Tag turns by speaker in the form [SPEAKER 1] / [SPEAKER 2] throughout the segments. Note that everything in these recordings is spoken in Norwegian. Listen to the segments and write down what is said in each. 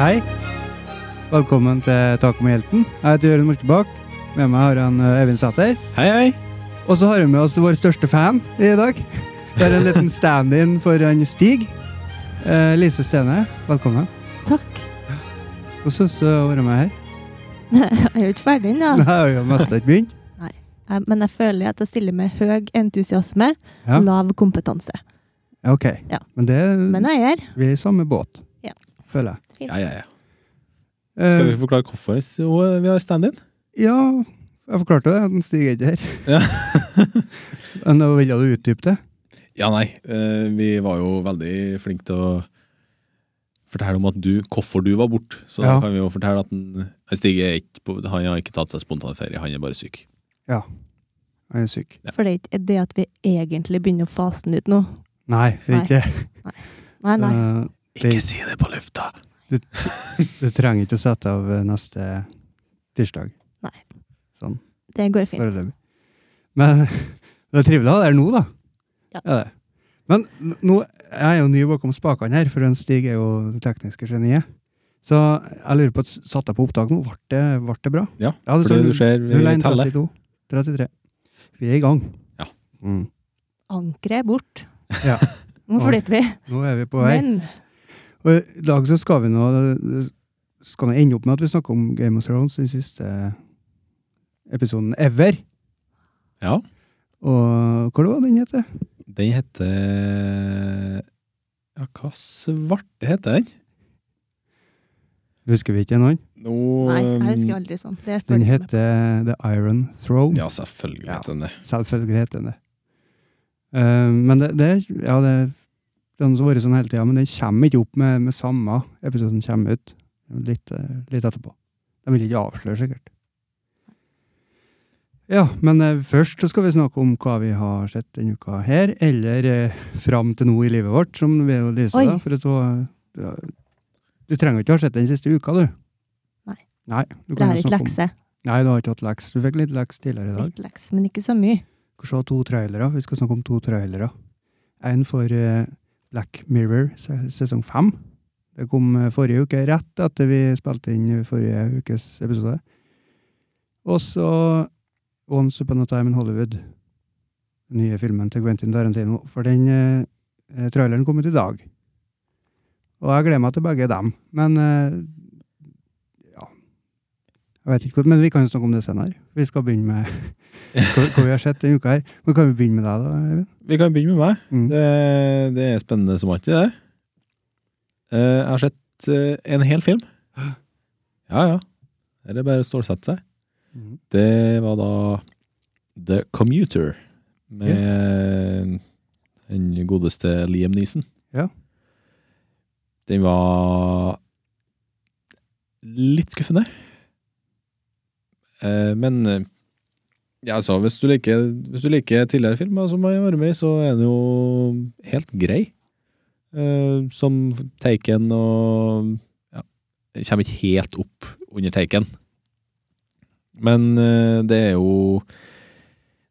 [SPEAKER 1] Hei. Velkommen til Taco med helten. Jeg heter Jørund Moltebakk. Med meg har jeg en, eh, Eivind Sæther.
[SPEAKER 2] Hei, hei.
[SPEAKER 1] Og så har vi med oss vår største fan i dag. Det er en liten stand-in for han Stig. Eh, Lise Stene, velkommen.
[SPEAKER 3] Takk.
[SPEAKER 1] Hva syns du om å være med her?
[SPEAKER 3] Jeg er jo ikke ferdig ennå,
[SPEAKER 1] Nei, jeg har jo mest ikke begynt.
[SPEAKER 3] Eh, men jeg føler at jeg stiller med høy entusiasme,
[SPEAKER 1] Ja.
[SPEAKER 3] lav kompetanse.
[SPEAKER 1] Ja, Ok.
[SPEAKER 3] Ja.
[SPEAKER 1] Men
[SPEAKER 3] Men
[SPEAKER 1] det,
[SPEAKER 3] jeg er
[SPEAKER 1] vi er i samme båt,
[SPEAKER 3] Ja.
[SPEAKER 1] føler jeg.
[SPEAKER 2] Ja, ja, ja.
[SPEAKER 1] Eh,
[SPEAKER 2] Skal vi forklare hvorfor vi har stand-in?
[SPEAKER 1] Ja, jeg forklarte det. Den stiger ikke her.
[SPEAKER 2] Ja.
[SPEAKER 1] Men da ville du utdype det?
[SPEAKER 2] Ja, nei. eh, Vi var jo veldig flinke til å fortelle om at du, hvorfor du var borte. Så
[SPEAKER 1] Ja.
[SPEAKER 2] da kan vi jo fortelle at en- en Stig er ikke på, han har ikke tatt seg spontanferie, han er bare syk.
[SPEAKER 1] Jeg er syk.
[SPEAKER 3] For det er ikke det at vi egentlig begynner å fase den ut nå.
[SPEAKER 1] Nei, det er ikke det.
[SPEAKER 3] Nei, nei.
[SPEAKER 1] Eh,
[SPEAKER 2] Ikke si det på lufta!
[SPEAKER 1] Du trenger ikke å sette av eh, neste tirsdag. Sånn,
[SPEAKER 3] Det går fint.
[SPEAKER 1] Foreløpig. Men det er trivelig å ha deg her nå, da.
[SPEAKER 3] Ja.
[SPEAKER 1] det. Men n- nå jeg er jo ny bakom spakene her, for en Stig er jo det tekniske geniet. Så jeg lurer på, satte jeg på opptak nå? Ble det, ble det bra? sånn
[SPEAKER 2] Ja,
[SPEAKER 1] Ja, det
[SPEAKER 2] for
[SPEAKER 1] står
[SPEAKER 2] det Sånn, du ser, vi
[SPEAKER 1] 01,
[SPEAKER 2] teller.
[SPEAKER 1] 32, 33. Vi er i gang.
[SPEAKER 2] Ja.
[SPEAKER 1] Mm.
[SPEAKER 3] Ankeret er bort.
[SPEAKER 1] Ja.
[SPEAKER 3] Nå flytter vi.
[SPEAKER 1] Nå er vi på vei.
[SPEAKER 3] Men
[SPEAKER 1] Og i dag så skal vi nå skal nå ende opp med at vi snakker om Game of Thrones, den siste episoden ever.
[SPEAKER 2] Ja.
[SPEAKER 1] Og hva det var den het? det?
[SPEAKER 2] Den heter Ja, hva svarte heter den?
[SPEAKER 1] Husker vi ikke noen?
[SPEAKER 2] Nå
[SPEAKER 3] nei,
[SPEAKER 2] eh,
[SPEAKER 3] jeg husker aldri sånn. Det er
[SPEAKER 1] um, Den
[SPEAKER 3] følger med.
[SPEAKER 1] heter The Iron Throne.
[SPEAKER 2] Ja, selvfølgelig
[SPEAKER 1] Ja.
[SPEAKER 2] heter den det.
[SPEAKER 1] Selvfølgelig heter den det. Eh, men det, det er- Ja, det den har vært sånn hele tida, men den kommer ikke opp med, med samme episode som kommer ut litt, eh, litt etterpå. De vil ikke avsløre, sikkert. Ja, men eh, først så skal vi snakke om hva vi har sett denne uka her, eller eh, fram til nå i livet vårt, som vi og Lise,
[SPEAKER 3] Oi.
[SPEAKER 1] da. For at hun, ja, du trenger jo ikke ha sett den siste uka, du.
[SPEAKER 3] Nei.
[SPEAKER 1] Nei, du
[SPEAKER 3] Det
[SPEAKER 1] kan
[SPEAKER 3] er
[SPEAKER 1] jo
[SPEAKER 3] ikke
[SPEAKER 1] snakke om-
[SPEAKER 3] lekse.
[SPEAKER 1] Nei, du har ikke hatt leks. Du fikk litt leks tidligere i dag.
[SPEAKER 3] Litt lekse, men ikke så mye.
[SPEAKER 1] Vi skal se to trailere. Vi skal snakke om to trailere. En for eh, Black Mirror se- sesong fem. Det kom eh, forrige uke, rett etter vi spilte inn forrige ukes episode. Og så Once Upon a Time in Hollywood. Den nye filmen til Quentin Tarantino. For den eh, eh, traileren kom ut i dag. Og jeg gleder meg til begge dem. Men eh, ja Jeg vet ikke hvor, men vi kan jo snakke om det senere. Vi skal begynne med hva, hva vi har sett denne uka her. Men kan vi begynne med deg, da? Eivind? Mm.
[SPEAKER 2] Vi kan begynne med meg. Det, det er spennende som alltid, det. Eh, jeg har sett eh, en hel film. Ja, ja. Her er det bare å stålsette seg.
[SPEAKER 1] Mm.
[SPEAKER 2] Det var da The Commuter med den godeste Liam Neeson.
[SPEAKER 1] Ja.
[SPEAKER 2] Den var litt skuffende. Eh, men eh, ja, altså, hvis du liker, hvis du liker tidligere altså, filmer som har vært med, i, så er den jo helt grei. Eh, som Taken og ja, den Kommer ikke helt opp under Taken. Men eh, det er jo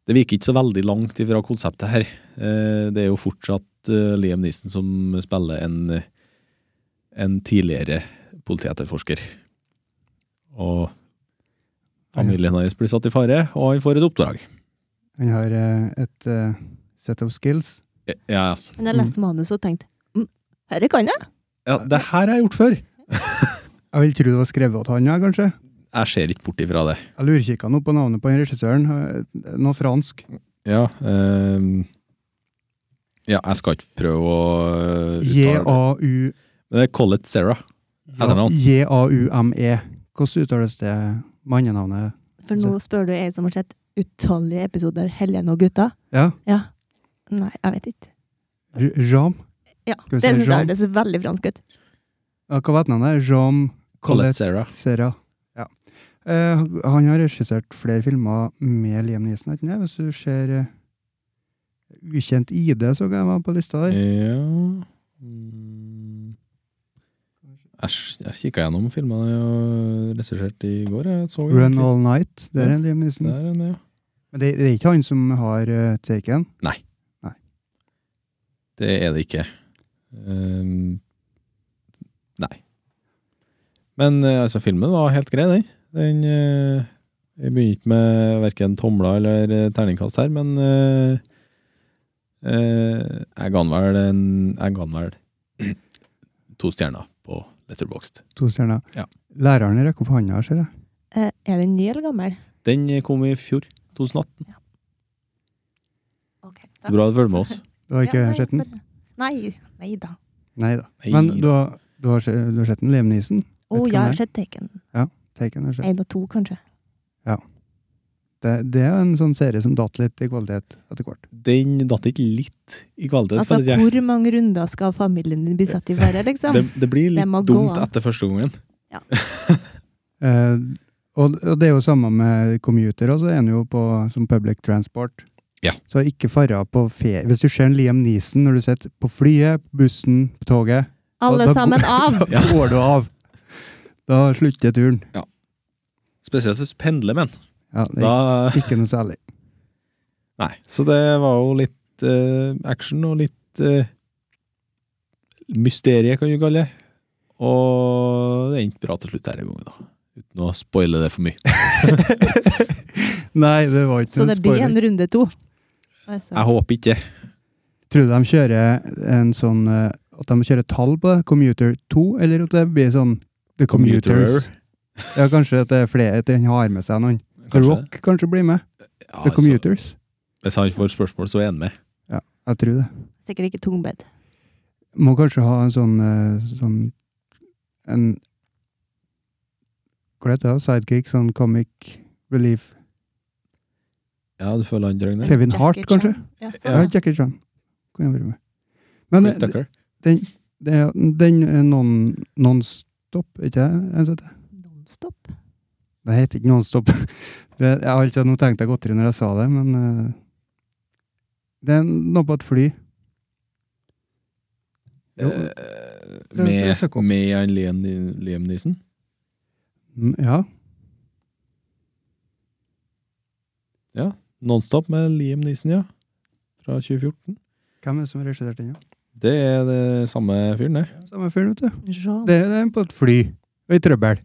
[SPEAKER 2] Det virker ikke så veldig langt ifra konseptet her. Eh, det er jo fortsatt eh, Liam Neeson som spiller en, en tidligere politietterforsker. Og familien hans blir satt i fare, og han får et oppdrag.
[SPEAKER 1] Han har eh, et eh, set of skills.
[SPEAKER 2] Ja, ja.
[SPEAKER 3] Men jeg leste manuset og tenkte mm, herre kan jeg!
[SPEAKER 2] ja det her har jeg gjort før!
[SPEAKER 1] Jeg vil tro det var skrevet av han, ja, kanskje.
[SPEAKER 2] Jeg ser ikke bort ifra det.
[SPEAKER 1] Jeg lurkikka nå på navnet på den regissøren. eh, Noe fransk.
[SPEAKER 2] Ja, ehm, ja, jeg skal ikke prøve å eh, uttale det.
[SPEAKER 1] J-A-U-
[SPEAKER 2] Men det er Collett Sarah. Heter han?
[SPEAKER 1] J-A-U-M-E. E. Hvordan uttales det mannenavnet?
[SPEAKER 3] For nå spør du ei som har sett utallige episoder, Helen og gutta.
[SPEAKER 1] Ja,
[SPEAKER 3] Ja. Nei, jeg vet ikke.
[SPEAKER 1] J- Jean?
[SPEAKER 3] Ja,
[SPEAKER 1] Skal vi
[SPEAKER 3] Det
[SPEAKER 1] si
[SPEAKER 3] synes
[SPEAKER 1] Jean?
[SPEAKER 3] jeg det ser veldig fransk ut.
[SPEAKER 1] Ja, hva var etternavnet? Jean
[SPEAKER 2] Collett
[SPEAKER 1] Colette
[SPEAKER 2] Sarah.
[SPEAKER 1] Serra. Ja. Eh, han har regissert flere filmer med Liam Neeson, har han ikke det? Hvis du ser eh, Ukjent ID, så jeg var på lista der.
[SPEAKER 2] Ja Mm. Æsj, jeg kikka gjennom filmene jeg regisserte i går. Jeg så jo
[SPEAKER 1] Run
[SPEAKER 2] egentlig-
[SPEAKER 1] All Night. Det er en Liam Neeson.
[SPEAKER 2] Der er den, ja.
[SPEAKER 1] Men det, det er ikke han som har eh, Taken.
[SPEAKER 2] Det er det ikke. Ehm, nei. Men eh, altså, filmen var helt grei, den. Den eh, Jeg begynner ikke med verken tomler eller eh, terningkast her, men eh, eh, jeg ga den vel en Jeg ga den vel to stjerner på Letterboxd.
[SPEAKER 1] To stjerner.
[SPEAKER 2] Ja.
[SPEAKER 1] Læreren rekker opp hånda, ser jeg.
[SPEAKER 3] Eh, er den ny eller gammel?
[SPEAKER 2] Den eh, kom i fjor, 2018.
[SPEAKER 3] Ok,
[SPEAKER 2] Det er Bra du følger med oss.
[SPEAKER 1] Du har ikke
[SPEAKER 3] Ja, nei,
[SPEAKER 1] sett den?
[SPEAKER 3] bare- Nei, nei da.
[SPEAKER 1] Nei da.
[SPEAKER 2] Nei
[SPEAKER 1] Men
[SPEAKER 2] da.
[SPEAKER 1] du har, du har, se- du har sett den? Liam Neeson?
[SPEAKER 3] Å,
[SPEAKER 1] Vet du
[SPEAKER 3] jeg
[SPEAKER 1] hvem
[SPEAKER 3] har
[SPEAKER 1] det
[SPEAKER 3] sett Taken.
[SPEAKER 1] Taken har sett.
[SPEAKER 3] Én og to, kanskje.
[SPEAKER 1] Det, det er jo en sånn serie som datt litt i kvalitet etter hvert.
[SPEAKER 2] Den datt ikke litt i kvalitet.
[SPEAKER 3] Altså,
[SPEAKER 2] for sånn at jeg-
[SPEAKER 3] hvor mange runder skal familien din bli satt i verre, liksom?
[SPEAKER 2] det, det blir
[SPEAKER 3] Det
[SPEAKER 2] litt
[SPEAKER 3] må gå
[SPEAKER 2] dumt
[SPEAKER 3] an.
[SPEAKER 2] etter første gangen.
[SPEAKER 1] Eh, og, og det er jo samme med commuter, og så er han jo på som public transport.
[SPEAKER 2] Ja.
[SPEAKER 1] Så ikke fara på ferie. Hvis du ser en Liam Neeson når du sitter på flyet, på bussen, på toget,
[SPEAKER 3] Alle
[SPEAKER 1] da- da-
[SPEAKER 3] sammen av!
[SPEAKER 1] da går du av. Da slutter turen.
[SPEAKER 2] Spesielt hvis du pendler med den.
[SPEAKER 1] Ja, det er
[SPEAKER 2] Da
[SPEAKER 1] ikke noe særlig.
[SPEAKER 2] Nei. Så det var jo litt eh, action og litt uh, mysterie, kan du kalle det. Og det endte bra til slutt her i gangen, da. Uten å spoile det for mye.
[SPEAKER 1] Nei, det var ikke
[SPEAKER 3] Så
[SPEAKER 1] noen
[SPEAKER 3] det blir en
[SPEAKER 1] spoiler.
[SPEAKER 3] runde to. Altså,
[SPEAKER 2] Jeg håper ikke det.
[SPEAKER 1] Tror du de kjører en sånn eh, At de kjører tall på det? Commuter 2, eller at det blir sånn The Commuters? Ja, kanskje at det er flere, at den har med seg noen. The
[SPEAKER 2] Kanskje.
[SPEAKER 1] Rock kanskje blir med.
[SPEAKER 2] Ja,
[SPEAKER 1] The
[SPEAKER 2] altså,
[SPEAKER 1] Commuters.
[SPEAKER 2] hvis han får spørsmål, så er han med.
[SPEAKER 1] Jeg tror det.
[SPEAKER 3] Sikkert ikke tungbedd.
[SPEAKER 1] Må kanskje ha en sånn, eh, sånn En Hva heter det? Sidekick? Sånn comic relief?
[SPEAKER 2] Ja, du føler han trenger det?
[SPEAKER 1] Kevin Hart,
[SPEAKER 3] Jackie
[SPEAKER 1] kanskje?
[SPEAKER 3] Chan. Ja,
[SPEAKER 1] Ja,
[SPEAKER 3] sånn, ja.
[SPEAKER 1] Jackie Chan. Kunne vært med. Men
[SPEAKER 2] Chris
[SPEAKER 1] eh,
[SPEAKER 2] Tucker?
[SPEAKER 1] det, er- den er non, non-stop, ikke det?
[SPEAKER 3] Nonstop.
[SPEAKER 1] Det heter ikke Nonstop. Det, jeg, har altså, nå tenkte jeg godt i når jeg sa det, men eh, Det er noe på et fly. Jo,
[SPEAKER 2] Eh,
[SPEAKER 1] det- det
[SPEAKER 2] med
[SPEAKER 1] søker opp.
[SPEAKER 2] med han Liam, Liam Neeson?
[SPEAKER 1] mm, ja.
[SPEAKER 2] Nonstop med Liam Neeson, ja. Fra 2014.
[SPEAKER 1] Hvem er det som har regissert den? Ja?
[SPEAKER 2] Det er det samme fyren, det.
[SPEAKER 1] Samme fyren, vet du.
[SPEAKER 3] Jean.
[SPEAKER 1] Det, det er på et fly. Og i trøbbel.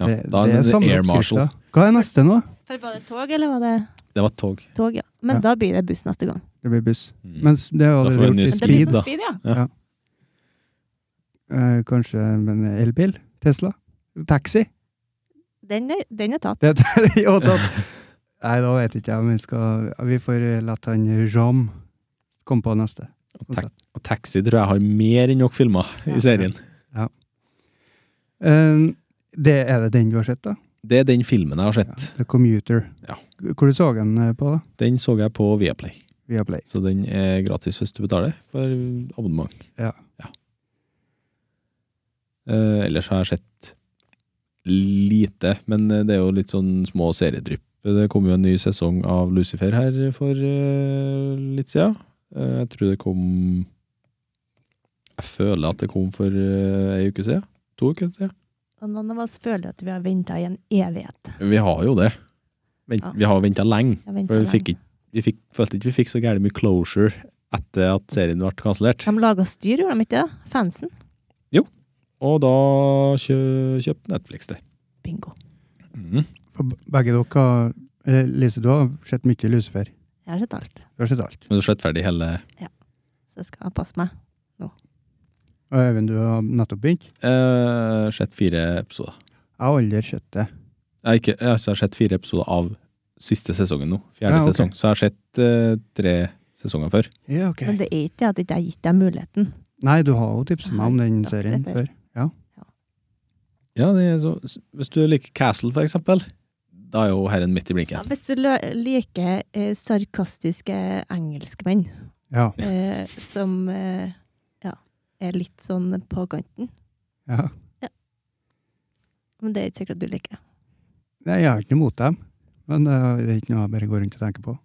[SPEAKER 2] Ja,
[SPEAKER 1] det,
[SPEAKER 2] da
[SPEAKER 1] det
[SPEAKER 2] er
[SPEAKER 1] er
[SPEAKER 2] det
[SPEAKER 1] samme
[SPEAKER 2] Air Marshal.
[SPEAKER 1] oppskrifta. Hva er neste nå?
[SPEAKER 3] For var det tog, eller var det
[SPEAKER 2] Det var et tog.
[SPEAKER 3] tog? Ja. Men
[SPEAKER 1] Ja.
[SPEAKER 3] da blir det buss neste gang.
[SPEAKER 1] Det blir buss.
[SPEAKER 2] Mm.
[SPEAKER 1] Mens det er jo
[SPEAKER 2] Da får vi en
[SPEAKER 1] allerede
[SPEAKER 2] ny
[SPEAKER 1] gjort i
[SPEAKER 3] Men det
[SPEAKER 2] Speed,
[SPEAKER 3] blir
[SPEAKER 1] speed.
[SPEAKER 3] sånn
[SPEAKER 2] da.
[SPEAKER 3] speed, ja.
[SPEAKER 1] Eh, kanskje en elbil? Tesla? Taxi?
[SPEAKER 3] Den er, den er tatt.
[SPEAKER 1] Det, det, jo, da, nei, da vet ikke jeg om vi skal Vi får la han Jom komme på neste.
[SPEAKER 2] Og ta- Og Taxi tror jeg har mer enn nok filmer
[SPEAKER 3] Ja.
[SPEAKER 2] i serien.
[SPEAKER 1] Eh, det, er det den du har sett, da?
[SPEAKER 2] Det er den filmen jeg har sett.
[SPEAKER 1] The Commuter.
[SPEAKER 2] Ja.
[SPEAKER 1] Hvor du så den eh, på, da?
[SPEAKER 2] Den så jeg på Viaplay,
[SPEAKER 1] Via Play.
[SPEAKER 2] så den er gratis hvis du betaler for abonnement.
[SPEAKER 1] Ja.
[SPEAKER 2] Eh, ellers har jeg sett lite, men eh, det er jo litt sånn små seriedrypp. Det kom jo en ny sesong av Lucifer her for eh, litt siden. Eh, jeg tror det kom Jeg føler at det kom for eh, ei uke siden. To uker siden.
[SPEAKER 3] Og noen av oss føler at vi har venta i en evighet.
[SPEAKER 2] Vi har jo det. Vent,
[SPEAKER 3] Ja.
[SPEAKER 2] Vi har venta lenge.
[SPEAKER 3] Jeg ventet
[SPEAKER 2] For vi,
[SPEAKER 3] lenge.
[SPEAKER 2] fikk ikke, vi fikk, følte ikke vi fikk så gærent mye closure etter at serien ble kansellert.
[SPEAKER 3] De laga styr, gjorde de ikke det? Fansen?
[SPEAKER 2] Og da kjø, kjøpte Netflix det.
[SPEAKER 3] Bingo.
[SPEAKER 2] Mhm.
[SPEAKER 1] For b- Begge dere har eh, Lise, du har sett mye Lucifer.
[SPEAKER 3] Jeg har sett alt.
[SPEAKER 1] Du har sett alt.
[SPEAKER 2] Men du skjøt ferdig hele
[SPEAKER 3] Så jeg skal passe meg.
[SPEAKER 1] Og Øyvind, du har nettopp begynt.
[SPEAKER 2] eh, Sett fire episoder.
[SPEAKER 1] Jeg har aldri sett det.
[SPEAKER 2] Jeg, har ikke, jeg har altså sett fire episoder av siste sesongen nå. Fjerde
[SPEAKER 1] Ja, ok.
[SPEAKER 2] sesong. Så jeg har sett eh, tre sesonger før.
[SPEAKER 1] Ja, ok.
[SPEAKER 3] Men det er ikke det at jeg ikke har gitt deg muligheten.
[SPEAKER 1] Nei, du har jo tipset meg om den
[SPEAKER 3] Jeg har sagt
[SPEAKER 1] serien
[SPEAKER 3] det
[SPEAKER 1] før.
[SPEAKER 3] før.
[SPEAKER 2] Ja, det er så, Hvis du liker Castle, for eksempel, da er jo herren midt i
[SPEAKER 3] Ja,
[SPEAKER 2] blinken.
[SPEAKER 3] hvis du lø- liker eh, sarkastiske engelskmenn
[SPEAKER 1] Ja.
[SPEAKER 3] eh, som eh, ja, er litt sånn på kanten
[SPEAKER 1] ja.
[SPEAKER 3] Men det er ikke sikkert du liker.
[SPEAKER 1] Nei, jeg har ikke noe mot dem, men eh, det er ikke noe jeg bare går rundt og tenker på.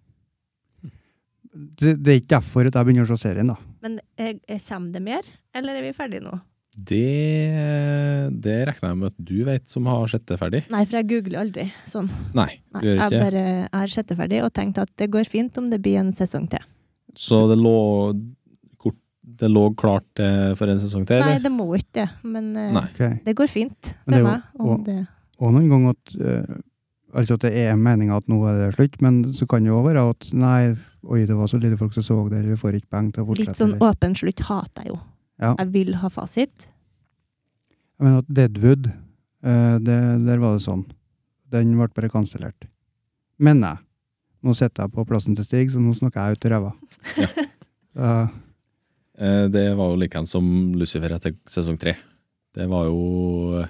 [SPEAKER 1] Det, det er ikke derfor at jeg begynner å se serien, da.
[SPEAKER 3] Men eh, eh, kommer det mer, eller er vi ferdige nå?
[SPEAKER 2] Det, det regner jeg med at du vet, som har sett det ferdig.
[SPEAKER 3] Nei, for jeg googler aldri sånn.
[SPEAKER 2] Nei,
[SPEAKER 3] Nei,
[SPEAKER 2] du gjør
[SPEAKER 3] jeg
[SPEAKER 2] ikke
[SPEAKER 3] bare jeg har sett det ferdig og tenkt at det går fint om det blir en sesong til.
[SPEAKER 2] Så det lå kort det lå klart eh, for en sesong til,
[SPEAKER 3] Nei,
[SPEAKER 2] eller?
[SPEAKER 3] det må ikke det, men eh,
[SPEAKER 2] Nei.
[SPEAKER 1] Ok.
[SPEAKER 3] det går fint
[SPEAKER 1] Men det er jo-
[SPEAKER 3] med meg. Om
[SPEAKER 1] og-
[SPEAKER 3] det.
[SPEAKER 1] Og noen ganger at eh, Altså at det er meninga at nå er det slutt, men så kan det jo også være at nei, oi, det var så lite folk som så det, eller vi får ikke penger til å fortsette.
[SPEAKER 3] Litt sånn
[SPEAKER 1] eller-
[SPEAKER 3] åpen slutt hater jeg jo.
[SPEAKER 1] Ja.
[SPEAKER 3] Jeg vil ha fasit.
[SPEAKER 1] Jeg mener at Deadwood, eh, det, der var det sånn. Den ble bare kansellert. Men jeg, nå sitter jeg på plassen til Stig, så nå snakker jeg ut i ræva. Eh,
[SPEAKER 2] Eh, det var jo likeens som Lucifer etter sesong tre. Det var jo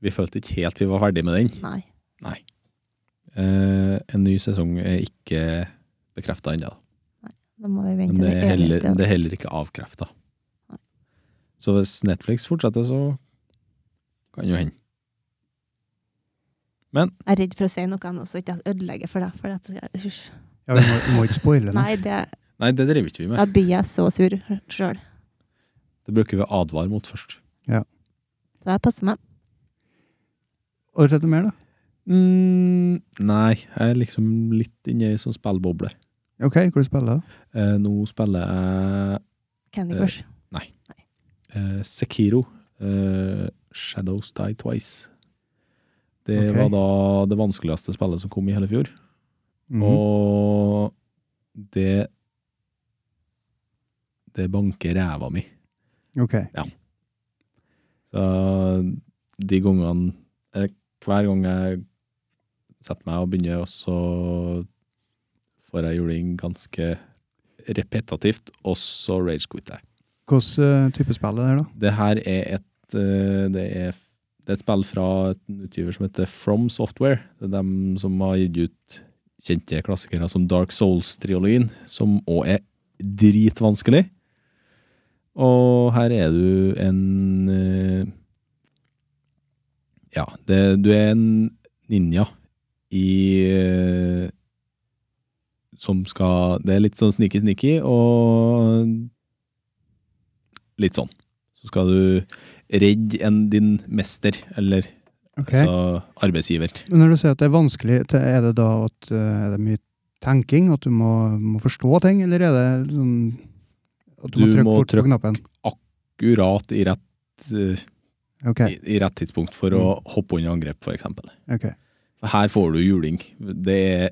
[SPEAKER 2] Vi følte ikke helt vi var ferdig med den.
[SPEAKER 3] Nei.
[SPEAKER 2] Eh, en ny sesong er ikke bekrefta ennå.
[SPEAKER 3] Da må vi
[SPEAKER 2] Men
[SPEAKER 3] vente
[SPEAKER 2] det er
[SPEAKER 3] til
[SPEAKER 2] heller,
[SPEAKER 3] evig.
[SPEAKER 2] det er heller ikke avkrefta.
[SPEAKER 3] Nei.
[SPEAKER 2] Så hvis Netflix fortsetter, så kan jo hende.
[SPEAKER 3] Jeg er redd for å si noe nå, så ikke jeg ødelegger for deg. For at, hysj.
[SPEAKER 1] ja, vi må, vi må ikke spoile noe.
[SPEAKER 3] nei, det,
[SPEAKER 2] Nei, det driver ikke vi med.
[SPEAKER 3] da blir jeg så sur sjøl.
[SPEAKER 2] Det bruker vi å advare mot først.
[SPEAKER 3] Så jeg passer meg.
[SPEAKER 1] Har du sett noe mer, da?
[SPEAKER 2] Mm, nei, jeg er liksom litt inne i sånn spillboble.
[SPEAKER 1] OK, hvor du spiller da?
[SPEAKER 2] Eh, nå spiller jeg
[SPEAKER 3] Candy
[SPEAKER 2] Eh,
[SPEAKER 3] Crush.
[SPEAKER 2] eh, Sekiro. Eh, Shadows Die Twice. Det
[SPEAKER 1] Ok.
[SPEAKER 2] var da det vanskeligste spillet som kom i hele fjor.
[SPEAKER 1] Mhm.
[SPEAKER 2] Og det Det banker ræva mi.
[SPEAKER 1] OK.
[SPEAKER 2] Så de gangene Eller hver gang jeg setter meg og begynner, og så får jeg juling ganske repetativt, og så ragequitter jeg.
[SPEAKER 1] Hvilken eh, type spill er det der, da?
[SPEAKER 2] Det her er et eh, det er, det er et spill fra en utgiver som heter From Software. Det er dem som har gitt ut kjente klassikere som Dark Souls-triologien, som òg er dritvanskelig. Og her er du en eh, Ja, det, du er en ninja i eh, Som skal Det er litt sånn sneaky-sneaky og litt sånn. Så skal du redde en din mester, eller
[SPEAKER 1] Ok.
[SPEAKER 2] altså arbeidsgiver.
[SPEAKER 1] Men når du sier at det er vanskelig, te- er det da at eh, er det mye tenking? At du må, må forstå ting, eller er det sånn at du, må
[SPEAKER 2] Du
[SPEAKER 1] trykke
[SPEAKER 2] må
[SPEAKER 1] fort på
[SPEAKER 2] trykke-
[SPEAKER 1] knappen?
[SPEAKER 2] Akkurat i rett, eh,
[SPEAKER 1] OK. Mm.
[SPEAKER 2] i, i rett tidspunkt for å hoppe under angrep, for eksempel.
[SPEAKER 1] ok.
[SPEAKER 2] For her får du juling. Det er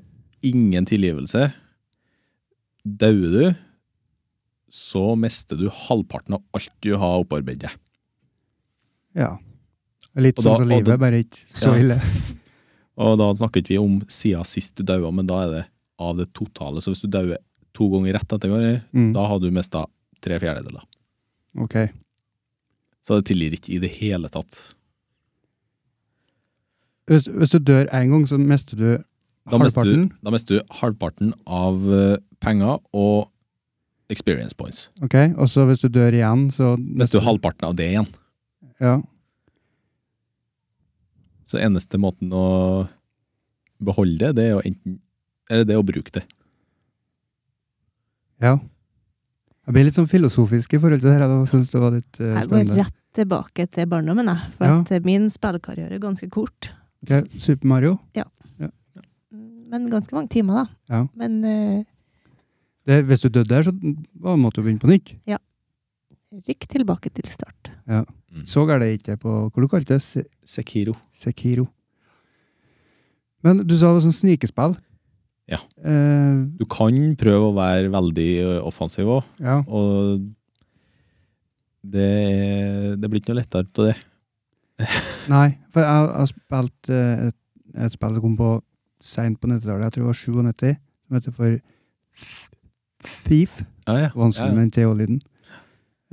[SPEAKER 2] ingen tilgivelse. Dauer du, så mister du halvparten av alt du har opparbeidet. deg.
[SPEAKER 1] Ja. Litt
[SPEAKER 2] Og
[SPEAKER 1] sånn
[SPEAKER 2] da-
[SPEAKER 1] som
[SPEAKER 2] og
[SPEAKER 1] livet,
[SPEAKER 2] da-
[SPEAKER 1] bare ikke så
[SPEAKER 2] Ja.
[SPEAKER 1] ille.
[SPEAKER 2] Og da snakker ikke vi om siden sist du daua, men da er det av det totale. Så hvis du dauer to ganger rett etter hverandre,
[SPEAKER 1] Mm.
[SPEAKER 2] da har du mista tre fjerdedeler.
[SPEAKER 1] Ok.
[SPEAKER 2] Så det tilgir ikke i det hele tatt.
[SPEAKER 1] Hvis, hvis du dør én gang, så mister du
[SPEAKER 2] Da mister du,
[SPEAKER 1] halvparten.
[SPEAKER 2] da mister du halvparten av eh, penger og experience points.
[SPEAKER 1] Ok, Og så hvis du dør igjen, så
[SPEAKER 2] Mister du halvparten av det igjen.
[SPEAKER 1] Ja.
[SPEAKER 2] Så eneste måten å beholde det, det er å enten Eller det er å bruke det.
[SPEAKER 1] ja. Jeg blir litt sånn filosofisk i forhold til det her. Jeg syns det var litt eh,
[SPEAKER 3] Jeg går
[SPEAKER 1] spennende.
[SPEAKER 3] rett tilbake til barndommen, jeg. For
[SPEAKER 1] Ja.
[SPEAKER 3] at eh, min spillekarriere er ganske kort.
[SPEAKER 1] Ok, Super Mario.
[SPEAKER 3] Men ganske mange timer, da.
[SPEAKER 1] Ja.
[SPEAKER 3] Men eh,
[SPEAKER 1] Det, hvis du døde der, så var- måtte du begynne på nytt.
[SPEAKER 3] rykk tilbake til start.
[SPEAKER 2] Mm.
[SPEAKER 1] Så er det ikke på Hvor du kalte det? Se-
[SPEAKER 2] Sekiro.
[SPEAKER 1] Sekiro. Men du sa det var sånn snikespill.
[SPEAKER 2] Ja.
[SPEAKER 1] Eh,
[SPEAKER 2] Du kan prøve å være veldig eh, offensiv òg,
[SPEAKER 1] ja.
[SPEAKER 2] og det, det blir ikke noe lettere av det.
[SPEAKER 1] Nei, for jeg jeg har spilt eh, et, et spill som kom på seint på 90-tallet, jeg tror det var 97, som heter for Thief.
[SPEAKER 2] Ja, ja.
[SPEAKER 1] Vanskelig
[SPEAKER 2] ja, ja.
[SPEAKER 1] med den TH-lyden.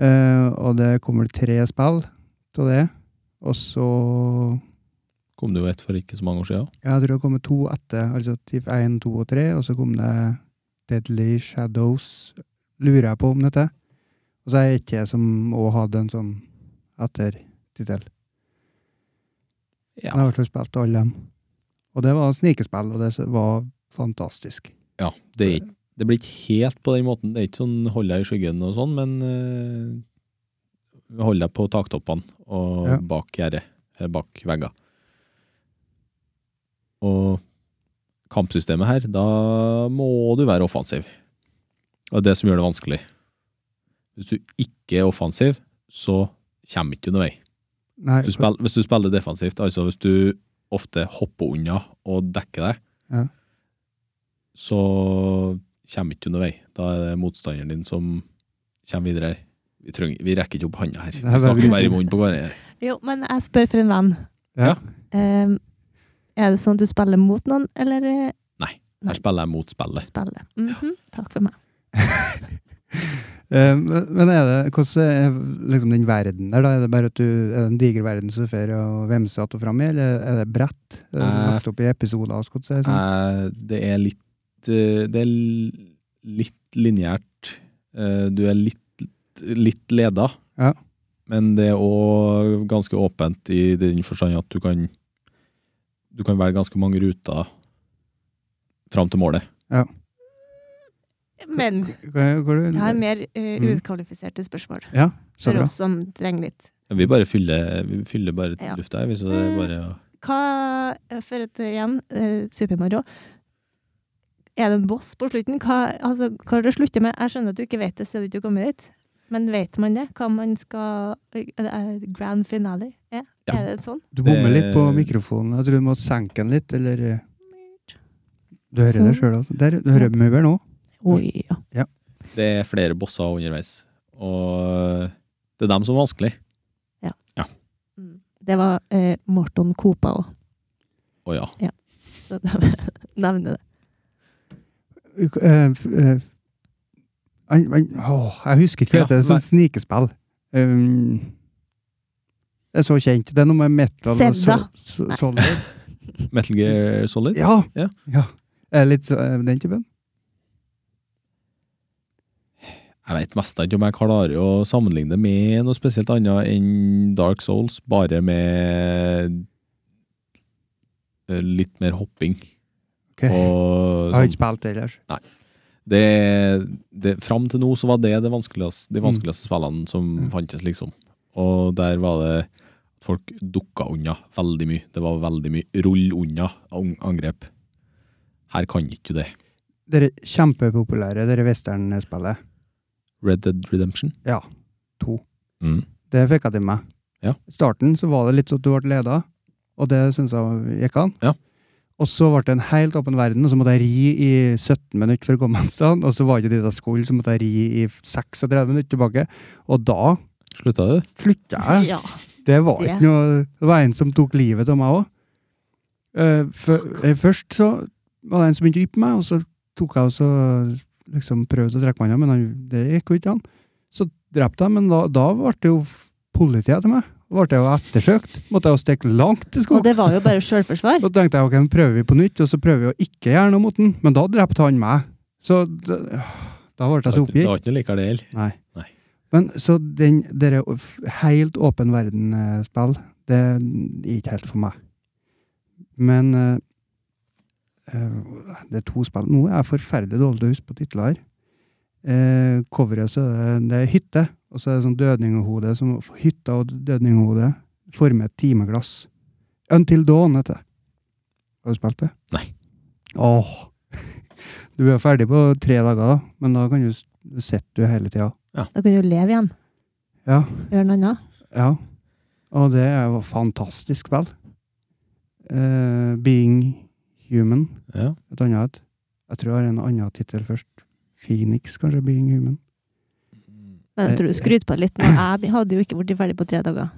[SPEAKER 1] Eh, og det kommer det tre spill av det. Og så
[SPEAKER 2] Kom det jo et for ikke så mange år siden.
[SPEAKER 1] ja, Jeg tror det kommer to etter, altså Thief 1, 2 og 3. Og så kom det Deadly Shadows, lurer jeg på om dette. Og så er jeg ikke jeg som òg hadde en sånn ettertittel. Jeg
[SPEAKER 2] Ja.
[SPEAKER 1] har i hvert fall spilt alle dem. Og det var snikespill, og det var fantastisk.
[SPEAKER 2] Ja, det, er ikke- det blir ikke helt på den måten. Det er ikke sånn hold deg i skyggen og sånn, men eh, hold deg på taktoppene og
[SPEAKER 1] Ja.
[SPEAKER 2] bak gjerdet, eller bak vegger. Og kampsystemet her, da må du være offensiv. Og det er det som gjør det vanskelig. Hvis du ikke er offensiv, så kommer ikke du noen vei.
[SPEAKER 1] Nei,
[SPEAKER 2] Du spill- hvis du spiller defensivt, altså hvis du ofte hopper unna og dekker deg,
[SPEAKER 1] Ja.
[SPEAKER 2] så kommer ikke du noen vei. Da er det motstanderen din som kommer videre her. Vi, trenger, vi rekker ikke opp handa her.
[SPEAKER 1] Nei,
[SPEAKER 2] Vi snakker
[SPEAKER 1] nei,
[SPEAKER 2] bare i munnen på hverandre. her.
[SPEAKER 3] Jo, men jeg spør for en venn.
[SPEAKER 1] ja.
[SPEAKER 3] Ehm, er det sånn at du spiller mot noen, eller eh, Nei.
[SPEAKER 2] Her spiller jeg mot spillet.
[SPEAKER 3] spiller? Mhm, Takk for meg.
[SPEAKER 1] Eh, men men er det, hvordan er liksom den verden der, da? Er det bare at du er det en diger verden som du får å vemse att og fram i, eller er det brett? Er det
[SPEAKER 2] Eh,
[SPEAKER 1] lagt opp i episoder? og sånt, sånn?
[SPEAKER 2] Eh, det er litt eh, Det er l- litt lineært. Eh, du er litt, litt leda,
[SPEAKER 1] Ja.
[SPEAKER 2] men det er òg ganske åpent i den forstand at du kan Du kan velge ganske mange ruter fram til målet.
[SPEAKER 3] Men
[SPEAKER 1] Hva- hva-
[SPEAKER 3] det her er mer eh,
[SPEAKER 1] Mm.
[SPEAKER 3] ukvalifiserte spørsmål
[SPEAKER 1] Ja, så
[SPEAKER 3] for
[SPEAKER 1] bra.
[SPEAKER 3] oss som trenger litt.
[SPEAKER 2] Vi bare fyller, vi fyller bare
[SPEAKER 3] Ja.
[SPEAKER 2] lufta her, vi, så det er bare å
[SPEAKER 3] Hva, for at, eh, igjen, eh, Super Mario, er det en boss på slutten? Hva, altså, hva er det slutter med? Jeg skjønner at du ikke vet det, siden du ikke kommer dit. Men vet man det? Hva man skal eh, eh, Grand finale er?
[SPEAKER 2] Ja.
[SPEAKER 3] Er det en sånn?
[SPEAKER 1] Du bommer litt på
[SPEAKER 2] Det-
[SPEAKER 1] mikrofonen. Jeg tror du må senke den litt, eller eh, Du hører det
[SPEAKER 3] Sånn.
[SPEAKER 1] sjøl òg. Der, du hører mye bedre nå.
[SPEAKER 3] Oi, ja.
[SPEAKER 2] Det er flere bosser underveis, og det er dem som er vanskelig.
[SPEAKER 3] Mm. Det var eh, Morton Kopa òg,
[SPEAKER 2] Å ja.
[SPEAKER 3] så da nevner det.
[SPEAKER 1] Eh, f- eh, han- han- åh, Jeg husker ikke hva det heter.
[SPEAKER 2] Ja,
[SPEAKER 1] Sånn snikespill. Um, det er så kjent. Det er noe med metal og
[SPEAKER 3] Zelda.
[SPEAKER 1] sol- sol- solid.
[SPEAKER 2] Metal Gear Solid?
[SPEAKER 1] Ja!
[SPEAKER 2] Ja.
[SPEAKER 1] ja. Er det litt eh, den typen?
[SPEAKER 2] Jeg vet mest ikke om jeg klarer å sammenligne det med noe spesielt annet enn Dark Souls, bare med eh, litt mer hopping.
[SPEAKER 1] Ok.
[SPEAKER 2] Og
[SPEAKER 1] jeg har
[SPEAKER 2] sånn.
[SPEAKER 1] ikke spilt det ellers.
[SPEAKER 2] det, det, fram til nå så var det, det vanskeligste, de
[SPEAKER 1] Mm.
[SPEAKER 2] vanskeligste spillene som
[SPEAKER 1] Ja.
[SPEAKER 2] fantes, liksom. Og der var det Folk dukka unna veldig mye. Det var veldig mye rull unna an- angrep. Her kan ikke du det.
[SPEAKER 1] Det er kjempepopulære, det er westernspillet.
[SPEAKER 2] Red Dead Redemption.
[SPEAKER 1] Ja. To.
[SPEAKER 2] Mm.
[SPEAKER 1] Det fikk jeg til meg.
[SPEAKER 2] Ja.
[SPEAKER 1] I starten så var det litt sånn at du ble leda, og det syns jeg gikk an.
[SPEAKER 2] Ja.
[SPEAKER 1] Og så ble det en helt åpen verden, og så måtte jeg ri i 17 minutter for å komme meg et sted. Og så var ikke det dit jeg skulle, så måtte jeg ri i 36 minutter tilbake. Og da
[SPEAKER 2] Slutta du?
[SPEAKER 1] flytta jeg.
[SPEAKER 3] Ja.
[SPEAKER 1] Det var
[SPEAKER 3] Det-
[SPEAKER 1] ikke noe Det var en som tok livet av meg òg. eh, Først så var det en som begynte å yppe meg, og så tok jeg og så liksom prøvde å drekke meg, unna, men han, det gikk jo ikke an. Så drepte jeg, men da, da ble det jo politiet til meg. Da ble jeg jo ettersøkt. Måtte jeg jo stikke langt til
[SPEAKER 3] Og det
[SPEAKER 1] skogs.
[SPEAKER 3] var jo bare sjølforsvar.
[SPEAKER 1] Da tenkte jeg ok, nå prøver vi på nytt, og så prøver vi å ikke gjøre noe mot den. Men da drepte han meg. Så da, da ble jeg så oppgitt.
[SPEAKER 2] Det var ikke noe likere det heller.
[SPEAKER 1] Nei.
[SPEAKER 2] Nei.
[SPEAKER 1] Men så den dere f- helt åpen verden-spill, det er ikke helt for meg. Men eh, eh, det er to spill Nå er jeg forferdelig dårlig til å huske på titler her. Eh, coveret så er det, det er hytte, og så er det sånn dødninghode som Hytta og dødninghode former et timeglass. Until Dawn heter det. Har du spilt det?
[SPEAKER 2] Nei.
[SPEAKER 1] Åh. Du er ferdig på tre dager, da, men da kan du s- du sitter jo hele tida.
[SPEAKER 3] Da kan du leve igjen.
[SPEAKER 1] Ja,
[SPEAKER 3] Gjøre noe annet.
[SPEAKER 1] ja. Og det er jo fantastisk spill. Eh, Being Human,
[SPEAKER 2] Ja.
[SPEAKER 1] et annet et. Jeg tror jeg har en annen tittel først. Phoenix, kanskje. Being Human.
[SPEAKER 3] Men jeg tror du skryter på litt. Men jeg hadde jo ikke blitt ferdig på tre dager.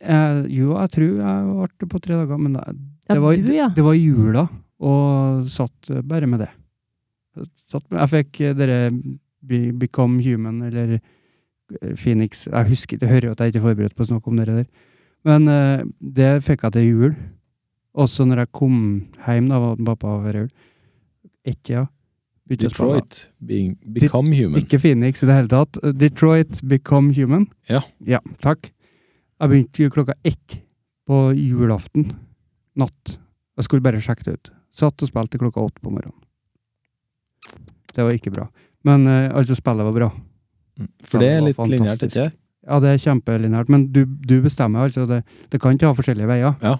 [SPEAKER 1] Eh, jo, jeg tror jeg ble det på tre dager, men det,
[SPEAKER 3] Ja,
[SPEAKER 1] det, var, i-
[SPEAKER 3] du, ja.
[SPEAKER 1] det var i jula, og satt eh, bare med det. Jeg Satt, med- jeg fikk eh, dere Be, Become Human, eller eh, Phoenix Jeg husker, det hører jo at jeg ikke er forberedt på å snakke om dere der. Men eh, det fikk jeg til jul. Også når jeg kom hjem, da var pappa over jul. Ett, ja. Begynte å spille.
[SPEAKER 2] Detroit being, Become Human.
[SPEAKER 1] Ikke Phoenix i det hele tatt. Detroit Become Human.
[SPEAKER 2] Ja.
[SPEAKER 1] Ja, takk. Jeg begynte klokka ett på julaften natt. Jeg skulle bare sjekke det ut. Satt og spilte til klokka åtte på morgenen. Det var ikke bra. Men eh, altså, spillet var bra.
[SPEAKER 2] Mm. For det er
[SPEAKER 1] Ja, det
[SPEAKER 2] litt
[SPEAKER 1] var
[SPEAKER 2] lineært,
[SPEAKER 1] fantastisk.
[SPEAKER 2] ikke det?
[SPEAKER 1] Ja, det er kjempelinært, men du, du bestemmer altså. Det, det kan ikke ha forskjellige veier.
[SPEAKER 2] Ja.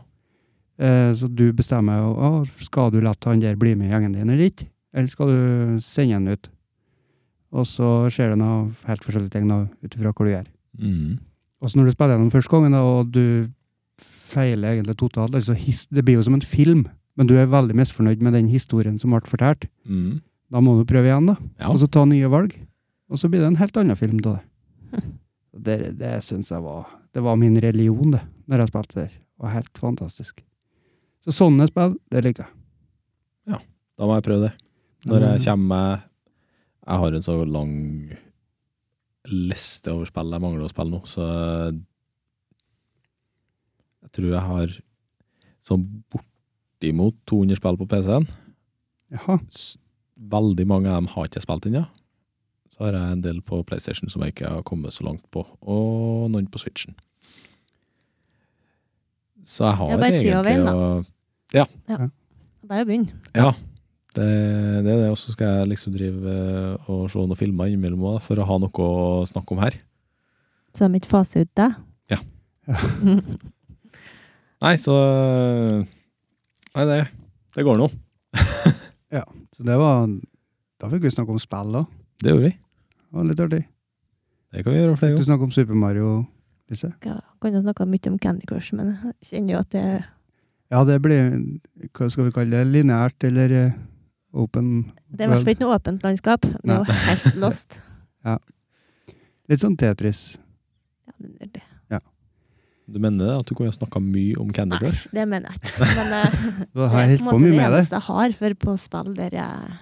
[SPEAKER 1] Eh, så du bestemmer jo å, skal du la han der bli med i gjengen din eller ikke, eller skal du sende han ut. og så skjer det noe helt forskjellige ting da, ut ifra hvor du gjør.
[SPEAKER 2] Mm.
[SPEAKER 1] Også når du spiller gjennom første gangen, da, og du feiler egentlig totalt, altså his, det blir jo som en film, men du er veldig misfornøyd med den historien som ble fortalt,
[SPEAKER 2] Mm.
[SPEAKER 1] da må du prøve igjen da,
[SPEAKER 2] Ja.
[SPEAKER 1] og så ta nye valg, og så blir det en helt annen film til det.
[SPEAKER 3] Hm.
[SPEAKER 1] Det, det synes jeg var, det var min religion det, når jeg spilte der. Det var helt fantastisk. Så sånne spill, det liker jeg.
[SPEAKER 2] Da må jeg prøve det. Når
[SPEAKER 1] Mm.
[SPEAKER 2] jeg kommer meg Jeg har en så lang liste over spill jeg mangler å spille nå, så eh, Jeg tror jeg har sånn bortimot 200 spill på PC-en.
[SPEAKER 1] Jaha,
[SPEAKER 2] S- Veldig mange av dem har ikke jeg spilt ennå. Så har jeg en del på PlayStation som jeg ikke har kommet så langt på, og noen på Switchen. Så jeg har
[SPEAKER 3] Ja, bare tid å
[SPEAKER 2] egentlig
[SPEAKER 3] vende, da.
[SPEAKER 2] å
[SPEAKER 3] Bare begynn.
[SPEAKER 2] ja. Det, det er det. Og så skal jeg liksom drive eh, og se noen filmer innimellom også, da, for å ha noe å snakke om her.
[SPEAKER 3] Så de ikke faser ut deg.
[SPEAKER 2] Ja. Nei, så eh, Nei, det, det går nå.
[SPEAKER 1] så det var, da fikk vi snakke om spill da.
[SPEAKER 2] Det gjorde vi.
[SPEAKER 1] Det var litt artig.
[SPEAKER 2] Det kan vi gjøre flere
[SPEAKER 1] Du
[SPEAKER 2] ganger.
[SPEAKER 1] snakker om Super Mario, Lise.
[SPEAKER 3] Ja, kan jo snakke mye om Candy Crush, men jeg kjenner jo at det
[SPEAKER 1] Ja, det blir Hva skal vi kalle det? Lineært eller eh, open?
[SPEAKER 3] Det er i hvert fall ikke noe åpent landskap. Det er jo helt lost.
[SPEAKER 1] Litt sånn Tetris.
[SPEAKER 3] Ja, det, er det.
[SPEAKER 2] Du mener det, at du kunne snakka mye om Candy
[SPEAKER 3] Nei,
[SPEAKER 2] Crush?
[SPEAKER 3] det mener jeg ikke. Men eh,
[SPEAKER 1] Da
[SPEAKER 3] det
[SPEAKER 1] har
[SPEAKER 3] er
[SPEAKER 1] jeg holdt
[SPEAKER 3] på en
[SPEAKER 1] på
[SPEAKER 3] måte det
[SPEAKER 1] mye med det.
[SPEAKER 3] eneste jeg har, for på spill der jeg er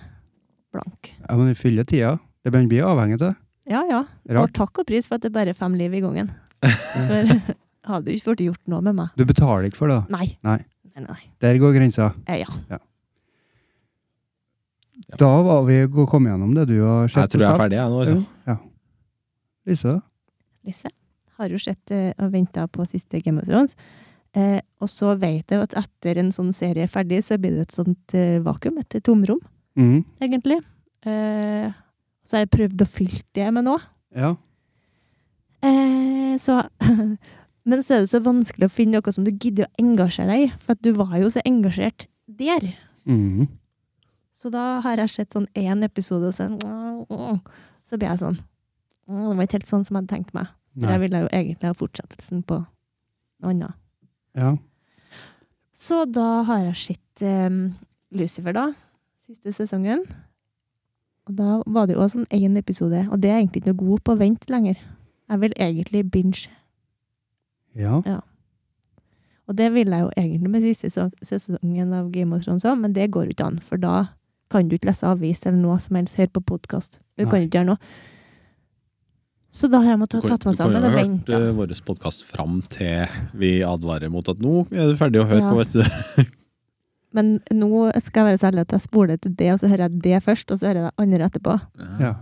[SPEAKER 3] blank.
[SPEAKER 1] Ja, men vi fyller tida. Det begynner å bli avhengig av det.
[SPEAKER 3] Ja, ja. Og
[SPEAKER 1] Rart.
[SPEAKER 3] takk og pris for at det bare er fem liv i gangen. For hadde jo ikke blitt gjort noe med meg.
[SPEAKER 1] Du betaler ikke for det. da.
[SPEAKER 3] Nei.
[SPEAKER 1] Nei.
[SPEAKER 3] Nei, nei, nei.
[SPEAKER 1] Der går grensa.
[SPEAKER 3] Eh, ja.
[SPEAKER 1] Da var vi gå- kommet gjennom det du har sett.
[SPEAKER 2] Jeg tror jeg er ferdig, jeg nå. Altså.
[SPEAKER 1] Ja. Lise, da?
[SPEAKER 3] Lise har jo sett eh, og venta på siste Game of Thrones. Eh, og så vet jeg jo at etter en sånn serie er ferdig, så blir det et sånt eh, vakuum, et tomrom,
[SPEAKER 1] Mhm.
[SPEAKER 3] egentlig. Eh, så har jeg prøvd å fylle det med noe.
[SPEAKER 1] Ja.
[SPEAKER 3] Eh, så Men så er det så vanskelig å finne noe som du gidder å engasjere deg i, for at du var jo så engasjert der.
[SPEAKER 1] Mhm.
[SPEAKER 3] Så da har jeg sett sånn én episode, og så, så ble jeg sånn «Åh, Det var ikke helt sånn som jeg hadde tenkt meg. For
[SPEAKER 1] Nei.
[SPEAKER 3] jeg ville jo egentlig ha fortsettelsen på noe annet.
[SPEAKER 1] Ja.
[SPEAKER 3] Så da har jeg sett eh, Lucifer, da. Siste sesongen. Og da var det jo også sånn én episode, og det er jeg egentlig ikke noe god på å vente lenger. Jeg vil egentlig binge.
[SPEAKER 1] ja.
[SPEAKER 3] Og det vil jeg jo egentlig med siste sesong- sesongen av Game of Thrones òg, men det går jo ikke an, for da kan du ikke lese avis eller noe som helst, høre på podkast. Du
[SPEAKER 1] Nei.
[SPEAKER 3] kan jo ikke gjøre noe. Så da har jeg
[SPEAKER 2] Du
[SPEAKER 3] måttet
[SPEAKER 2] kan-
[SPEAKER 3] tatt meg
[SPEAKER 2] du kan jo
[SPEAKER 3] sammen
[SPEAKER 2] ha
[SPEAKER 3] og
[SPEAKER 2] hørt
[SPEAKER 3] vente.
[SPEAKER 2] eh, vår podkast fram til vi advarer mot at nå er du ferdig å høre
[SPEAKER 3] Ja.
[SPEAKER 2] på. Vet du.
[SPEAKER 3] Men nå skal jeg være så ærlig at jeg spoler til det, og så hører jeg det først, og så hører jeg det andre etterpå.
[SPEAKER 1] ja.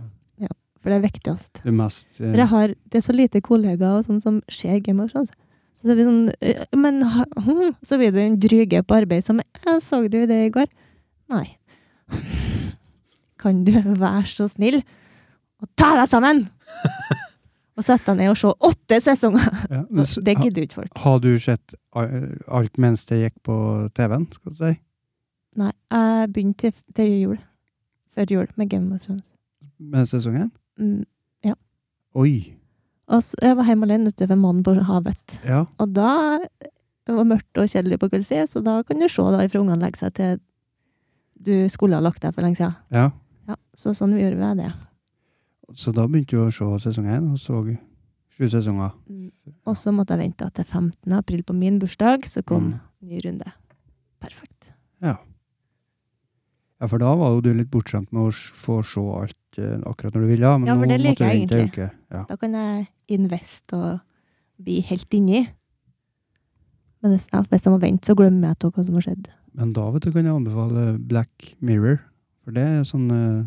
[SPEAKER 3] For det er viktigst.
[SPEAKER 1] Det mest eh,
[SPEAKER 3] For jeg har, det er så lite kollegaer og sånn som ser Game of Thrones. Så det blir sånn eh, Men ha- hm, så blir det en dryge på arbeid som Jeg så du det i går? Nei. Kan du være så snill og ta deg sammen? og sette deg ned og se åtte sesonger!
[SPEAKER 1] ja. Men s-
[SPEAKER 3] Så det
[SPEAKER 1] ha-
[SPEAKER 3] gidder jo ikke folk.
[SPEAKER 1] Har du sett eh, alt mens det gikk på TV-en, skal du si?
[SPEAKER 3] Nei. Jeg begynte til, til jul. Før jul med Game of Thrones.
[SPEAKER 1] Med sesongen?
[SPEAKER 3] Mm.
[SPEAKER 1] Oi.
[SPEAKER 3] Og så, jeg var hjemme alene ute ved mannen på havet.
[SPEAKER 1] Ja.
[SPEAKER 3] Og da det var mørkt og kjedelig på kveldstid, så da kan du se da ifra ungene legger seg til du skulle ha lagt deg for lenge siden.
[SPEAKER 1] Ja.
[SPEAKER 3] Ja, så sånn gjorde vi det.
[SPEAKER 1] Så da begynte du å se sesong én, og så sju sesonger.
[SPEAKER 3] Og så måtte jeg vente til 15. april på min bursdag, så kom
[SPEAKER 1] Mm.
[SPEAKER 3] ny runde. Perfekt.
[SPEAKER 1] Ja, for da var jo du litt bortskjemt med å s- få se alt eh, akkurat når du ville. Men
[SPEAKER 3] Ja, for
[SPEAKER 1] nå
[SPEAKER 3] det liker
[SPEAKER 1] måtte du
[SPEAKER 3] jeg
[SPEAKER 1] vente en uke. Ja.
[SPEAKER 3] Da kan jeg invest og bli helt inni. Men hvis, ja, hvis jeg må vente, så glemmer jeg til hva som har skjedd.
[SPEAKER 1] Men da vet du, kan jeg anbefale Black Mirror. For det er sånn eh,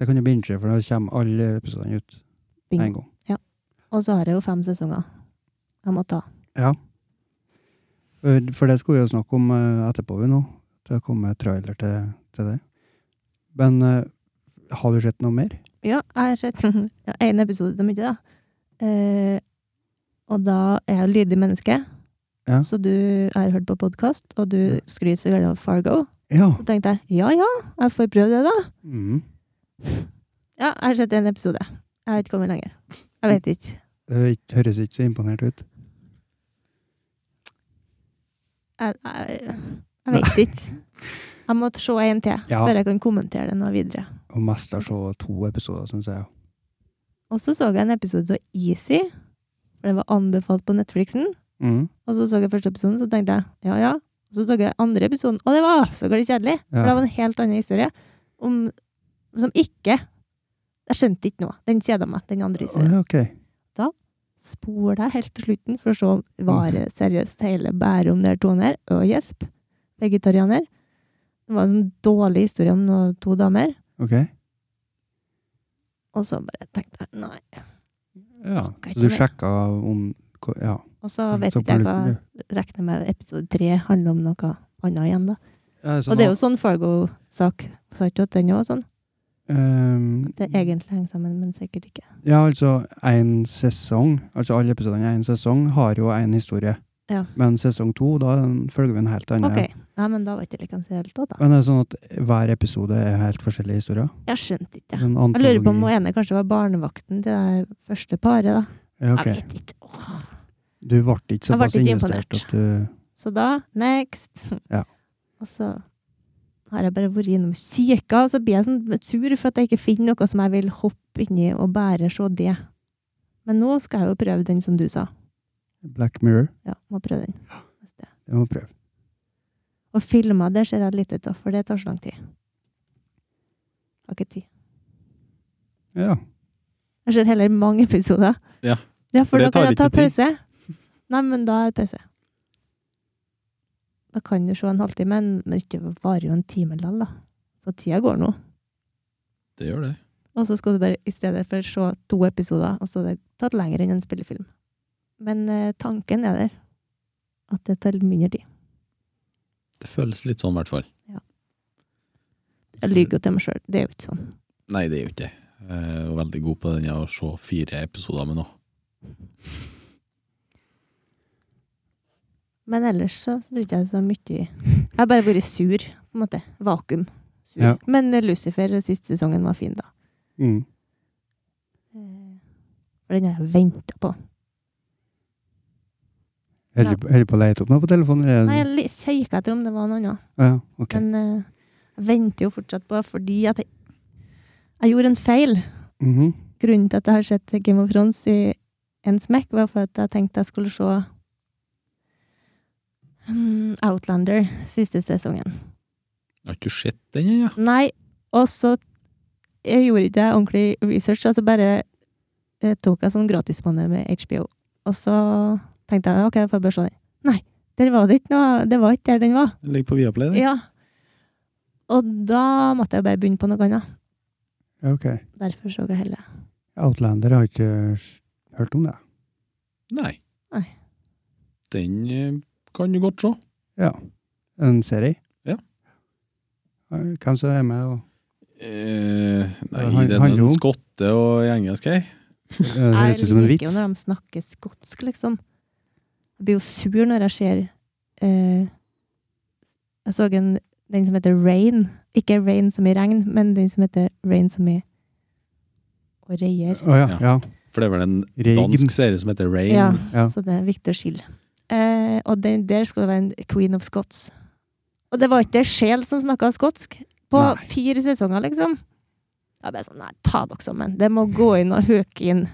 [SPEAKER 1] Det kan du binge, for da kommer alle episodene ut
[SPEAKER 3] Bing.
[SPEAKER 1] med en gang.
[SPEAKER 3] Og så har jeg jo fem sesonger jeg må ta.
[SPEAKER 1] Ja. For- For det skulle vi jo snakke om eh, etterpå, vi nå. Det kommer trailer til, til det. Men eh, har du sett noe mer?
[SPEAKER 3] Ja, jeg har sett sånn, ja, en episode til mye, da. Eh, og da er jeg jo lydig menneske.
[SPEAKER 1] Ja.
[SPEAKER 3] Så du har hørt på podkast, og du
[SPEAKER 1] Ja.
[SPEAKER 3] skryter så veldig av Fargo.
[SPEAKER 1] Ja. Mm-hmm.
[SPEAKER 3] Så tenkte jeg ja ja, jeg får prøve det, da.
[SPEAKER 1] Mm.
[SPEAKER 3] Ja, jeg har sett en episode. Jeg har ikke kommet lenger. Jeg vet ikke.
[SPEAKER 1] Det høres Eh, ikke så imponert ut.
[SPEAKER 3] Jeg, jeg, jeg vet ikke. Jeg må se en til
[SPEAKER 1] Ja.
[SPEAKER 3] før jeg kan kommentere det noe videre.
[SPEAKER 1] Og mest å se to episoder, syns jeg.
[SPEAKER 3] Og så så jeg en episode av Easy, for det var anbefalt på Netflixen.
[SPEAKER 1] Mm.
[SPEAKER 3] Og så så jeg første episoden, så tenkte jeg ja, ja. Og så så jeg andre episoden, og det var så gledelig kjedelig. For
[SPEAKER 1] Ja.
[SPEAKER 3] det var en helt annen historie om, som ikke Jeg skjønte ikke noe. Den kjeda meg, den andre
[SPEAKER 1] Å,
[SPEAKER 3] historien.
[SPEAKER 1] ja, ok.
[SPEAKER 3] Spol deg helt til slutten for å se om var
[SPEAKER 1] Mm.
[SPEAKER 3] det seriøst hele Bærum der toen her. Og gjesp. Vegetarianer. Det var en sånn dårlig historie om noe, to damer.
[SPEAKER 1] Ok.
[SPEAKER 3] Og så bare tenkte jeg nei.
[SPEAKER 1] Ja.
[SPEAKER 3] Kan ikke
[SPEAKER 1] Så du
[SPEAKER 3] det.
[SPEAKER 1] sjekka om hva- Ja.
[SPEAKER 3] Og så vet
[SPEAKER 1] Så
[SPEAKER 3] ikke jeg
[SPEAKER 1] på
[SPEAKER 3] hva
[SPEAKER 1] luten,
[SPEAKER 3] regner med episode tre handler om noe annet igjen, da.
[SPEAKER 1] Ja,
[SPEAKER 3] Og det er jo sånn Fargo-sak. Sa ikke du at den òg var sånn?
[SPEAKER 1] Ehm,
[SPEAKER 3] Det egentlig henger sammen, men sikkert ikke.
[SPEAKER 1] Ja, altså en sesong, altså alle episodene i en sesong har jo en historie.
[SPEAKER 3] Ja.
[SPEAKER 1] Men sesong to, da følger vi en helt annen.
[SPEAKER 3] Ok. Nei, men da var ikke det like i det hele tatt, da.
[SPEAKER 1] Men det er sånn at hver episode er helt forskjellige historier.
[SPEAKER 3] Jeg skjønte ikke.
[SPEAKER 1] Sånn
[SPEAKER 3] Jeg lurer på om
[SPEAKER 1] antologi.
[SPEAKER 3] hun ene kanskje var barnevakten til det her første paret, da.
[SPEAKER 1] Ja, ok.
[SPEAKER 3] Jeg vet ikke. Åh.
[SPEAKER 1] Du ble ikke
[SPEAKER 3] Jeg ble
[SPEAKER 1] såpass
[SPEAKER 3] ikke
[SPEAKER 1] investert
[SPEAKER 3] imponert.
[SPEAKER 1] at uh, du
[SPEAKER 3] Så da, next.
[SPEAKER 1] Ja.
[SPEAKER 3] Og så har jeg bare vært innom og kikka, og så blir jeg sånn sur for at jeg ikke finner noe som jeg vil hoppe inni og bare se det. Men nå skal jeg jo prøve den som du sa.
[SPEAKER 1] Black Mirror.
[SPEAKER 3] Ja, må prøve den.
[SPEAKER 1] Det må prøve.
[SPEAKER 3] Og filmer, det ser jeg lite av, for det tar så lang tid. Har ikke tid.
[SPEAKER 1] Ja.
[SPEAKER 3] Jeg ser heller mange episoder.
[SPEAKER 2] Ja.
[SPEAKER 3] for, da
[SPEAKER 2] det
[SPEAKER 3] kan
[SPEAKER 2] tar
[SPEAKER 3] jeg ta
[SPEAKER 2] ikke tid.
[SPEAKER 3] pause. Nei, men da er det pause. Da kan du se en halvtime, men- men ikke varer jo en time likevel, da. Så tida går nå.
[SPEAKER 2] Det gjør det.
[SPEAKER 3] Og så skal du bare i stedet for se to episoder, og så er det tatt lenger enn en spillefilm. Men eh, tanken er der. At det tar mindre tid.
[SPEAKER 2] Det føles litt sånn, i hvert fall.
[SPEAKER 3] Jeg lyver jo til meg sjøl, det er jo ikke sånn.
[SPEAKER 2] Nei, det er jo ikke det. Jeg er jo veldig god på den å se fire episoder med nå.
[SPEAKER 3] Men ellers så, så tror jeg ikke jeg er så mye Jeg har bare vært sur, på en måte. Vakuum. Sur.
[SPEAKER 1] Ja.
[SPEAKER 3] Men eh, Lucifer siste sesongen var fin, da.
[SPEAKER 1] Mm.
[SPEAKER 3] Eh, For den har jeg venta på.
[SPEAKER 1] Holder på- holder på å leite opp noe på telefonen? Er det-
[SPEAKER 3] Nei, jeg kikka etter om det var noe annet.
[SPEAKER 1] Ja, ok.
[SPEAKER 3] Men eh, jeg venter jo fortsatt på fordi at jeg, jeg gjorde en feil.
[SPEAKER 1] Mhm.
[SPEAKER 3] Grunnen til at jeg har sett Game of Thrones i en smekk, var for at jeg tenkte jeg skulle se hmm, Outlander siste sesongen.
[SPEAKER 2] Jeg har ikke sett den ennå. Ja.
[SPEAKER 3] Nei, og så jeg gjorde ikke jeg ordentlig research, altså bare eh, tok jeg sånn gratismåned med HBO. Og så tenkte jeg ok, jeg får bare se den. Nei, der var det ikke noe, det var ikke der den var.
[SPEAKER 2] Den ligger på Viaplay. den.
[SPEAKER 3] Ja. Og da måtte jeg bare begynne på noe annet.
[SPEAKER 1] Ja, ok.
[SPEAKER 3] Derfor så jeg heller.
[SPEAKER 1] Outlander har ikke s- hørt om det.
[SPEAKER 2] Nei.
[SPEAKER 3] Nei.
[SPEAKER 2] Den eh, kan du godt se.
[SPEAKER 1] Ja. En serie?
[SPEAKER 2] Ja.
[SPEAKER 1] Hvem som er med? Og,
[SPEAKER 2] Eh, nei,
[SPEAKER 1] Han-
[SPEAKER 2] det er
[SPEAKER 1] handler
[SPEAKER 2] en
[SPEAKER 1] om-
[SPEAKER 2] skotte og engelsk ei.
[SPEAKER 1] Eh, det høres ut som en
[SPEAKER 3] Jeg liker jo
[SPEAKER 1] vits.
[SPEAKER 3] når de snakker skotsk, liksom. Jeg blir jo sur når jeg ser eh, Jeg så en, den som heter Rain. Ikke Rain som i regn, men den som heter Rain som i og reier.
[SPEAKER 1] Å ja,
[SPEAKER 2] Ja.
[SPEAKER 1] ja.
[SPEAKER 2] For det er vel en
[SPEAKER 1] Reigen.
[SPEAKER 2] dansk serie som heter Rain.
[SPEAKER 3] Ja,
[SPEAKER 1] Ja.
[SPEAKER 3] så det er viktig å skille. Eh, og den der skulle være en Queen of Scots. Og det var ikke ei sjel som snakka skotsk på
[SPEAKER 1] Nei.
[SPEAKER 3] fire sesonger, liksom. Jeg bare sånn, nei, ta dere sammen. Det må gå inn og høke inn.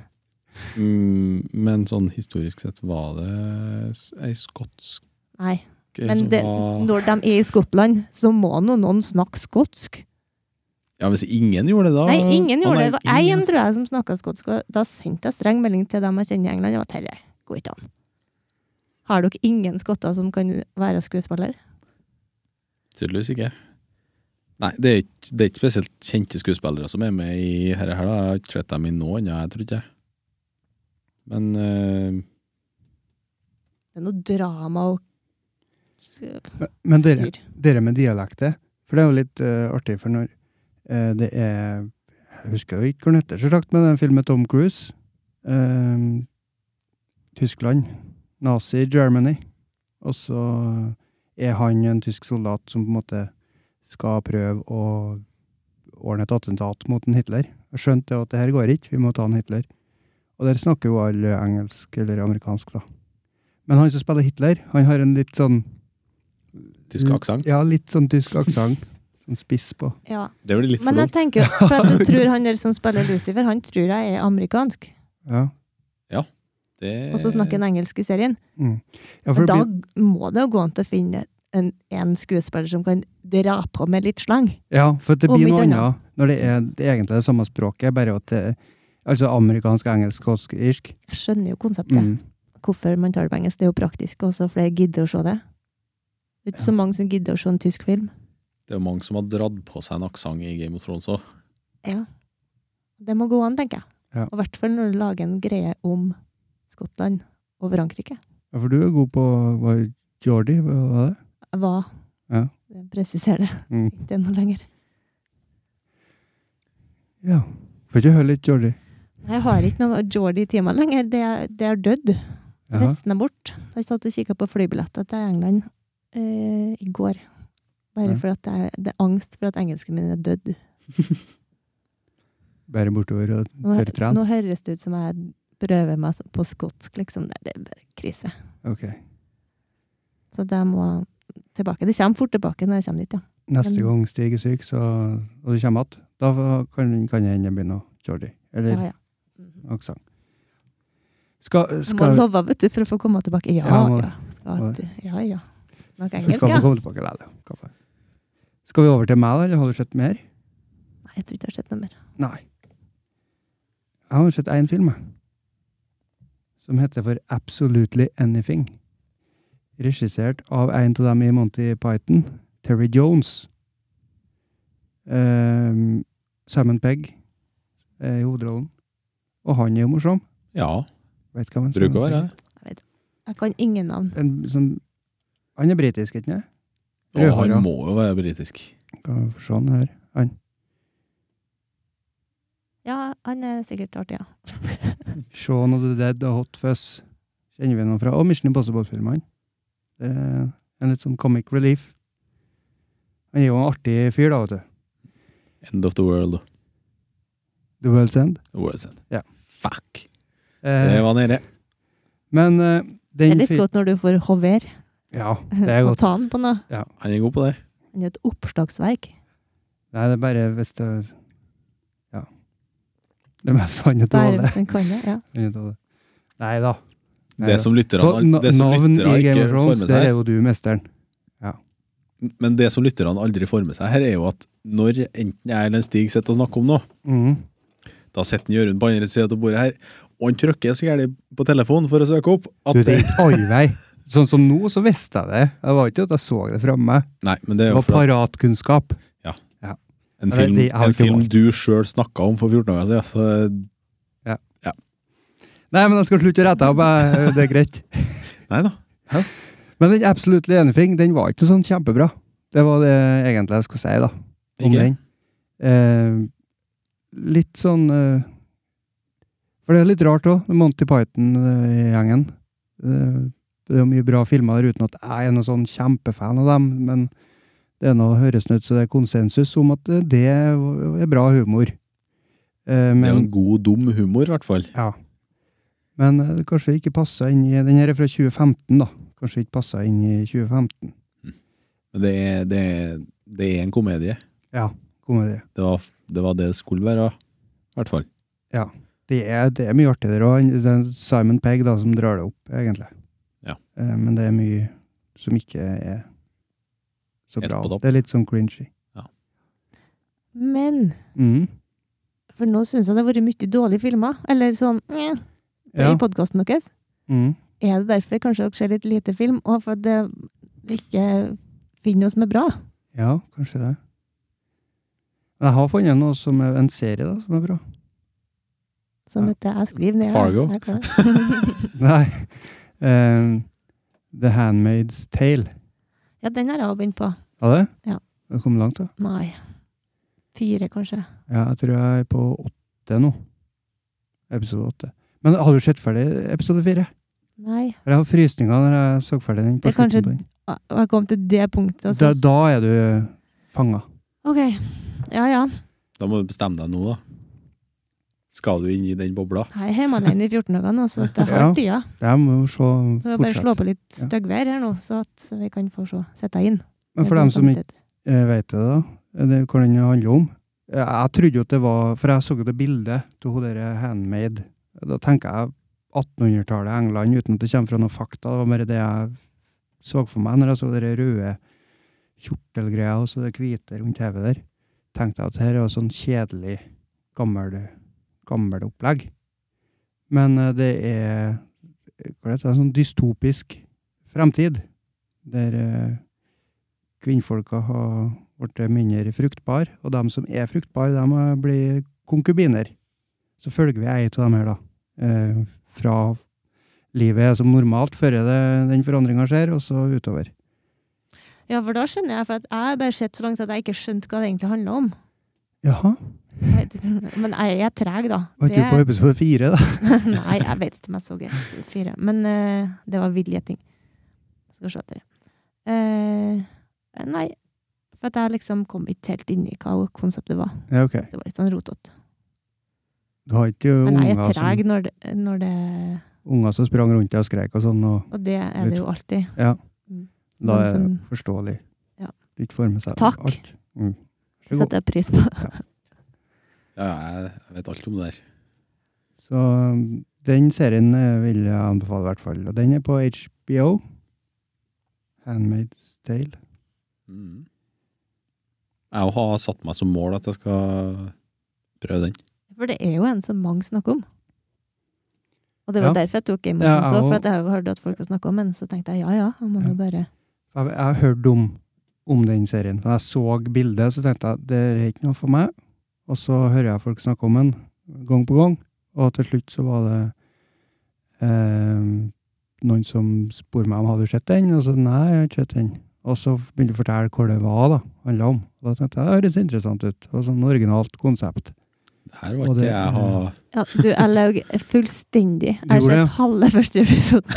[SPEAKER 2] Mm, men sånn historisk sett var det s- ei skotsk
[SPEAKER 3] Nei.
[SPEAKER 2] eh,
[SPEAKER 3] Men
[SPEAKER 2] som
[SPEAKER 3] det,
[SPEAKER 2] var
[SPEAKER 3] når de er i Skottland, så må nå noen snakke skotsk.
[SPEAKER 2] Ja, Hvis ingen gjorde det, da
[SPEAKER 3] Nei, ingen gjorde det. Det var én,
[SPEAKER 2] ingen.
[SPEAKER 3] tror jeg, som snakka skotsk. Og da sendte jeg streng melding til dem jeg kjenner i England. Og at herre, går ikke an. Har dere ingen skotter som kan være skuespiller?
[SPEAKER 2] Tydeligvis ikke. Nei, det er ikke, det er ikke spesielt kjente skuespillere som er med i dette. Her, da. Jeg har ikke sett dem i noe annet, jeg tror ikke jeg. Men eh,
[SPEAKER 3] Det er noe drama og styr.
[SPEAKER 1] Men- Men dere, dere med dialekter, for det er jo litt eh, artig, for når eh, det er Jeg husker jo ikke hva den heter, så sagt, men den filmen med Tom Cruise eh, Tyskland. Nazi-Germany. Og så er han en tysk soldat som på en måte skal prøve å, ordne et attentat mot en Hitler. Og skjønte at det her går ikke, vi må ta en Hitler. Og der snakker jo alle engelsk eller amerikansk, da. Men han som spiller Hitler, han har en litt sånn
[SPEAKER 2] Tysk
[SPEAKER 3] Mm.
[SPEAKER 2] aksent.
[SPEAKER 1] Ja, litt sånn tysk aksent. Sånn spiss på.
[SPEAKER 3] Ja.
[SPEAKER 2] Det blir litt for
[SPEAKER 3] Men jeg
[SPEAKER 2] dumt.
[SPEAKER 3] tenker jo, for at jeg tror han der som spiller Lucifer, han tror jeg er amerikansk.
[SPEAKER 1] Ja.
[SPEAKER 2] Det-
[SPEAKER 3] Og så snakker han engelsk i serien.
[SPEAKER 1] Mm. ja for det
[SPEAKER 3] Men da
[SPEAKER 1] blir,
[SPEAKER 3] må det jo gå an til å finne en, en skuespiller som kan dra på med litt slang.
[SPEAKER 1] ja, for det
[SPEAKER 3] Om
[SPEAKER 1] blir noe
[SPEAKER 3] ikke annet.
[SPEAKER 1] annet når det er det er egentlig det samme språket, bare at det Altså amerikansk, engelsk, skotsk, irsk.
[SPEAKER 3] Jeg skjønner jo konseptet.
[SPEAKER 1] Mm.
[SPEAKER 3] Hvorfor man tar det på engelsk. Det er jo praktisk også, for det gidder å se det. Det er ikke så mange som gidder å se en tysk film.
[SPEAKER 2] Det er jo mange som har dratt på seg en aksent i Game of Thrones òg.
[SPEAKER 3] Ja. Det må gå an, tenker jeg.
[SPEAKER 1] Ja.
[SPEAKER 3] Og i hvert fall når du lager en greie om Skottland og Frankrike.
[SPEAKER 1] Ja, for du er god på var det Geordie, hva var det?
[SPEAKER 3] Hva?
[SPEAKER 1] Ja.
[SPEAKER 3] Presiser det.
[SPEAKER 1] Mm.
[SPEAKER 3] Ikke noe lenger.
[SPEAKER 1] Ja. Får ikke høre litt Geordie.
[SPEAKER 3] Jeg har ikke noe Jordi i timene lenger. Det, det er dødd.
[SPEAKER 1] Jaha.
[SPEAKER 3] Resten er bort. Jeg satt og kikka på flybilletter til England eh, i går. Bare
[SPEAKER 1] Ja.
[SPEAKER 3] for at jeg, det er angst for at engelsken min er dødd.
[SPEAKER 1] Bærer bortover og
[SPEAKER 3] Nå,
[SPEAKER 1] tørr tren.
[SPEAKER 3] nå høres det ut som jeg prøver meg på skotsk, liksom. Det, det er bare krise.
[SPEAKER 1] Ok.
[SPEAKER 3] Så det må tilbake. Det kommer fort tilbake når jeg kommer dit, ja.
[SPEAKER 1] Neste
[SPEAKER 3] Men-
[SPEAKER 1] gang Stig er syk, så, og du kommer igjen, da kan, kan jeg hende begynne å Geordie. Eller
[SPEAKER 3] ja, ja.
[SPEAKER 1] aksent. Skal,
[SPEAKER 3] Jeg må
[SPEAKER 1] skal,
[SPEAKER 3] love, vet du, for å få komme tilbake. Ja,
[SPEAKER 1] Ja, må-
[SPEAKER 3] ja. Skal,
[SPEAKER 1] må-
[SPEAKER 3] at- ja, ja. Snakk
[SPEAKER 1] vi
[SPEAKER 3] engelsk,
[SPEAKER 1] skal få
[SPEAKER 3] ja.
[SPEAKER 1] komme tilbake likevel. Kaffe. Skal vi over til meg, eller har du sett mer?
[SPEAKER 3] Nei, jeg tror ikke jeg har sett noe mer.
[SPEAKER 1] Nei. Jeg har sett én film, jeg. Som heter for Absolutely Anything. Regissert av en av dem i Monty Python, Terry Jones. Ehm, Simon Pegg er i hovedrollen. Og han er jo morsom.
[SPEAKER 2] Ja,
[SPEAKER 1] Vet hva man
[SPEAKER 2] bruker å være det.
[SPEAKER 3] Jeg kan ingen navn.
[SPEAKER 1] En, som, han er britisk, ikke sant?
[SPEAKER 2] Og
[SPEAKER 1] Rødhåra. sånn,
[SPEAKER 2] han må jo være britisk.
[SPEAKER 1] Skal vi få se han her. Han.
[SPEAKER 3] Ja, han er sikkert artig, ja.
[SPEAKER 1] Shaun of the Dead og Hot Fuzz kjenner vi noen fra. Og Mission Impossible-filmene. Det er en litt sånn comic relief. Han er jo en artig fyr, da, vet du.
[SPEAKER 2] End of the world.
[SPEAKER 1] The World's End.
[SPEAKER 2] World's end.
[SPEAKER 1] Ja.
[SPEAKER 2] Fuck! Det
[SPEAKER 1] Eh,
[SPEAKER 2] var nede.
[SPEAKER 1] men eh,
[SPEAKER 3] Det
[SPEAKER 1] den
[SPEAKER 3] er litt
[SPEAKER 1] fi-
[SPEAKER 3] godt når du får hover
[SPEAKER 1] Ja, det er
[SPEAKER 3] og
[SPEAKER 1] godt.
[SPEAKER 3] ta han på noe.
[SPEAKER 2] Han er god på det.
[SPEAKER 3] Han er et oppslagsverk.
[SPEAKER 1] Nei, det er bare hvis det Ja. Det er mest han er
[SPEAKER 3] Bare
[SPEAKER 1] dårlig.
[SPEAKER 3] hvis han kan det. Ja.
[SPEAKER 1] Han er dårlig. Nei da. Nei
[SPEAKER 2] Det
[SPEAKER 1] da.
[SPEAKER 2] som lytterne
[SPEAKER 1] Nå-
[SPEAKER 2] det som
[SPEAKER 1] Navn
[SPEAKER 2] lytterne
[SPEAKER 1] i Game
[SPEAKER 2] ikke
[SPEAKER 1] of
[SPEAKER 2] får
[SPEAKER 1] Thrones,
[SPEAKER 2] med
[SPEAKER 1] der er
[SPEAKER 2] seg,
[SPEAKER 1] jo du mesteren.
[SPEAKER 2] men det som lytterne aldri får med seg her, er jo at når enten jeg eller Stig sitter og snakker om noe,
[SPEAKER 1] Mhm.
[SPEAKER 2] da sitter Jørund på andre siden av bordet her, og han trykker så gærent på telefonen for å søke opp at
[SPEAKER 1] Du, det gikk all vei. Sånn som nå, så visste jeg det. Det var ikke at jeg så det framme.
[SPEAKER 2] Nei, men det
[SPEAKER 1] Det
[SPEAKER 2] er jo
[SPEAKER 1] var
[SPEAKER 2] for at
[SPEAKER 1] paratkunnskap.
[SPEAKER 2] en
[SPEAKER 1] Ja, det-
[SPEAKER 2] film,
[SPEAKER 1] det har
[SPEAKER 2] en
[SPEAKER 1] ikke
[SPEAKER 2] film
[SPEAKER 1] valgt.
[SPEAKER 2] du sjøl snakka om for 14 dager siden, så
[SPEAKER 1] Nei, men jeg skal slutte å rette opp. jeg- Det er greit.
[SPEAKER 2] Nei da.
[SPEAKER 1] Men den Absolutely Anything den var ikke sånn kjempebra. Det var det egentlig jeg skulle si da, om
[SPEAKER 2] Ikke?
[SPEAKER 1] den. Eh, litt sånn eh, For det er litt rart òg, Monty Python-gjengen. Eh, det er jo mye bra filmer der uten at jeg er noen sånn kjempefan av dem, men det er noe høres ut som det er konsensus om at eh, det er bra humor. Eh,
[SPEAKER 2] Det er jo
[SPEAKER 1] men
[SPEAKER 2] en god, dum humor, i hvert fall.
[SPEAKER 1] Ja. Men eh, det kanskje ikke passa inn i Den her er fra 2015, da. Kanskje ikke passa inn i 2015.
[SPEAKER 2] Men Det er, det er, det er en komedie.
[SPEAKER 1] Ja, komedie.
[SPEAKER 2] Det var, det var det det skulle være, i hvert fall.
[SPEAKER 1] Det er, det er mye artig der òg. Det er Simon Pegg da, som drar det opp, egentlig.
[SPEAKER 2] Ja.
[SPEAKER 1] Eh, men det er mye som ikke er så
[SPEAKER 2] Helt
[SPEAKER 1] bra.
[SPEAKER 2] på topp.
[SPEAKER 1] Det er litt sånn cringy.
[SPEAKER 3] Men
[SPEAKER 1] Mhm.
[SPEAKER 3] for nå syns jeg det har vært mye dårlige filmer. Eller sånn eh,
[SPEAKER 1] Ja.
[SPEAKER 3] i podkasten deres.
[SPEAKER 1] Mhm.
[SPEAKER 3] Er det derfor kanskje dere ser litt lite film? Og for at det ikke finner noe som er bra?
[SPEAKER 1] ja, kanskje det. Men jeg har funnet noe som er en serie da, som er bra.
[SPEAKER 3] Som
[SPEAKER 1] Ja.
[SPEAKER 3] heter Jeg skriver ned.
[SPEAKER 2] Fargo.
[SPEAKER 3] Jeg kan det.
[SPEAKER 1] Nei. Eh, The Handmaid's Tale.
[SPEAKER 3] ja, den har jeg også begynt på.
[SPEAKER 1] Var det?
[SPEAKER 3] Ja.
[SPEAKER 1] Det kom langt, da.
[SPEAKER 3] Nei. Fire, kanskje.
[SPEAKER 1] Ja, jeg tror jeg er på åtte nå. Episode åtte. Men har du sett ferdig episode fire?
[SPEAKER 3] Nei.
[SPEAKER 1] For Jeg har frysninger når jeg så ferdig den. på
[SPEAKER 3] Det er
[SPEAKER 1] slutten
[SPEAKER 3] kanskje-
[SPEAKER 1] på den.
[SPEAKER 3] Og jeg kom til det punktet. Og
[SPEAKER 1] Da,
[SPEAKER 3] så,
[SPEAKER 1] da er du fanga.
[SPEAKER 3] ok. Ja ja.
[SPEAKER 2] Da må du bestemme deg nå, da. Skal du inn i den bobla?
[SPEAKER 3] Jeg er hjemme alene i 14 dager nå, så det har
[SPEAKER 1] Ja.
[SPEAKER 3] tida.
[SPEAKER 1] Jeg må jo se
[SPEAKER 3] Så vi bare slå
[SPEAKER 1] fortsatt.
[SPEAKER 3] på litt
[SPEAKER 1] Ja.
[SPEAKER 3] styggvær her nå, så at vi kan få se. Sette inn.
[SPEAKER 1] Men for dem som ikke eh, vet det, da, er det, hva den handler om Eh, Jeg trodde jo at det var For jeg så jo det bildet av hun derre handmade. Da tenker jeg 1800-tallet England, uten at det kommer fra noe fakta. Det var bare det jeg så for meg når jeg så de røde kjortelgreia og så det hvite rundt hodet der. Tenkte jeg at her er jo sånn kjedelig, gammel, gammel opplegg. Men eh, det er hva heter det, en sånn dystopisk fremtid, der eh, kvinnfolka har blitt mindre fruktbare, og de som er fruktbare, de eh, blir konkubiner. Så følger vi ei av dem her, da. Eh, fra livet er som normalt før det, den forandringa skjer, og så utover.
[SPEAKER 3] Ja, for da skjønner jeg, for at jeg har bare sett så langt at jeg ikke skjønte hva det egentlig handla om.
[SPEAKER 1] Jaha.
[SPEAKER 3] Men jeg er treg, da.
[SPEAKER 1] Var ikke du på episode fire, da?
[SPEAKER 3] Nei, jeg vet ikke om jeg så episode fire. Men eh, det var vill gjetting. Skal se etter. Eh, nei, for at jeg liksom kom ikke helt inn i hva konseptet var.
[SPEAKER 1] Ja, ok.
[SPEAKER 3] Det var litt sånn rotete.
[SPEAKER 1] Du har ikke
[SPEAKER 3] Men jeg
[SPEAKER 1] unger som,
[SPEAKER 3] er treg når det, når det
[SPEAKER 1] unger som sprang rundt deg og skrek og sånn, og
[SPEAKER 3] Og det er det jo alltid.
[SPEAKER 1] da
[SPEAKER 3] Noen
[SPEAKER 1] er det
[SPEAKER 3] som-
[SPEAKER 1] forståelig.
[SPEAKER 3] Ja.
[SPEAKER 1] Du ikke får med seg
[SPEAKER 3] Takk.
[SPEAKER 1] alt. Mm. Vær så god.
[SPEAKER 3] Setter jeg pris på.
[SPEAKER 2] Ja, jeg, jeg vet alt om det der.
[SPEAKER 1] Så um, den serien eh, vil jeg anbefale i hvert fall. Og den er på HBO. Handmaid's Tale.
[SPEAKER 2] Mm. Jeg har satt meg som mål at jeg skal prøve den.
[SPEAKER 3] For det er jo en som mange snakker om. Og det var
[SPEAKER 1] Ja.
[SPEAKER 3] derfor jeg tok Game of
[SPEAKER 1] Ja,
[SPEAKER 3] Thrones
[SPEAKER 1] jeg
[SPEAKER 3] også,
[SPEAKER 1] også.
[SPEAKER 3] for at jeg har jo hørt at folk har snakket om den. Så tenkte jeg ja ja, jeg må
[SPEAKER 1] Ja.
[SPEAKER 3] jo bare
[SPEAKER 1] Jeg, jeg har hørt om, om den serien. Da jeg så bildet, så tenkte jeg det er ikke noe for meg. Og så hører jeg folk snakke om den gang på gang. Og til slutt så var det eh, noen som spurte meg om hadde du sett den. Og så nei, jeg har ikke sett den. Og så begynte jeg å fortelle hvor det var da, handla om. Og da tenkte jeg det høres interessant ut. Og sånn originalt konsept.
[SPEAKER 2] Det her var
[SPEAKER 1] Og
[SPEAKER 2] ikke
[SPEAKER 1] det-
[SPEAKER 2] jeg har
[SPEAKER 3] Ja, du, jeg løy fullstendig. Jeg har
[SPEAKER 1] gjorde det, ja.
[SPEAKER 3] sett halve første episoden.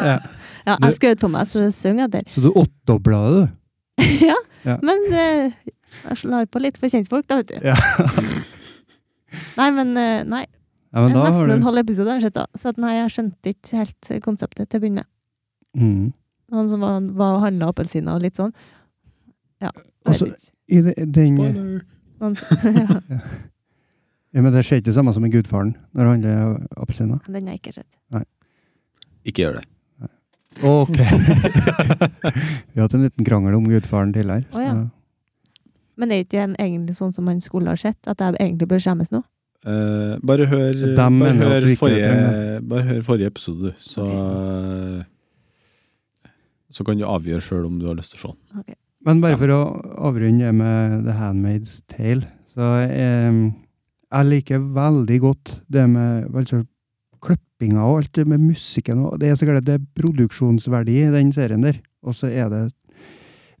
[SPEAKER 1] Ja.
[SPEAKER 3] Ja,
[SPEAKER 1] Du-
[SPEAKER 3] jeg skrøt på meg, så det synger jeg der.
[SPEAKER 1] Så du åttedobla det, du.
[SPEAKER 3] ja,
[SPEAKER 1] Ja.
[SPEAKER 3] men eh, jeg slår på litt for kjentfolk, da, vet du.
[SPEAKER 1] Ja.
[SPEAKER 3] Nei, men eh, nei.
[SPEAKER 1] Ja, men da har
[SPEAKER 3] Nesten
[SPEAKER 1] du...
[SPEAKER 3] en halv episode har jeg sett, da. Så at nei, jeg skjønte ikke helt konseptet til å begynne med.
[SPEAKER 1] Mm.
[SPEAKER 3] Han som var, var og handla appelsiner og litt sånn. Ja. Jeg
[SPEAKER 1] Altså,
[SPEAKER 3] vet ikke.
[SPEAKER 1] I det, den,
[SPEAKER 2] Spoiler!
[SPEAKER 3] Noen, ja,
[SPEAKER 1] ja, men det skjer ikke det samme som i Gudfaren, når det handler om appelsiner.
[SPEAKER 3] den har jeg ikke sett.
[SPEAKER 2] Ikke gjør det.
[SPEAKER 1] Ok. Vi har hatt en liten krangel om Gudfaren tidligere.
[SPEAKER 3] Å, ja. Men er ikke den egentlig sånn som man skulle ha sett? At jeg egentlig bør skjemmes nå?
[SPEAKER 2] Eh, bare hør,
[SPEAKER 1] Dem
[SPEAKER 2] bare
[SPEAKER 1] mener at
[SPEAKER 2] hør,
[SPEAKER 1] du ikke trenger
[SPEAKER 2] forrige, bare hør forrige episode, du. Så, så kan du avgjøre sjøl om du har lyst til å se den.
[SPEAKER 1] Men bare for å avrunde det med The Handmaid's Tale, så eh, jeg liker veldig godt det med altså, klippinga og alt det med musikken. Og det er så klart det er produksjonsverdi i den serien der. Og så er det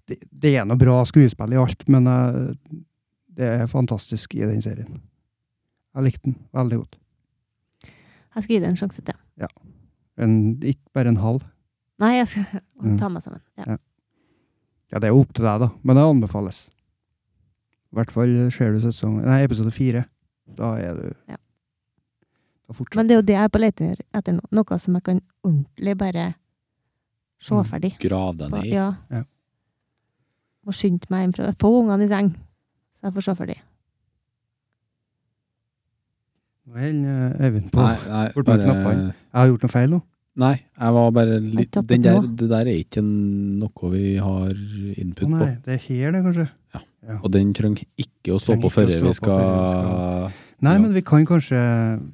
[SPEAKER 1] Det, det er noe bra skuespill i alt, men eh, det er fantastisk i den serien. Jeg likte den veldig godt.
[SPEAKER 3] Jeg skal gi det en sjanse til.
[SPEAKER 1] En, ikke bare en halv.
[SPEAKER 3] Nei, jeg skal
[SPEAKER 1] Mm.
[SPEAKER 3] ta meg sammen. Ja.
[SPEAKER 1] Ja, det er jo opp til deg, da. Men det anbefales. I hvert fall ser du sesong Nei, episode fire. Da er du
[SPEAKER 3] Ja.
[SPEAKER 1] Da fortsetter
[SPEAKER 3] Men det er jo det jeg er på leting etter nå. Noe som jeg kan ordentlig bare se
[SPEAKER 1] Mm.
[SPEAKER 3] ferdig.
[SPEAKER 2] Grav deg
[SPEAKER 3] Ba-
[SPEAKER 2] ned. i.
[SPEAKER 3] Ja.
[SPEAKER 1] Ja.
[SPEAKER 3] Må skynde meg hjemmefra. Få ungene i seng, så jeg får se ferdig.
[SPEAKER 1] Nå holder Øyvind på.
[SPEAKER 2] Nei, nei,
[SPEAKER 1] Bort med
[SPEAKER 2] bare,
[SPEAKER 1] knappene. Jeg har gjort noe feil nå.
[SPEAKER 2] nei, jeg var bare litt
[SPEAKER 3] Jeg tatt
[SPEAKER 2] den
[SPEAKER 3] opp
[SPEAKER 2] der,
[SPEAKER 3] nå.
[SPEAKER 2] Det der er ikke en- noe vi har
[SPEAKER 1] Å
[SPEAKER 2] input
[SPEAKER 1] nei,
[SPEAKER 2] på.
[SPEAKER 1] det er her det, kanskje.
[SPEAKER 2] Og den trenger ikke å stå
[SPEAKER 1] Trenger
[SPEAKER 2] på
[SPEAKER 1] ikke å
[SPEAKER 2] før
[SPEAKER 1] stå
[SPEAKER 2] vi
[SPEAKER 1] på
[SPEAKER 2] skal
[SPEAKER 1] før Nei,
[SPEAKER 2] Ja.
[SPEAKER 1] men vi kan kanskje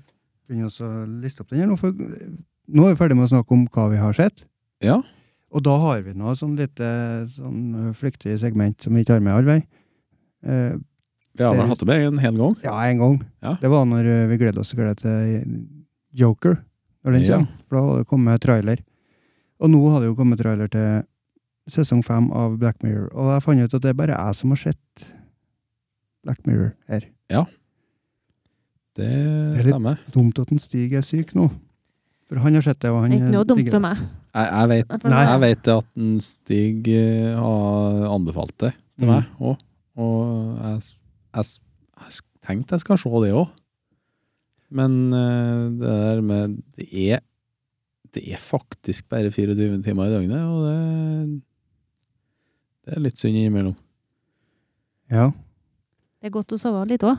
[SPEAKER 1] begynne oss å liste opp den her nå, for nå er vi ferdig med å snakke om hva vi har sett.
[SPEAKER 2] Ja.
[SPEAKER 1] Og da har vi nå sånn lite sånn flyktig segment som vi ikke har med all vei. Eh,
[SPEAKER 2] Vi har
[SPEAKER 1] Det er
[SPEAKER 2] vel hatt det med en hel gang.
[SPEAKER 1] Ja, en gang.
[SPEAKER 2] Ja.
[SPEAKER 1] Det var når eh, vi gledet oss glede til eh, Joker, når den
[SPEAKER 2] Ja.
[SPEAKER 1] kommer. For da hadde det kommet trailer. Og nå hadde det jo kommet trailer til sesong fem av Black Mirror. Og jeg fant ut at det er bare jeg som har sett Black Mirror her.
[SPEAKER 2] Det
[SPEAKER 1] Det er litt-
[SPEAKER 2] stemmer.
[SPEAKER 1] Dumt at en Stig er syk nå. For han har sett det, og han
[SPEAKER 3] Det er ikke noe dumt
[SPEAKER 1] digger
[SPEAKER 3] for
[SPEAKER 1] det.
[SPEAKER 3] meg.
[SPEAKER 2] Jeg, jeg, vet,
[SPEAKER 3] For
[SPEAKER 1] Nei.
[SPEAKER 2] jeg
[SPEAKER 3] meg-
[SPEAKER 2] vet at en Stig eh, har anbefalt det til
[SPEAKER 1] Mm.
[SPEAKER 2] meg òg, og jeg, s- jeg, s- Jeg sk- tenkte jeg skal se det òg. Men eh, det der med det er, det er faktisk bare 24 timer i døgnet, og det, det er litt synd innimellom.
[SPEAKER 1] Ja.
[SPEAKER 3] Det er godt å sove litt òg.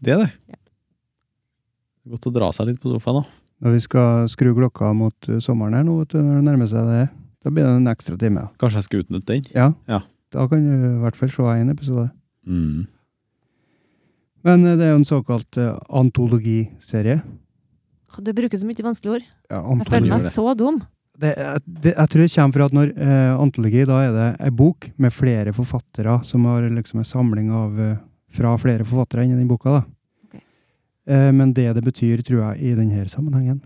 [SPEAKER 2] Det er det.
[SPEAKER 3] Ja.
[SPEAKER 2] Godt å dra seg litt på sofaen, da.
[SPEAKER 1] Når vi skal skru klokka mot eh, sommeren her nå, vet du, når det nærmer seg det, da blir det en ekstra time.
[SPEAKER 2] Kanskje jeg skal utnytte den.
[SPEAKER 1] Ja.
[SPEAKER 2] Ja.
[SPEAKER 1] Da kan du i hvert fall se en episode.
[SPEAKER 2] Mm.
[SPEAKER 1] Men eh, det er jo en såkalt eh, antologiserie.
[SPEAKER 3] Du bruker så mye vanskelige ord.
[SPEAKER 1] Ja,
[SPEAKER 2] gjør
[SPEAKER 3] Jeg føler
[SPEAKER 1] antologi.
[SPEAKER 3] meg
[SPEAKER 2] det.
[SPEAKER 3] så dum.
[SPEAKER 1] Det, er- det, jeg tror det kommer fra at når eh, antologi, da er det ei bok med flere forfattere, som har liksom en samling av eh, fra flere forfattere inni den boka. da.
[SPEAKER 3] Ok.
[SPEAKER 1] Eh, men det det betyr, tror jeg, i denne sammenhengen,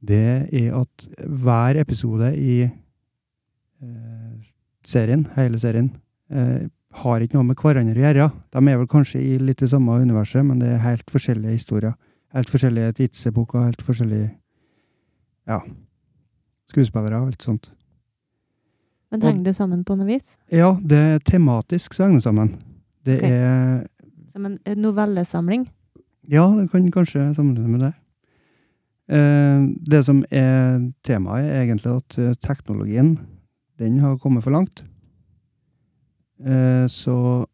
[SPEAKER 1] det er at hver episode i eh, serien, hele serien, eh, har ikke noe med hverandre å gjøre. De er vel kanskje i litt det samme universet, men det er helt forskjellige historier. Helt forskjellige tidsepoker, helt forskjellige ja, skuespillere og alt sånt.
[SPEAKER 3] Men henger det sammen på noe vis?
[SPEAKER 1] Ja, det er tematisk så henger det sammen. Det
[SPEAKER 3] Ok.
[SPEAKER 1] er
[SPEAKER 3] Som en en novellesamling?
[SPEAKER 1] Ja, det kan kanskje sammenligne med det. Eh, det som er temaet, er egentlig at eh, teknologien, den har kommet for langt. Eh, så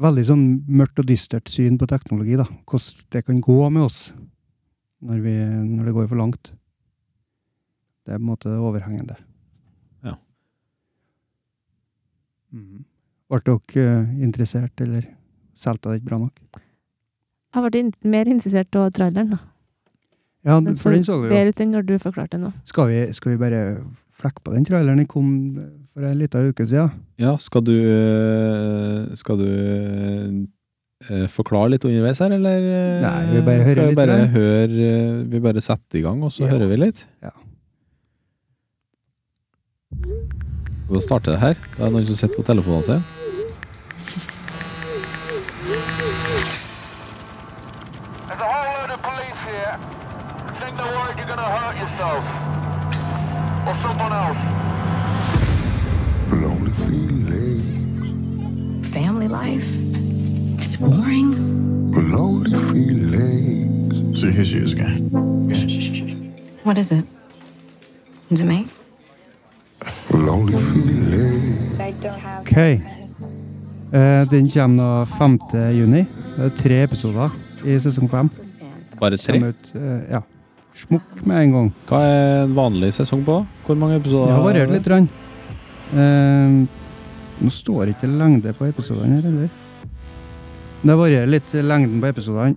[SPEAKER 1] Veldig sånn mørkt og dystert syn på teknologi, da. Hvordan det kan gå med oss når, vi, når det går for langt. Det er på en måte det overhengende.
[SPEAKER 2] Ja.
[SPEAKER 1] Mhm. Ble dere eh, interessert, eller? solgte det ikke bra nok.
[SPEAKER 3] Jeg ble in- mer interessert av traileren. da.
[SPEAKER 1] Ja,
[SPEAKER 3] Den
[SPEAKER 1] for den så vi jo.
[SPEAKER 3] bedre ut enn når du forklarte det nå.
[SPEAKER 1] Skal vi, skal vi bare flekke på den traileren? Den kom for en liten uke siden.
[SPEAKER 2] Ja, skal du eh, Skal du eh, forklare litt underveis her, eller? eh,
[SPEAKER 1] Nei, vi bare hører
[SPEAKER 2] skal vi
[SPEAKER 1] litt,
[SPEAKER 2] bare
[SPEAKER 1] eller?
[SPEAKER 2] høre eh, Vi bare setter i gang, og så
[SPEAKER 1] Ja.
[SPEAKER 2] hører vi litt?
[SPEAKER 1] Ja.
[SPEAKER 2] Da starter det her. Da er det noen som sitter på telefonen sin.
[SPEAKER 4] There's a whole load of police here. Think they're worried you're gonna hurt yourself. Or someone else.
[SPEAKER 5] Lonely feelings,
[SPEAKER 6] family life. It's boring.
[SPEAKER 5] lonely feelings.
[SPEAKER 7] So here she is again.
[SPEAKER 6] What is it? Is it me?
[SPEAKER 5] Lonely feelings,
[SPEAKER 8] I don't have
[SPEAKER 1] Ok. Eh, den kommer da 5. juni. Det er tre episoder i sesong fem.
[SPEAKER 2] Bare tre.
[SPEAKER 1] Kommer ut, eh, ja. Smukk med en gang.
[SPEAKER 2] Hva er en vanlig sesong på? Hvor mange episoder?
[SPEAKER 1] Det har variert litt. Rann. Eh, nå står det ikke lengde på episodene her heller. Det varierer litt eh, lengden på episodene.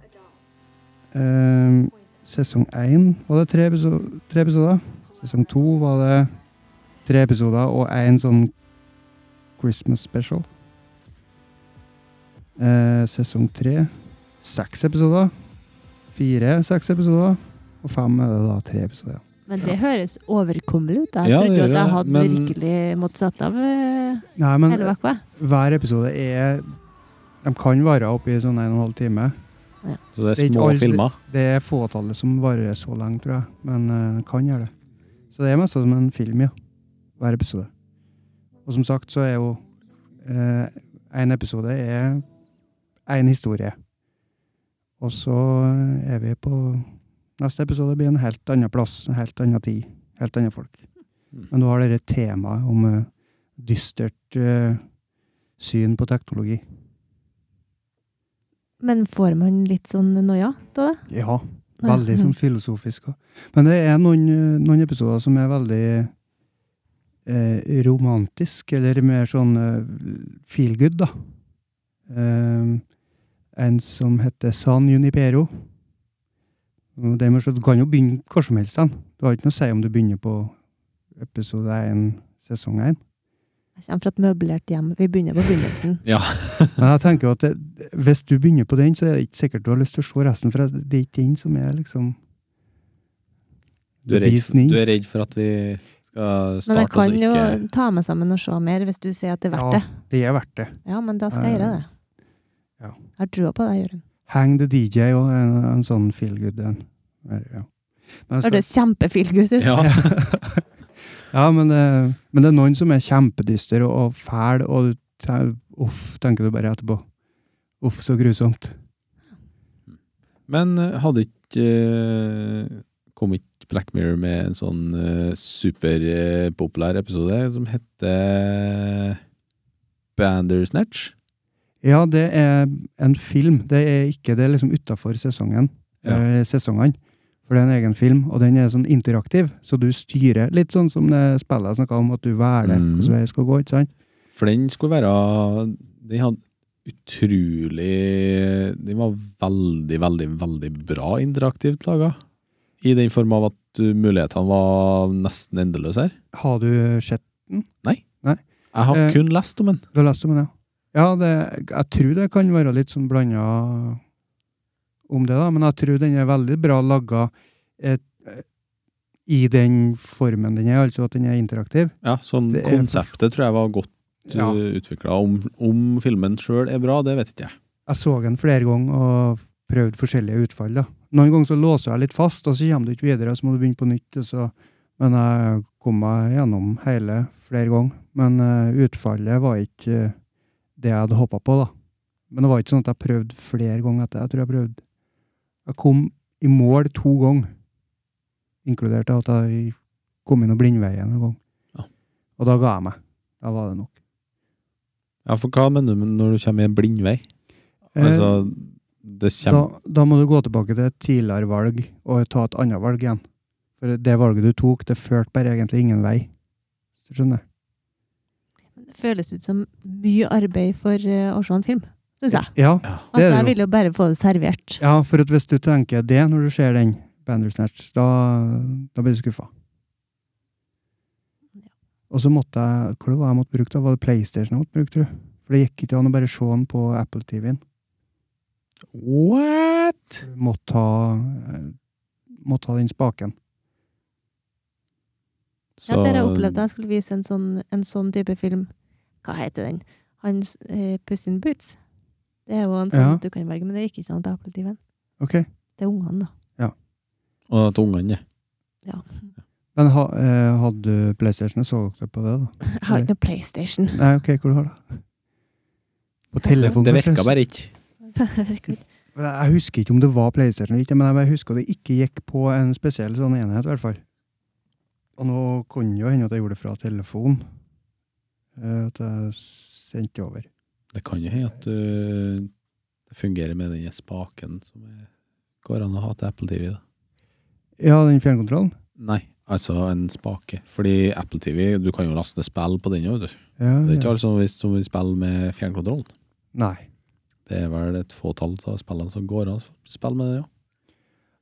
[SPEAKER 1] Eh, sesong én var det tre, episo- tre episoder. Sesong to var det tre episoder og én sånn Christmas special. Eh, sesong tre seks episoder. Fire seks episoder. Og fem er det da tre episoder.
[SPEAKER 3] Men det høres overkommelig ut. da. Jeg
[SPEAKER 2] Ja, det
[SPEAKER 3] trodde jo
[SPEAKER 2] gjør
[SPEAKER 3] at jeg
[SPEAKER 2] det,
[SPEAKER 3] hadde
[SPEAKER 2] men-
[SPEAKER 3] virkelig måttet sette av eh,
[SPEAKER 1] Nei, men
[SPEAKER 3] hele uka.
[SPEAKER 1] hver episode er De kan vare oppi sånn en og en halv time.
[SPEAKER 2] Så
[SPEAKER 1] Det
[SPEAKER 2] det
[SPEAKER 1] er
[SPEAKER 2] er
[SPEAKER 1] ikke
[SPEAKER 2] små
[SPEAKER 1] alle-
[SPEAKER 2] filmer.
[SPEAKER 1] Det er fåtallet som varer så lenge, tror jeg. Men eh, kan gjøre det. Så det er mest som en film, ja. Hver episode. Og som sagt så er jo én episode er én historie. Og så er vi på Neste episode blir en helt annen plass, en helt annen tid, helt andre folk.
[SPEAKER 2] Mm.
[SPEAKER 1] Men du har dette temaet om eh, dystert eh, syn på teknologi.
[SPEAKER 3] Men får man litt sånn noia da? det?
[SPEAKER 1] Ja.
[SPEAKER 3] Nei.
[SPEAKER 1] Veldig sånn filosofisk. også. Men det er noen, eh, noen episoder som er veldig eh, romantisk, eller mer sånn eh, feel good, da. Eh, en som heter San Junipero. Og det med, så du kan jo begynne hvor som helst. Den. Du har ikke noe å si om du begynner på episode 1, sesong 1.
[SPEAKER 3] Jeg kommer fra et møblert hjem. Vi begynner på begynnelsen.
[SPEAKER 2] Ja.
[SPEAKER 1] Men jeg tenker jo at det, hvis du begynner på den, så er det ikke sikkert du har lyst til å se resten, for det er ikke den som er liksom
[SPEAKER 2] Du
[SPEAKER 1] the
[SPEAKER 2] er, redd,
[SPEAKER 1] bee's knees.
[SPEAKER 2] du er redd for at vi skal
[SPEAKER 3] Men jeg
[SPEAKER 2] starte
[SPEAKER 3] kan
[SPEAKER 2] oss
[SPEAKER 3] jo
[SPEAKER 2] ikke
[SPEAKER 3] ta meg sammen og se mer hvis du sier at det er verdt
[SPEAKER 1] ja,
[SPEAKER 3] det.
[SPEAKER 1] det er verdt det.
[SPEAKER 3] Ja, men da skal jeg gjøre det.
[SPEAKER 1] Ja.
[SPEAKER 3] Jeg har trua på deg, Jørund.
[SPEAKER 1] Hang the DJ og en, en sånn feel good en. Ja. Men, jeg skal,
[SPEAKER 3] Hørtes kjempefeelgood ut.
[SPEAKER 2] Ja.
[SPEAKER 1] ja, men, det, men det er noen som er kjempedyster og, og fæl, og du te- uff, tenker du bare etterpå. Uff, så grusomt.
[SPEAKER 2] Men eh, hadde ikke eh, Kom ikke Black Mirror med en sånn eh, superpopulær episode som heter Bandersnatch?
[SPEAKER 1] Ja, det er en film. Det er ikke det er liksom utafor sesongen.
[SPEAKER 2] Ja.
[SPEAKER 1] eh, Sesongene. For det er en egen film, og den er sånn interaktiv, så du styrer litt sånn som det spillet jeg snakka om, at du velger
[SPEAKER 2] Mhm.
[SPEAKER 1] hvordan veien skal gå, ikke sant?
[SPEAKER 2] For den skulle være Den hadde utrolig Den var veldig, veldig, veldig bra interaktivt laga. I den form av at uh, mulighetene var nesten endeløse her.
[SPEAKER 1] Har du sett
[SPEAKER 2] Jeg har
[SPEAKER 1] Eh,
[SPEAKER 2] kun lest om den.
[SPEAKER 1] Du har lest om den, ja? Ja, det, jeg tror det kan være litt sånn blanda om det, da, men jeg tror den er veldig bra laga eh, i den formen den er, altså at den er interaktiv.
[SPEAKER 2] Ja, sånn
[SPEAKER 1] det er-
[SPEAKER 2] Konseptet tror jeg var godt
[SPEAKER 1] Ja.
[SPEAKER 2] uh, utvikla. Om, om filmen sjøl er bra, det vet ikke jeg.
[SPEAKER 1] Jeg så den flere ganger og prøvde forskjellige utfall. da. Noen ganger så låser jeg litt fast, og så kommer du ikke videre, og så må du begynne på nytt. og så... Men jeg kom meg gjennom hele flere ganger. Men eh, utfallet var ikke eh, det jeg hadde håpa på, da. Men det var ikke sånn at jeg prøvde flere ganger etter. Jeg tror jeg prøvde Jeg kom i mål to ganger, inkludert at jeg kom inn og blindveien en gang.
[SPEAKER 2] Ja.
[SPEAKER 1] Og da ga jeg meg. Da var det nok.
[SPEAKER 2] Ja, For hva mener du når du kommer i en blindvei? Altså, det kommer
[SPEAKER 1] Eh, Da, da må du gå tilbake til et tidligere valg og ta et annet valg igjen. For det valget du tok, det førte bare egentlig ingen vei. Hvis du skjønner?
[SPEAKER 3] Det føles ut som mye arbeid for eh, å se en film, syns jeg.
[SPEAKER 1] Ja,
[SPEAKER 2] Ja.
[SPEAKER 1] det
[SPEAKER 3] Altså,
[SPEAKER 1] er
[SPEAKER 3] jeg
[SPEAKER 1] det jo.
[SPEAKER 3] vil jo bare få det servert.
[SPEAKER 1] Ja, for at hvis du tenker det når du ser den Bandersnatch, da, da blir du skuffa. Og så måtte jeg Hva det var jeg måtte bruke da? Var det PlayStation jeg måtte bruke, tror jeg? For det gikk ikke an å bare se den på Apple TV-en.
[SPEAKER 2] What?!
[SPEAKER 1] Måtte ha, eh, måtte ha den spaken.
[SPEAKER 3] Ja, der jeg opplevde jeg skulle vise en sånn, en sånn type film. Hva heter den? Hans eh, Puss in Boots. Det er jo en sånn
[SPEAKER 1] Ja.
[SPEAKER 3] du kan velge, men det gikk ikke an på Apple TV-en.
[SPEAKER 1] Ok.
[SPEAKER 3] Det er ungene, da.
[SPEAKER 2] Og at ungene er
[SPEAKER 3] Ja.
[SPEAKER 1] Men ha, eh, hadde du PlayStation, så dere på det, da?
[SPEAKER 3] Jeg
[SPEAKER 1] Mm.
[SPEAKER 3] har ikke noe PlayStation.
[SPEAKER 1] Nei, ok, hvor du har det? På telefonen,
[SPEAKER 2] Det
[SPEAKER 1] kanskje?
[SPEAKER 2] virka bare ikke.
[SPEAKER 1] Jeg husker ikke om det var PlayStation eller ikke, men jeg bare husker det ikke gikk på en spesiell sånn enhet, i hvert fall. Og nå kan det jo hende at jeg gjorde det fra telefon. eh, At jeg sendte det over.
[SPEAKER 2] Det kan jo hende at øh, det fungerer med den spaken som er, går an å ha til Apple TV. Da.
[SPEAKER 1] Ja, den fjernkontrollen?
[SPEAKER 2] Nei, altså en spake. Fordi Apple TV, du kan jo laste ned spill på den òg. Det
[SPEAKER 1] Ja,
[SPEAKER 2] er ikke
[SPEAKER 1] ja.
[SPEAKER 2] alle som vil, som vil spille med fjernkontrollen.
[SPEAKER 1] Nei.
[SPEAKER 2] Det er vel et fåtall av spillene som går an å spille med det òg.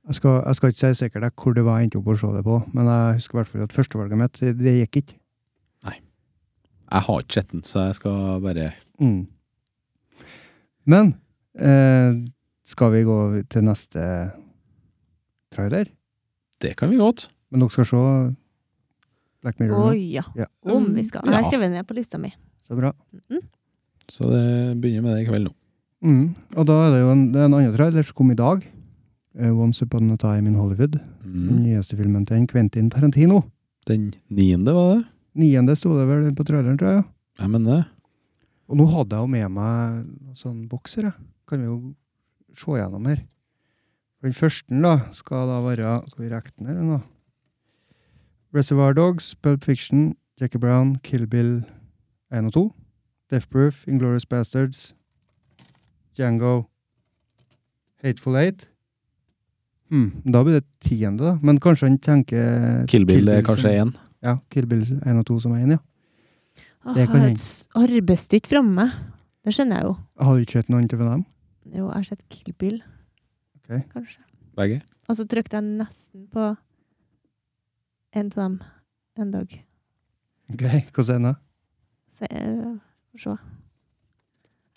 [SPEAKER 1] Jeg skal, jeg skal ikke si sikkert jeg hvor det var jeg endte opp å se det på, men jeg husker i hvert fall at førstevalget mitt, det- det gikk ikke.
[SPEAKER 2] Jeg har ikke sett den, så jeg skal bare
[SPEAKER 1] Mm. Men eh, skal vi gå til neste trailer?
[SPEAKER 2] Det kan vi godt.
[SPEAKER 1] Men dere skal se Black
[SPEAKER 3] Å
[SPEAKER 1] Mirror nå?
[SPEAKER 3] ja.
[SPEAKER 1] Mm. Ja.
[SPEAKER 3] Om vi skal.
[SPEAKER 2] Ja.
[SPEAKER 3] Jeg har skrevet ned på lista mi.
[SPEAKER 1] Så bra.
[SPEAKER 3] Mhm.
[SPEAKER 2] Så det begynner med det i kveld nå.
[SPEAKER 1] Mm. Og da er det jo en, det er en annen trailer som kom i dag. Eh, Once Upon a Time in Hollywood. Den
[SPEAKER 2] Mm.
[SPEAKER 1] nyeste filmen til en Quentin Tarantino.
[SPEAKER 2] Den niende, var det?
[SPEAKER 1] Niende sto det vel på traileren, tror jeg. ja.
[SPEAKER 2] Jeg mener det.
[SPEAKER 1] Og nå hadde jeg jo med meg noen sånn bokser, jeg. Kan vi jo se gjennom her. For Den første da, skal da være Skal vi rekke den her nå? Reservoir Dogs, Pulp Fiction, Jackie Brown, Kill Bill 1 og 2. Death Proof, Inglorious Bastards, Django, Hateful Eight. Hmm, da blir det tiende, da. Men kanskje han tenker
[SPEAKER 2] Kill Bill er kanskje
[SPEAKER 1] som-
[SPEAKER 2] én.
[SPEAKER 1] Ja, Kill Bill 1 og 2 som er én, ja.
[SPEAKER 3] Åh,
[SPEAKER 1] Det
[SPEAKER 3] Jeg
[SPEAKER 1] kan
[SPEAKER 3] har
[SPEAKER 1] hende.
[SPEAKER 3] et s- arbeidsstykke framme. Det skjønner jeg jo.
[SPEAKER 1] Har du ikke sett noe annet fra dem?
[SPEAKER 3] Jo, jeg har sett Kill Bill,
[SPEAKER 1] Ok.
[SPEAKER 3] kanskje.
[SPEAKER 2] Begge.
[SPEAKER 3] Og så trykte jeg nesten på en av dem en dag.
[SPEAKER 1] Ok, Hvordan er den? da?
[SPEAKER 3] Se, eh, Få se.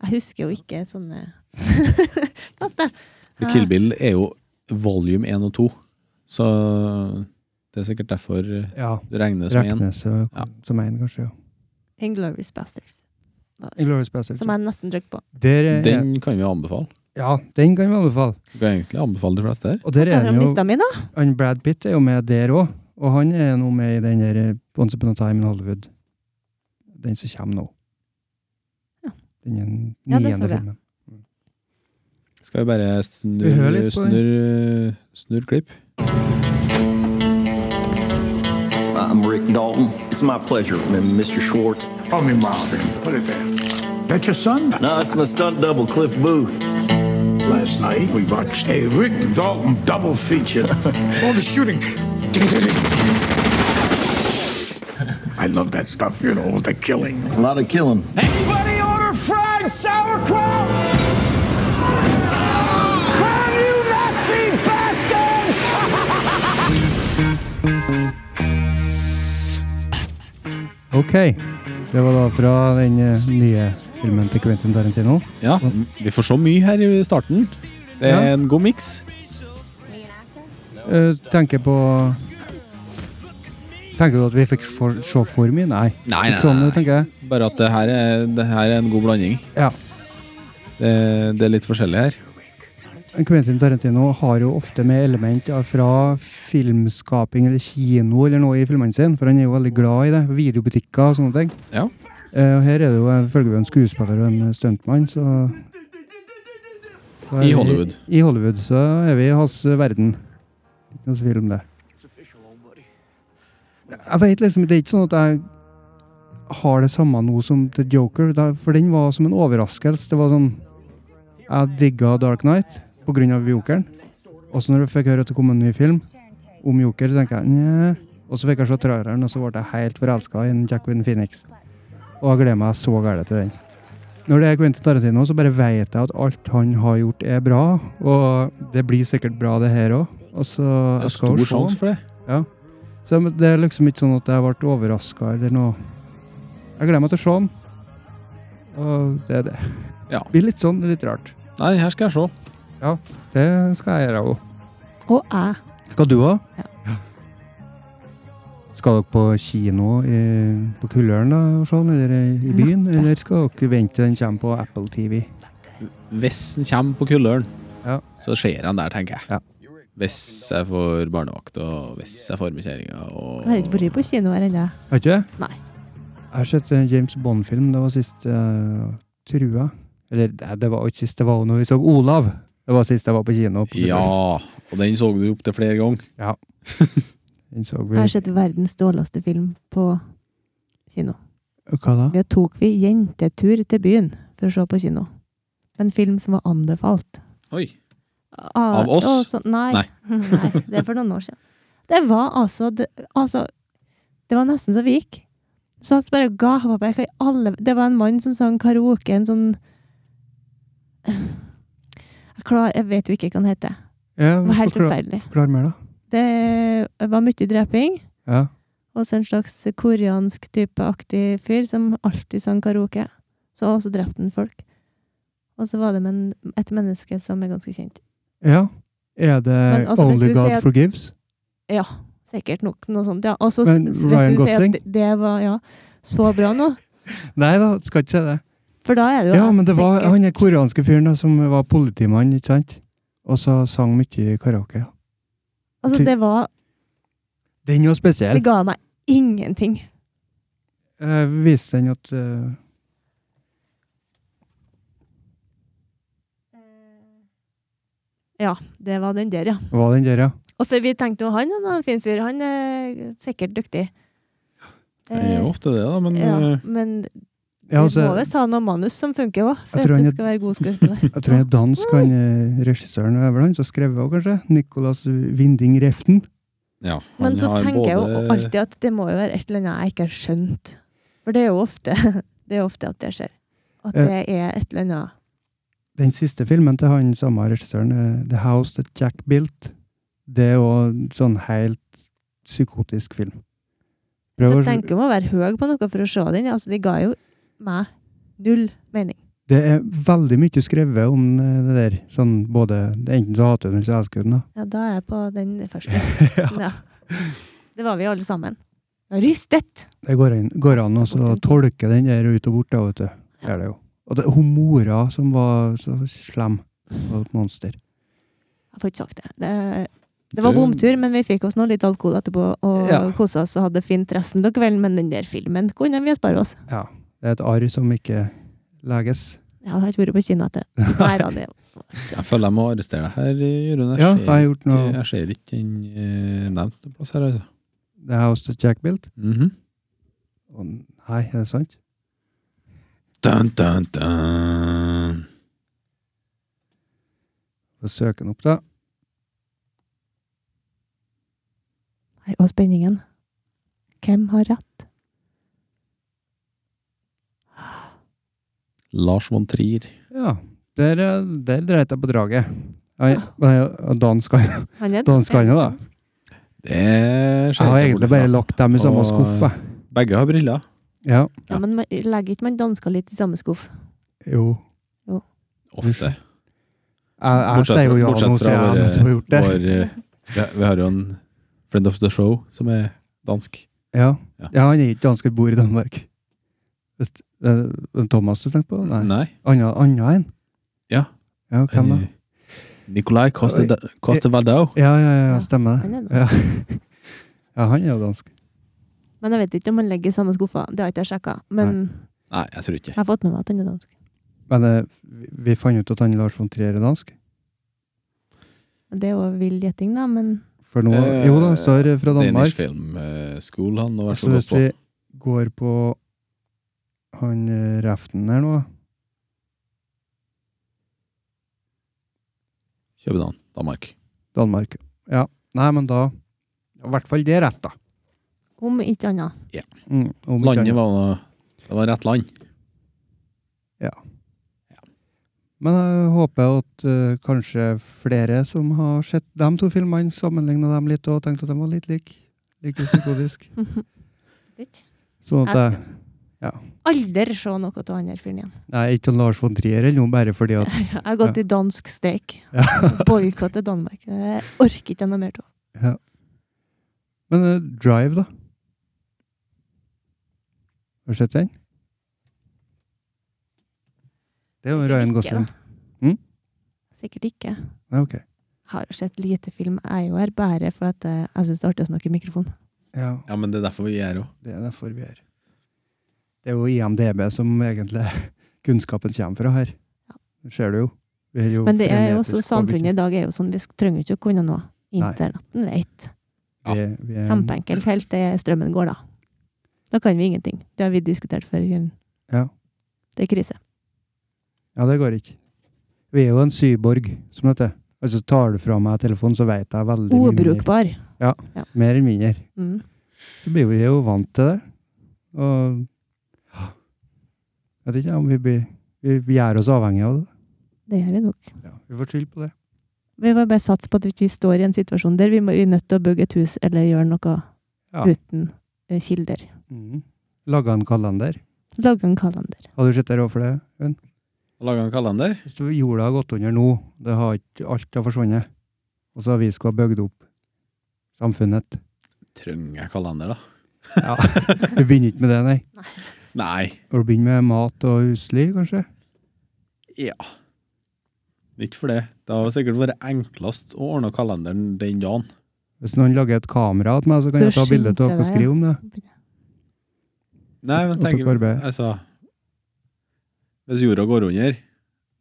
[SPEAKER 3] Jeg husker jo ikke sånne Pass deg!
[SPEAKER 2] For Kill Bill er jo volume 1 og 2, så det er sikkert derfor eh,
[SPEAKER 1] Ja.
[SPEAKER 2] det regnes som én.
[SPEAKER 1] Reknes og,
[SPEAKER 2] Ja.
[SPEAKER 1] som én, kanskje. ja.
[SPEAKER 3] Inglorious Bastards.
[SPEAKER 1] Inglourious Basterds.
[SPEAKER 3] Som jeg nesten trykte på.
[SPEAKER 1] Der er, den.
[SPEAKER 2] Den kan vi anbefale.
[SPEAKER 1] Ja, den kan vi anbefale.
[SPEAKER 2] Du kan egentlig anbefale de fleste her.
[SPEAKER 1] Og der
[SPEAKER 3] Ta
[SPEAKER 1] er
[SPEAKER 3] fram
[SPEAKER 1] den jo,
[SPEAKER 3] lista mi, da.
[SPEAKER 1] han Brad Pitt er jo med der òg, og han er nå med i den der eh, Once Upon a Time in Hollywood. Den som kommer nå.
[SPEAKER 3] Ja.
[SPEAKER 1] Den er den
[SPEAKER 3] Ja, det
[SPEAKER 1] niende
[SPEAKER 3] får jeg.
[SPEAKER 1] filmen.
[SPEAKER 2] Skal jeg bare
[SPEAKER 1] Vi hører
[SPEAKER 2] snurre
[SPEAKER 1] litt på den.
[SPEAKER 2] snurr, snurr klipp?
[SPEAKER 7] I'm Rick Dalton. It's my pleasure, M- Mr. Schwartz.
[SPEAKER 8] Call me Marvin. Put it there. That's your son?
[SPEAKER 7] No, it's my stunt double, Cliff Booth.
[SPEAKER 8] Last night we watched a Rick Dalton double feature. All the shooting. I love that stuff, you know, the killing.
[SPEAKER 7] A lot of killing.
[SPEAKER 8] Anybody order fried sauerkraut? Can you Nazi bastards?
[SPEAKER 1] Ok. Det var da fra den eh, nye filmen til Quentin Tarantino.
[SPEAKER 2] Ja, vi får så mye her i starten. Det er
[SPEAKER 1] Ja.
[SPEAKER 2] en god miks.
[SPEAKER 1] Eh, tenker på Tenker du at vi fikk for, se for mye? Nei.
[SPEAKER 2] Nei, nei,
[SPEAKER 1] Ikke sånn,
[SPEAKER 2] nei, nei.
[SPEAKER 1] tenker jeg.
[SPEAKER 2] Bare at det her er, det her er en god blanding.
[SPEAKER 1] Ja.
[SPEAKER 2] Det, det er litt forskjellig her.
[SPEAKER 1] Quentin Tarantino har jo ofte med element av- fra filmskaping eller kino eller noe i filmene sine, for han er jo veldig glad i det. Videobutikker og sånne ting.
[SPEAKER 2] Ja.
[SPEAKER 1] Eh, og her er det jo eh, følger vi en skuespiller og en eh, stuntmann, så så er
[SPEAKER 2] I
[SPEAKER 1] vi-
[SPEAKER 2] Hollywood.
[SPEAKER 1] I Hollywood, så er vi i hans eh, verden. Ikke noe tvil om det. Jeg vet liksom, Det er ikke sånn at jeg har det samme nå som The Joker, da, for den var som en overraskelse. Det var sånn Jeg digga Dark Knight pga. Jokeren. Og så når jeg fikk høre at det kom en ny film om Joker, tenker jeg Nja. Og så fikk jeg se traileren, og så ble jeg helt forelska i en Jacqueline Phoenix. Og jeg gleder meg så gæli til den. Når det er Quentin Tarantino, så bare vet jeg at alt han har gjort, er bra. Og det blir sikkert bra, det her òg. Og så
[SPEAKER 2] Det
[SPEAKER 1] jeg
[SPEAKER 2] er
[SPEAKER 1] skal jo se
[SPEAKER 2] stor
[SPEAKER 1] den.
[SPEAKER 2] sjanse for det.
[SPEAKER 1] Så men det er liksom ikke sånn at jeg ble overraska eller noe. Jeg gleder meg til å se den. Og det er det.
[SPEAKER 2] Ja.
[SPEAKER 1] Det blir litt sånn, litt rart.
[SPEAKER 2] Nei, her skal jeg se.
[SPEAKER 1] Det skal jeg gjøre òg.
[SPEAKER 3] Og jeg.
[SPEAKER 1] Skal du òg?
[SPEAKER 3] Ja.
[SPEAKER 1] Skal dere på kino i, på Kulløren da, og se den, eller i- i byen?
[SPEAKER 3] Neppe.
[SPEAKER 1] Eller skal dere vente til den kommer på Apple TV?
[SPEAKER 2] Hvis den kommer på Kulløren,
[SPEAKER 1] Ja.
[SPEAKER 2] så ser han der, tenker jeg.
[SPEAKER 1] Ja.
[SPEAKER 2] Hvis jeg får barnevakt, og hvis jeg får med kjerringa, og
[SPEAKER 3] Jeg har ikke vært på kino her ennå.
[SPEAKER 1] Har ikke det?
[SPEAKER 3] Nei.
[SPEAKER 1] Jeg har sett en James Bond-film. Det var sist eh, Trua. Eller nei, det var ikke sist, det var jo når vi så Olav. Det var sist jeg var på kino. på
[SPEAKER 2] Ja! Og den så du opptil flere ganger.
[SPEAKER 1] Den så
[SPEAKER 3] Jeg
[SPEAKER 1] vi.
[SPEAKER 3] har sett verdens dårligste film på kino.
[SPEAKER 1] Hva da?
[SPEAKER 3] Da tok vi jentetur til byen for å se på kino. En film som var anbefalt.
[SPEAKER 2] Oi.
[SPEAKER 3] Ah,
[SPEAKER 2] Av oss?
[SPEAKER 3] å, så, nei.
[SPEAKER 2] Nei.
[SPEAKER 3] Nei, Det er for noen år siden. Det var altså Det, altså, det var nesten så vi gikk. Satt bare og ga på meg. for alle- Det var en mann som sang karaoke, en sånn jeg, klar, jeg vet jo ikke hva han heter.
[SPEAKER 1] Ja,
[SPEAKER 3] Det var helt
[SPEAKER 1] forklar,
[SPEAKER 3] forferdelig.
[SPEAKER 1] forklar mer, da.
[SPEAKER 3] Det var mye dreping.
[SPEAKER 1] Ja.
[SPEAKER 3] Og så en slags koreansk typeaktig fyr som alltid sang karaoke. Så også drepte han folk. Og så var det med en, et menneske som er ganske kjent.
[SPEAKER 1] ja. Er det
[SPEAKER 3] Men altså, hvis
[SPEAKER 1] Only
[SPEAKER 3] du
[SPEAKER 1] God
[SPEAKER 3] sier at-
[SPEAKER 1] Forgives?
[SPEAKER 3] Ja, sikkert nok noe sånt. Ja. Og så s-
[SPEAKER 1] Men
[SPEAKER 3] hvis
[SPEAKER 1] Ryan
[SPEAKER 3] du sier
[SPEAKER 1] Gosling?
[SPEAKER 3] at det- det var ja, så bra nå,
[SPEAKER 1] Nei da, skal ikke si det.
[SPEAKER 3] for da er det jo
[SPEAKER 1] Ja, men det var
[SPEAKER 3] sikkert-
[SPEAKER 1] han der koreanske fyren da, som var politimann, ikke sant? Og så sang mye karaoke. ja.
[SPEAKER 3] Altså, det var
[SPEAKER 1] Den var spesiell.
[SPEAKER 3] Det ga meg ingenting.
[SPEAKER 1] Eh, viste den at eh,
[SPEAKER 3] Ja, det var den der, ja.
[SPEAKER 1] Var den der, ja?
[SPEAKER 3] Og for vi tenkte jo han er en fin fyr, han er sikkert dyktig. Eh,
[SPEAKER 2] Det er jo ofte det, da, men
[SPEAKER 3] ja,
[SPEAKER 2] eh,
[SPEAKER 3] men
[SPEAKER 1] ja
[SPEAKER 3] vi
[SPEAKER 1] altså,
[SPEAKER 3] må visst ha noe manus som funker òg, for
[SPEAKER 1] Jeg
[SPEAKER 3] at
[SPEAKER 1] tror
[SPEAKER 3] du
[SPEAKER 1] han er-
[SPEAKER 3] skal være god skuespiller.
[SPEAKER 1] jeg tror han er dansk, han eh, regissøren. Det er vel han som skrev òg, kanskje? Nicolas Winding Reften.
[SPEAKER 2] ja. han
[SPEAKER 3] Men så
[SPEAKER 2] har
[SPEAKER 3] tenker jeg jo
[SPEAKER 2] både-
[SPEAKER 3] alltid at det må jo være et eller annet jeg ikke har skjønt. For det er jo ofte, det er ofte at det skjer. At
[SPEAKER 1] Ja.
[SPEAKER 3] det er et eller annet
[SPEAKER 1] den siste filmen til han samme regissøren, eh, The House That Jack Built, det er jo en sånn helt psykotisk film.
[SPEAKER 3] For
[SPEAKER 1] Prøv
[SPEAKER 3] jeg
[SPEAKER 1] å,
[SPEAKER 3] tenker om å være høy på noe for å se den. Altså, de ga jo meg null mening.
[SPEAKER 1] det er veldig mye skrevet om eh, det der. Sånn både, enten så hater du den, eller så elsker du den. da.
[SPEAKER 3] Ja, da er jeg på den første. ja. Det var vi alle sammen. Rystet!
[SPEAKER 1] Det går, inn, går an å
[SPEAKER 3] Kaste bort
[SPEAKER 1] så
[SPEAKER 3] en ting.
[SPEAKER 1] tolke den der ut og bort, da, vet du. Det er det jo. Og det er hun mora som var så slem. Og et monster.
[SPEAKER 3] Jeg får ikke sagt det. Det, det var
[SPEAKER 2] Du-
[SPEAKER 3] bomtur, men vi fikk oss nå litt alkohol etterpå og
[SPEAKER 1] Ja.
[SPEAKER 3] kosa oss og hadde fint resten av kvelden. Men den der filmen kunne vi ha spart oss.
[SPEAKER 1] Ja. Det er et arr som ikke leges.
[SPEAKER 3] Jeg har ikke vært på kino etter det. Nei da, det
[SPEAKER 2] Jeg føler jeg må arrestere deg her, Jørund. Jeg,
[SPEAKER 1] Ja,
[SPEAKER 2] ser
[SPEAKER 1] har jeg gjort
[SPEAKER 2] ikke-
[SPEAKER 1] noe-
[SPEAKER 2] jeg ser ikke den eh, nevnt noe plass her, altså.
[SPEAKER 1] The House That Jack Built?
[SPEAKER 2] Mhm.
[SPEAKER 1] Å nei, er det sant?
[SPEAKER 2] dun, dun, dun.
[SPEAKER 1] Få søke den opp, da.
[SPEAKER 3] Her, Og spenningen. Hvem har rett?
[SPEAKER 2] Lars von Trier.
[SPEAKER 1] Ja. Der, eh, der dreit jeg på draget. Nei, nei, Dan skal
[SPEAKER 3] Han er
[SPEAKER 1] Dan skal jo da.
[SPEAKER 2] Det
[SPEAKER 1] Jeg har
[SPEAKER 2] jeg
[SPEAKER 1] egentlig
[SPEAKER 2] bort fra.
[SPEAKER 1] bare lagt dem i samme
[SPEAKER 2] Og-
[SPEAKER 1] skuff, jeg.
[SPEAKER 2] Begge har briller.
[SPEAKER 1] Ja.
[SPEAKER 3] Ja, men man, legger ikke man dansker litt i samme skuff?
[SPEAKER 1] Jo.
[SPEAKER 2] Ofte.
[SPEAKER 1] Jeg, jeg
[SPEAKER 2] Bortsett
[SPEAKER 1] sier jo
[SPEAKER 2] fra-
[SPEAKER 1] ja nå, sier
[SPEAKER 2] bortsett fra
[SPEAKER 1] jeg
[SPEAKER 2] våre-
[SPEAKER 1] at du har gjort det.
[SPEAKER 2] vår, eh, vi- Vi har jo en friend of the show som er dansk.
[SPEAKER 1] Ja.
[SPEAKER 2] Ja.
[SPEAKER 1] ja, han er ikke dansk, han bor i Danmark. Hvis- eh, Thomas du tenkte på? Nei. Anna, Anna en?
[SPEAKER 2] Ja.
[SPEAKER 1] Ja, hvem da?
[SPEAKER 2] Nicolai Eh, Coste Coste Valdau.
[SPEAKER 1] Ja, ja, ja,
[SPEAKER 3] Ja,
[SPEAKER 1] ja stemmer
[SPEAKER 3] han er
[SPEAKER 1] det. Ja. ja, han er jo dansk.
[SPEAKER 3] Men jeg vet ikke om han ligger i samme skuffa. Det har ikke jeg sjekka. Men
[SPEAKER 2] Nei, jeg tror ikke
[SPEAKER 3] jeg har fått med meg at han er dansk.
[SPEAKER 1] Men eh, vi- vi fant ut at han Lars von Trier er dansk.
[SPEAKER 3] Men Det er jo vill gjetting, da, men
[SPEAKER 1] For nå,
[SPEAKER 2] Eh,
[SPEAKER 1] jo da, står det fra
[SPEAKER 2] Danish
[SPEAKER 1] Danmark.
[SPEAKER 2] Film eh, School han har vært
[SPEAKER 1] Så
[SPEAKER 2] så godt
[SPEAKER 1] hvis vi
[SPEAKER 2] på.
[SPEAKER 1] går på han eh, Reften her nå,
[SPEAKER 2] København, Danmark.
[SPEAKER 1] Danmark. Ja, nei, men da I hvert fall det er rett, da.
[SPEAKER 3] om ikke annet.
[SPEAKER 1] Mm, om ikke
[SPEAKER 2] Landet
[SPEAKER 1] annet.
[SPEAKER 2] var noe, Det var rett land.
[SPEAKER 1] Men jeg håper at eh, kanskje flere som har sett de to filmene, sammenligna dem litt og tenkt at de var litt like. Like psykotisk. Sånn at jeg
[SPEAKER 3] Aldri se noe av han her fyren igjen.
[SPEAKER 1] Nei, ikke til Lars von Trier eller noe, bare fordi at
[SPEAKER 3] Jeg har gått i dansk steik. Boikotte Danmark. Jeg orker ikke noe mer av.
[SPEAKER 1] ja. Men eh, Drive, da? Har du sett den? Det er jo
[SPEAKER 3] Sikkert
[SPEAKER 1] Ryan
[SPEAKER 3] ikke,
[SPEAKER 1] Gosling.
[SPEAKER 3] da.
[SPEAKER 1] Mm?
[SPEAKER 3] Sikkert ikke.
[SPEAKER 1] Ja, ok.
[SPEAKER 3] Har sett lite film. Jeg er jo her bare for at eh, jeg syns det er artig å snakke i mikrofon.
[SPEAKER 1] Ja,
[SPEAKER 2] Ja, men det er derfor vi er her òg.
[SPEAKER 1] det er derfor vi er Det er jo IMDb som egentlig kunnskapen kommer fra her. Det ser du jo. Vi er jo
[SPEAKER 3] Men det er jo
[SPEAKER 1] frenetisk
[SPEAKER 3] også
[SPEAKER 1] påvirket.
[SPEAKER 3] samfunnet i dag er jo sånn, vi trenger jo ikke å kunne noe.
[SPEAKER 1] Nei.
[SPEAKER 3] Internetten vet.
[SPEAKER 1] Vi, vi er,
[SPEAKER 3] Kjempeenkelt helt til strømmen går, da. Da kan vi ingenting. Det har vi diskutert før. Jørgen.
[SPEAKER 1] Ja.
[SPEAKER 3] Det er krise.
[SPEAKER 1] ja, det går ikke. Vi er jo en syborg, som det heter. Altså, tar du fra meg telefonen, så vet jeg veldig mye mindre.
[SPEAKER 3] Ubrukbar.
[SPEAKER 1] Mer enn mindre.
[SPEAKER 3] Mm.
[SPEAKER 1] Så blir vi jo vant til det. Og jeg vet ikke om vi blir Vi vi gjør oss avhengige av det.
[SPEAKER 3] Det gjør vi nok.
[SPEAKER 1] vi får skyld på det.
[SPEAKER 3] Vi må bare satse på at vi ikke står i en situasjon der vi, må, vi er nødt til å bygge et hus eller gjøre noe
[SPEAKER 1] Ja.
[SPEAKER 3] uten eh, kilder.
[SPEAKER 1] Mm. Laga en kalender.
[SPEAKER 3] Lage en kalender.
[SPEAKER 1] Har du sett det for det, Øyvind?
[SPEAKER 2] Laga en kalender.
[SPEAKER 1] Hvis du- jorda har gått under nå, det har ikke, alt har forsvunnet, og så har vi skulle ha bygd opp samfunnet.
[SPEAKER 2] Trenger jeg kalender, da?
[SPEAKER 1] Ja, Vi begynner ikke med det, nei.
[SPEAKER 2] Nei.
[SPEAKER 1] Og Du begynner med mat og husly, kanskje?
[SPEAKER 2] Ja. Ikke for det. Det har sikkert vært enklest å ordne kalenderen den dagen.
[SPEAKER 1] Hvis noen lager et kamera til meg, så kan
[SPEAKER 3] Så
[SPEAKER 1] jeg ta bilde av
[SPEAKER 3] skynd
[SPEAKER 1] dere og
[SPEAKER 3] deg, ja.
[SPEAKER 1] skrive om det.
[SPEAKER 2] Nei, men
[SPEAKER 1] Og
[SPEAKER 2] tenk
[SPEAKER 1] tok arbeid.
[SPEAKER 2] altså, Hvis jorda går under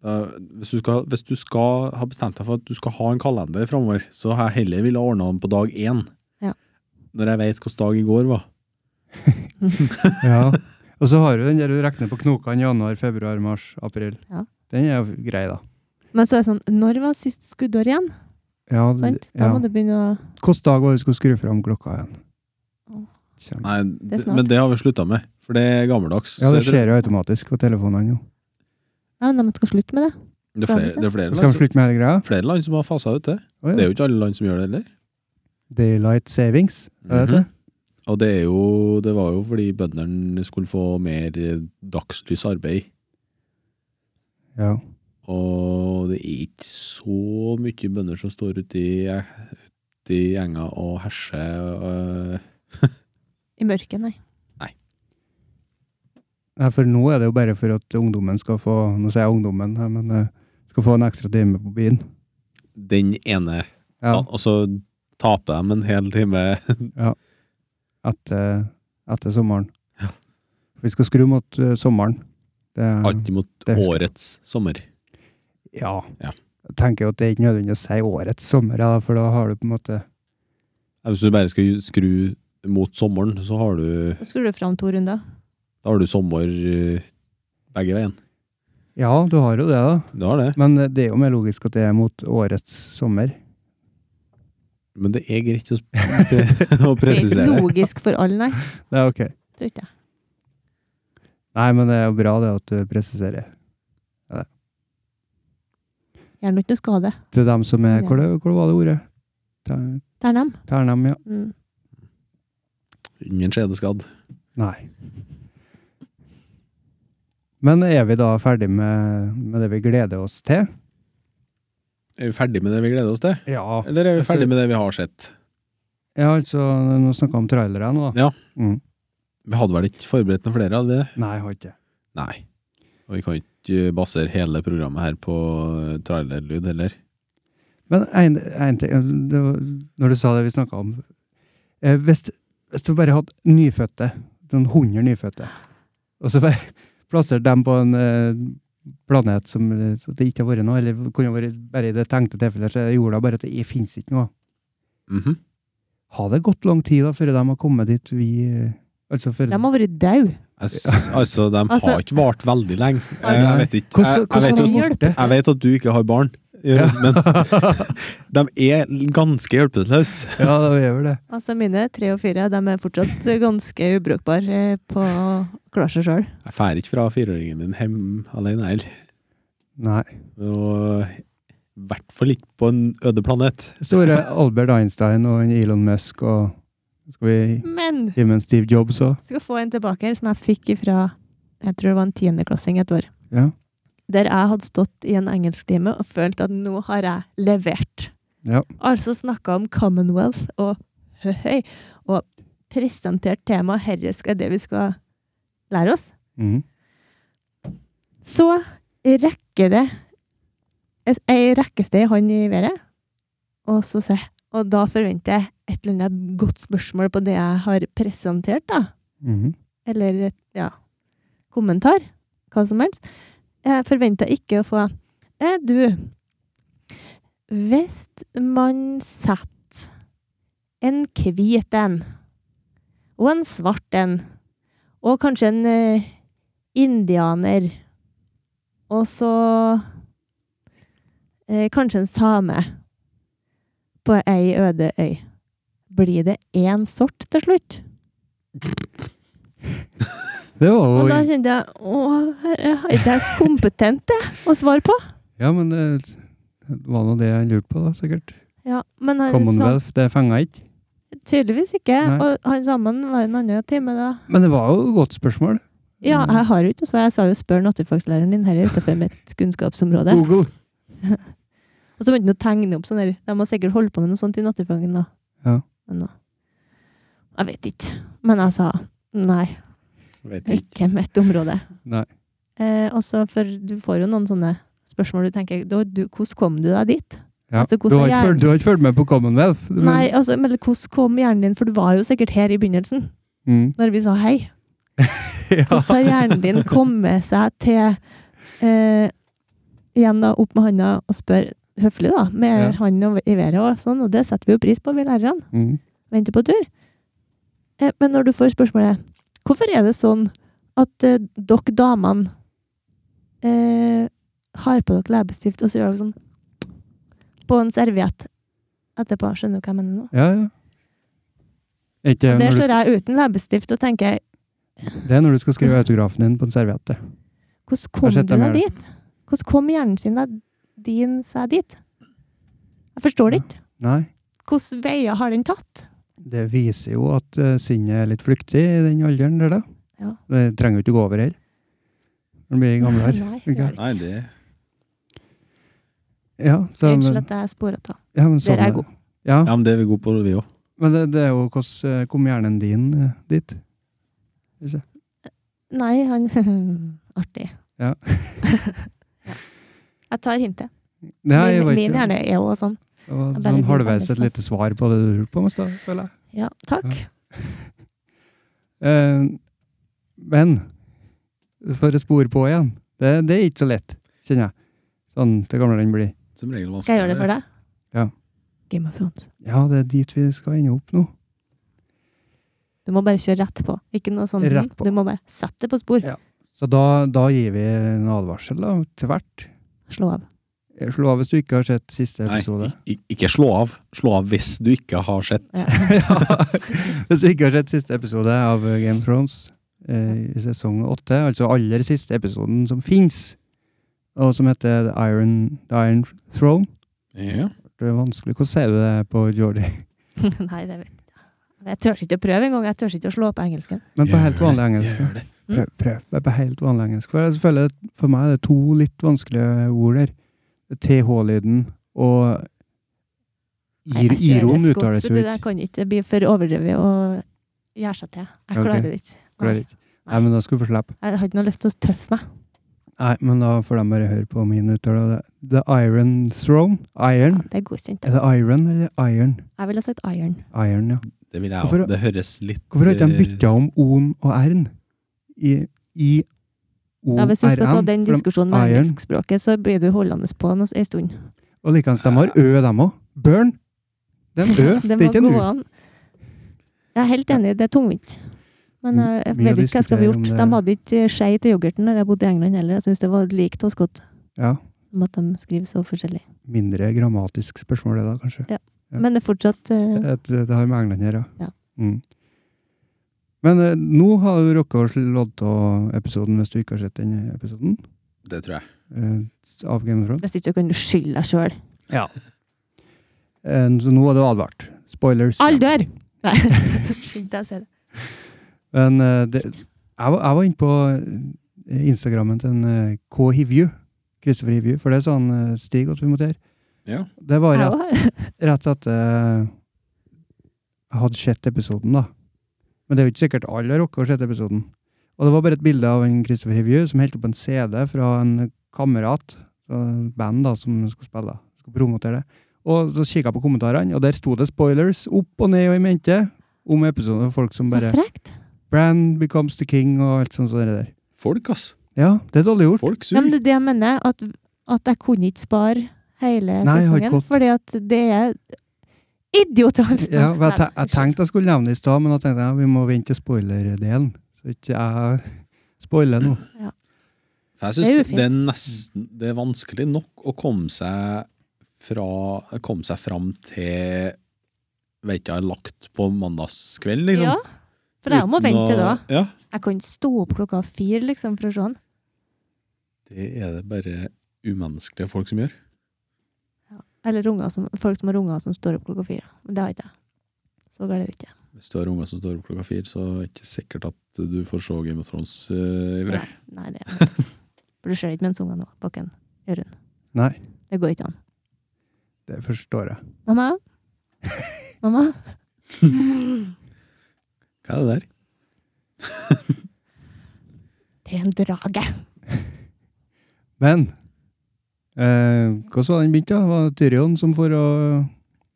[SPEAKER 2] da, hvis, du skal, hvis du skal ha bestemt deg for at du skal ha en kalender framover, så har jeg heller ville ordna den på dag én.
[SPEAKER 3] Ja.
[SPEAKER 2] Når jeg veit hvilken dag i går var.
[SPEAKER 1] Ja. Og så har du den der du regner på knokene januar, februar, mars, april.
[SPEAKER 3] Ja.
[SPEAKER 1] Den er jo grei, da.
[SPEAKER 3] Men så er det sånn, når var sist skuddår igjen?
[SPEAKER 1] Ja,
[SPEAKER 3] Sant? Da
[SPEAKER 1] ja.
[SPEAKER 3] må du begynne å
[SPEAKER 1] Hvilken dag var det du skulle skru fram klokka igjen?
[SPEAKER 3] Åh.
[SPEAKER 1] Kjem-
[SPEAKER 2] Nei,
[SPEAKER 3] er
[SPEAKER 2] det
[SPEAKER 3] snart.
[SPEAKER 2] men det har vi slutta med, for det er gammeldags.
[SPEAKER 1] Ja,
[SPEAKER 2] Så
[SPEAKER 1] det
[SPEAKER 2] jeg tror-
[SPEAKER 1] skjer jo automatisk på telefonene nå.
[SPEAKER 3] Nei, men de skal slutte med det.
[SPEAKER 2] det er flere, det er flere,
[SPEAKER 1] Skal
[SPEAKER 2] land,
[SPEAKER 1] vi slutte med hele greia?
[SPEAKER 2] som- flere land som har fasa ut det.
[SPEAKER 1] Å, ja.
[SPEAKER 2] Det er jo ikke alle land som gjør det heller.
[SPEAKER 1] Daylight savings, er det
[SPEAKER 2] Mhm.
[SPEAKER 1] det?
[SPEAKER 2] Og det, er jo, det var jo fordi bøndene skulle få mer eh, dagslysarbeid.
[SPEAKER 1] Ja.
[SPEAKER 2] Og det er ikke så mye bønder som står ute i, ute i enga og herser. øh.
[SPEAKER 3] I mørket, nei.
[SPEAKER 1] Nei, for nå er det jo bare for at ungdommen skal få Nå sier jeg ungdommen, her, men eh, skal få en ekstra time på byen.
[SPEAKER 2] Den ene.
[SPEAKER 1] Ja,
[SPEAKER 2] Og så taper de en hel time.
[SPEAKER 1] etter, etter sommeren. Vi skal skru mot eh, sommeren. Det, er-
[SPEAKER 2] Alltid mot
[SPEAKER 1] det husker jeg.
[SPEAKER 2] årets sommer.
[SPEAKER 1] Ja.
[SPEAKER 2] Ja.
[SPEAKER 1] Jeg tenker jo at det er ikke nødvendig å si årets sommer, ja, for da har du på en måte
[SPEAKER 2] Ja, Hvis du bare skal skru mot sommeren, så har du,
[SPEAKER 3] Da skrur du fram to runder.
[SPEAKER 2] da har du sommer eh, begge veien.
[SPEAKER 1] Ja, du har jo det, da.
[SPEAKER 2] Du har det.
[SPEAKER 1] Men eh, det er jo mer logisk at det er mot årets sommer.
[SPEAKER 2] Men det er greit å, sp- å
[SPEAKER 3] Det er ikke
[SPEAKER 2] presisere.
[SPEAKER 3] logisk for alle, nei.
[SPEAKER 1] Det er ok.
[SPEAKER 3] Tror ikke jeg.
[SPEAKER 1] Nei, men det er jo bra det at du presiserer.
[SPEAKER 3] Gjør nå ikke noe skade.
[SPEAKER 1] Til dem som er
[SPEAKER 3] Ja.
[SPEAKER 1] Hvor, det- hvor var det ordet? Ter-
[SPEAKER 3] Det er dem.
[SPEAKER 1] Ternem, ja.
[SPEAKER 3] Mm.
[SPEAKER 2] Ingen skjedeskadd.
[SPEAKER 1] Nei. Men er vi da ferdig med, med det vi gleder oss til?
[SPEAKER 2] Er vi ferdig med det vi gleder oss til?
[SPEAKER 1] Ja.
[SPEAKER 2] Eller er vi ferdig med det vi har sett?
[SPEAKER 1] Ja, altså, nå snakker vi om trailere nå. da.
[SPEAKER 2] Ja.
[SPEAKER 1] Mm.
[SPEAKER 2] Vi hadde vel ikke forberedt noen flere, hadde vi det?
[SPEAKER 1] Nei, jeg har ikke det.
[SPEAKER 2] Nei. Og vi kan ikke basere hele programmet her på eh, trailerlyd heller.
[SPEAKER 1] Men en, en ting, eh, det var, når du sa det vi snakket om, eh, hvis, hvis du bare hadde nyfødte, noen hundre nyfødte, og så bare plassert dem på en eh, planet som eh, så det ikke har vært noe, eller kunne vært bare i det tenkte tilfellet, så er jorda bare at det finnes ikke noe.
[SPEAKER 2] Mhm.
[SPEAKER 1] Har det gått lang tid da, før de har kommet dit vi, eh, altså før...
[SPEAKER 3] De har vært døde.
[SPEAKER 2] jeg, s- altså, de
[SPEAKER 3] Altså-
[SPEAKER 2] har ikke vart veldig lenge.
[SPEAKER 1] Nei,
[SPEAKER 2] Jeg, jeg
[SPEAKER 1] nei.
[SPEAKER 2] vet ikke.
[SPEAKER 1] Hvordan,
[SPEAKER 2] Jeg, jeg,
[SPEAKER 1] hvordan
[SPEAKER 2] vet
[SPEAKER 1] har
[SPEAKER 2] jo,
[SPEAKER 1] de
[SPEAKER 3] at-
[SPEAKER 1] gjort det?
[SPEAKER 2] jeg vet at du ikke har barn,
[SPEAKER 1] Ja.
[SPEAKER 2] Jørund, men de er ganske hjelpeløse.
[SPEAKER 1] Ja, det gjør vel det.
[SPEAKER 3] Altså mine tre og fire, de er fortsatt ganske ubrukbare eh, på å klare seg sjøl.
[SPEAKER 2] Jeg drar ikke fra fireåringen din hjem alene heller.
[SPEAKER 1] Nei.
[SPEAKER 2] Og i hvert fall ikke på en øde planet.
[SPEAKER 1] Store eh, Albert Einstein og en Elon Musk og skal vi
[SPEAKER 3] Men
[SPEAKER 1] gi med en Steve Jobs òg.
[SPEAKER 3] skal få en tilbake her som jeg fikk ifra jeg tror det var en tiendeklassing et år.
[SPEAKER 1] Ja.
[SPEAKER 3] Der jeg hadde stått i en engelsktime og følt at nå har jeg levert.
[SPEAKER 1] Ja.
[SPEAKER 3] Altså snakka om Commonwealth og høhøy, og presentert temaet 'herre skal det vi skal lære oss'.
[SPEAKER 1] Mhm.
[SPEAKER 3] Så rekker det et- ei rekkesteg i hånd i været, og så se. Og da forventer jeg et eller annet godt spørsmål på det jeg har presentert, da.
[SPEAKER 1] Mhm.
[SPEAKER 3] Eller et, ja, kommentar. Hva som helst. Jeg forventa ikke å få eh, Du, hvis man setter en hvit en, og en svart en, og kanskje en eh, indianer, og så eh, kanskje en same på ei øde øy. Blir det én sort til slutt?
[SPEAKER 1] Det var
[SPEAKER 3] Og da
[SPEAKER 1] jo
[SPEAKER 3] kjente jeg å, herre, har ikke jeg kompetent det å svare på?
[SPEAKER 1] Ja, men det var nå det jeg lurte på, da, sikkert.
[SPEAKER 3] Ja, men han sa
[SPEAKER 1] Commonwealth, det fenga ikke.
[SPEAKER 3] tydeligvis ikke.
[SPEAKER 1] Nei.
[SPEAKER 3] Og han sammen var en annen time da.
[SPEAKER 1] Men det var jo et godt spørsmål.
[SPEAKER 3] Ja,
[SPEAKER 1] Mm.
[SPEAKER 3] jeg har jo ikke svar. Jeg sa jo spør naturfaglæreren din her utenfor mitt kunnskapsområde.
[SPEAKER 1] Google.
[SPEAKER 3] Og så begynte han å tegne opp sånn her. De har sikkert holdt på med noe sånt i naturfagen da.
[SPEAKER 1] Ja.
[SPEAKER 3] Men da. Jeg vet ikke. Men jeg sa nei,
[SPEAKER 2] Vet ikke.
[SPEAKER 3] ikke mitt område.
[SPEAKER 1] Nei.
[SPEAKER 3] Eh, og så for du får jo noen sånne spørsmål du tenker, da, du, hvordan kom du deg dit?
[SPEAKER 1] Ja.
[SPEAKER 3] Altså,
[SPEAKER 1] du, har
[SPEAKER 3] hvordan
[SPEAKER 1] ikke
[SPEAKER 3] er-
[SPEAKER 1] følt, du har ikke fulgt med på Commonwealth? Men,
[SPEAKER 3] Nei, altså, men hvordan kom hjernen din? For du var jo sikkert her i begynnelsen,
[SPEAKER 1] Mhm.
[SPEAKER 3] når vi sa hei.
[SPEAKER 1] ja.
[SPEAKER 3] Hvordan har hjernen din kommet seg til eh, Igjen da, opp med handa og spør høflig, da, med
[SPEAKER 1] Ja.
[SPEAKER 3] hånden over- i været og sånn, og det setter vi jo pris på, vi lærerne.
[SPEAKER 1] Mhm.
[SPEAKER 3] Venter på tur. Eh, men når du får spørsmålet Hvorfor er det sånn at eh, dere damene eh, har på dere leppestift, og så gjør dere sånn på en serviett etterpå? Skjønner du hva jeg mener nå?
[SPEAKER 1] ja, ja. Er Ikke, det,
[SPEAKER 3] Der
[SPEAKER 1] når du,
[SPEAKER 3] står jeg uten leppestift og tenker
[SPEAKER 1] sk- det er når du skal skrive autografen din på en serviett. det.
[SPEAKER 3] Hvordan kom
[SPEAKER 1] Jeg har sett
[SPEAKER 3] du
[SPEAKER 1] dem
[SPEAKER 3] deg
[SPEAKER 1] gjøre
[SPEAKER 3] dit? Hvordan kom hjernen sin deg- din seg dit? Jeg forstår det ikke.
[SPEAKER 1] Nei.
[SPEAKER 3] Hvilke veier har den tatt?
[SPEAKER 1] Det viser jo at eh, sinnet er litt flyktig i den alderen der, da.
[SPEAKER 3] Ja.
[SPEAKER 1] Det trenger jo ikke gå over heller. Når du blir gamle her.
[SPEAKER 3] Nei, det er det
[SPEAKER 2] Nei,
[SPEAKER 3] ikke.
[SPEAKER 2] det
[SPEAKER 1] Ja, så,
[SPEAKER 3] Unnskyld
[SPEAKER 1] men,
[SPEAKER 3] at jeg sporet av.
[SPEAKER 1] ja, men
[SPEAKER 3] Dere er
[SPEAKER 1] sånn-
[SPEAKER 3] gode.
[SPEAKER 1] Ja,
[SPEAKER 2] Ja, men det er vi gode på, vi òg.
[SPEAKER 1] men det, det er jo hvordan eh, kom hjernen din eh, dit?
[SPEAKER 3] Nei, han Artig.
[SPEAKER 1] Ja.
[SPEAKER 3] Ja. Jeg tar hintet.
[SPEAKER 1] Nei, jeg
[SPEAKER 3] min,
[SPEAKER 1] vet
[SPEAKER 3] min
[SPEAKER 1] ikke.
[SPEAKER 3] hjerne er jo sånn.
[SPEAKER 1] Det var
[SPEAKER 3] Jeg bare
[SPEAKER 1] sånn
[SPEAKER 3] blir
[SPEAKER 1] halvveis et
[SPEAKER 3] veldig
[SPEAKER 1] lite svar på det du lurte på, Mostad, føler jeg.
[SPEAKER 3] Ja, takk.
[SPEAKER 1] Eh, men for å spore på igjen, det, det er ikke så lett, kjenner jeg. Sånn til gamle den blir.
[SPEAKER 2] Som regel vanskelig.
[SPEAKER 3] Skal jeg gjøre det for deg?
[SPEAKER 1] Ja.
[SPEAKER 3] Game of Thrones.
[SPEAKER 1] Ja, det er dit vi skal ende opp nå.
[SPEAKER 3] Du må bare kjøre rett på. Ikke noe sånn
[SPEAKER 1] Rett på.
[SPEAKER 3] Du må bare sette det på spor.
[SPEAKER 1] Ja. Så da, da gir vi en advarsel da, til hvert.
[SPEAKER 3] Slå av.
[SPEAKER 1] Eh, Slå av hvis du ikke har sett siste
[SPEAKER 2] Nei,
[SPEAKER 1] episode.
[SPEAKER 2] ik- ik- ikke slå av. Slå av hvis du ikke har sett.
[SPEAKER 1] Ja. Hvis du ikke har sett siste episode av Game of Thrones eh, i sesong åtte, altså aller siste episoden som fins, og som heter The Iron, The Iron Throne
[SPEAKER 2] Ja.
[SPEAKER 1] Det er vanskelig. Hvordan sier du det på Georgie?
[SPEAKER 3] Nei, det vet jeg Jeg tør ikke å prøve engang. Jeg tør ikke å slå på engelsken.
[SPEAKER 1] Men på
[SPEAKER 2] Gjør
[SPEAKER 1] helt
[SPEAKER 2] det,
[SPEAKER 1] vanlig engelsk.
[SPEAKER 2] gjør
[SPEAKER 1] da.
[SPEAKER 2] det.
[SPEAKER 3] Mm.
[SPEAKER 1] Prøv, prøv. Det er på helt vanlig engelsk. For, jeg føler at for meg er det to litt vanskelige ord der. TH-lyden og
[SPEAKER 3] Nei,
[SPEAKER 1] ir,
[SPEAKER 3] jeg kjører
[SPEAKER 1] Iron
[SPEAKER 3] skotsk,
[SPEAKER 1] uttales
[SPEAKER 3] vet
[SPEAKER 1] jo
[SPEAKER 3] du.
[SPEAKER 1] ikke.
[SPEAKER 3] Jeg kan ikke bli for overdrevet og gjøre seg til. Jeg
[SPEAKER 1] Ok.
[SPEAKER 3] klarer det ikke.
[SPEAKER 1] Klarer ikke. Nei, men da skal du få slippe.
[SPEAKER 3] Jeg har ikke noe lyst til å tøffe meg.
[SPEAKER 1] Nei, men da får de bare høre på min uttale. av det. The Iron Throne.
[SPEAKER 3] Ja,
[SPEAKER 1] Iron. Altså,
[SPEAKER 3] det er godkjent.
[SPEAKER 1] Er det Iron eller Iron?
[SPEAKER 3] Jeg ville sagt iron.
[SPEAKER 1] Iron, ja.
[SPEAKER 2] Det vil jeg
[SPEAKER 1] Hvorfor-
[SPEAKER 2] også. Det høres litt
[SPEAKER 1] Hvorfor har ikke de
[SPEAKER 2] eh,
[SPEAKER 1] bytta om O-en og R-en? I, i o
[SPEAKER 3] Ja, hvis du skal ta
[SPEAKER 1] R-en?
[SPEAKER 3] den
[SPEAKER 1] For de-
[SPEAKER 3] diskusjonen med
[SPEAKER 1] iron.
[SPEAKER 3] engelskspråket, så blir du holdende på den en stund.
[SPEAKER 1] Og likeens, de har Ø, dem òg. Burn! Det er en Ø, det
[SPEAKER 3] Det
[SPEAKER 1] er
[SPEAKER 3] må
[SPEAKER 1] ikke en
[SPEAKER 3] gå
[SPEAKER 1] U.
[SPEAKER 3] an. Jeg er helt enig, det er tungvint. Men
[SPEAKER 1] M-
[SPEAKER 3] jeg, jeg
[SPEAKER 1] mye å
[SPEAKER 3] vet ikke hva jeg skal vi
[SPEAKER 1] diskutere
[SPEAKER 3] gjort.
[SPEAKER 1] om det-
[SPEAKER 3] De hadde ikke skei til yoghurten når jeg bodde i England heller. Jeg syns det var lik Toskott,
[SPEAKER 1] Ja,
[SPEAKER 3] om at de skriver så forskjellig.
[SPEAKER 1] mindre grammatisk spørsmål det da, kanskje. Ja.
[SPEAKER 3] Men det er fortsatt eh,
[SPEAKER 1] Det, det, det har med England å gjøre.
[SPEAKER 3] Ja.
[SPEAKER 1] Mm. Men eh, nå har du rocka å slått av episoden, hvis du ikke har sett den episoden.
[SPEAKER 2] Det tror jeg.
[SPEAKER 1] Eh, av Game of Thrones.
[SPEAKER 3] Hvis ikke så kan du skylde deg sjøl.
[SPEAKER 1] Eh, så nå er det advart. Spoilers.
[SPEAKER 3] Alle dør! Nei. Skynd deg å si det.
[SPEAKER 1] Men eh, det, jeg, var, jeg var inne på eh, Instagrammen til en eh, K. Hivju, Kristoffer Hivju, for det sa han eh, Stig at vi måtte gjøre.
[SPEAKER 2] Ja.
[SPEAKER 1] Det var
[SPEAKER 3] Jeg
[SPEAKER 1] rett,
[SPEAKER 3] også.
[SPEAKER 1] rett at eh, jeg hadde sett episoden, da. Men det er jo ikke sikkert alle har rukket å sett episoden. Og det var bare et bilde av en Kristoffer Hivju som holdt opp en CD fra en kamerat, fra et band da, som skulle spille, skulle promotere det. Og så kikket jeg på kommentarene, og der sto det spoilers opp og ned og i mente om episoden. og Folk som
[SPEAKER 3] Så
[SPEAKER 1] bare
[SPEAKER 3] frekt.
[SPEAKER 1] Brand becomes the king og alt sånt som det der.
[SPEAKER 2] Folk, ass.
[SPEAKER 1] Ja, det er dårlig gjort.
[SPEAKER 2] Folk
[SPEAKER 3] Ja, men
[SPEAKER 2] suger.
[SPEAKER 3] det er det jeg mener, at, at jeg kunne ikke spare hele
[SPEAKER 1] Nei, jeg har ikke
[SPEAKER 3] sesongen.
[SPEAKER 1] gått.
[SPEAKER 3] Fordi at det er idiotalsk.
[SPEAKER 1] Ja, for jeg, te jeg tenkte jeg skulle nevne det i stad, men da tenkte jeg vi må vente til spoiler-delen. Så ikke jeg spoiler nå.
[SPEAKER 2] For jeg
[SPEAKER 3] Det er
[SPEAKER 2] synes det,
[SPEAKER 3] ufint.
[SPEAKER 2] det er nesten Det er vanskelig nok å komme seg fra Komme seg fram til Vet ikke, jeg har lagt på mandagskveld, liksom.
[SPEAKER 3] Ja, for jeg må
[SPEAKER 2] Uten
[SPEAKER 3] vente
[SPEAKER 2] å-
[SPEAKER 3] da.
[SPEAKER 2] Ja.
[SPEAKER 3] Jeg kan ikke stå opp klokka fire liksom, for å se den.
[SPEAKER 2] Det er det bare umenneskelige folk som gjør.
[SPEAKER 3] Eller unger som, folk som har unger som står opp klokka fire. Men det har ikke jeg. Så galt er det ikke.
[SPEAKER 2] Hvis du har unger som står opp klokka fire, så er det ikke sikkert at du får se Game of Thrones eh, i
[SPEAKER 3] Nei,
[SPEAKER 2] fred.
[SPEAKER 3] nei det er ikke. For du ser ikke mens ungene er bak en Jørund.
[SPEAKER 1] Nei,
[SPEAKER 3] Det går ikke an.
[SPEAKER 1] det forstår jeg.
[SPEAKER 3] Mamma? Mamma?
[SPEAKER 2] Hva er det der?
[SPEAKER 3] Det er en drage!
[SPEAKER 1] Men eh, hvordan var den begynt, da? Var det Tyrion som for å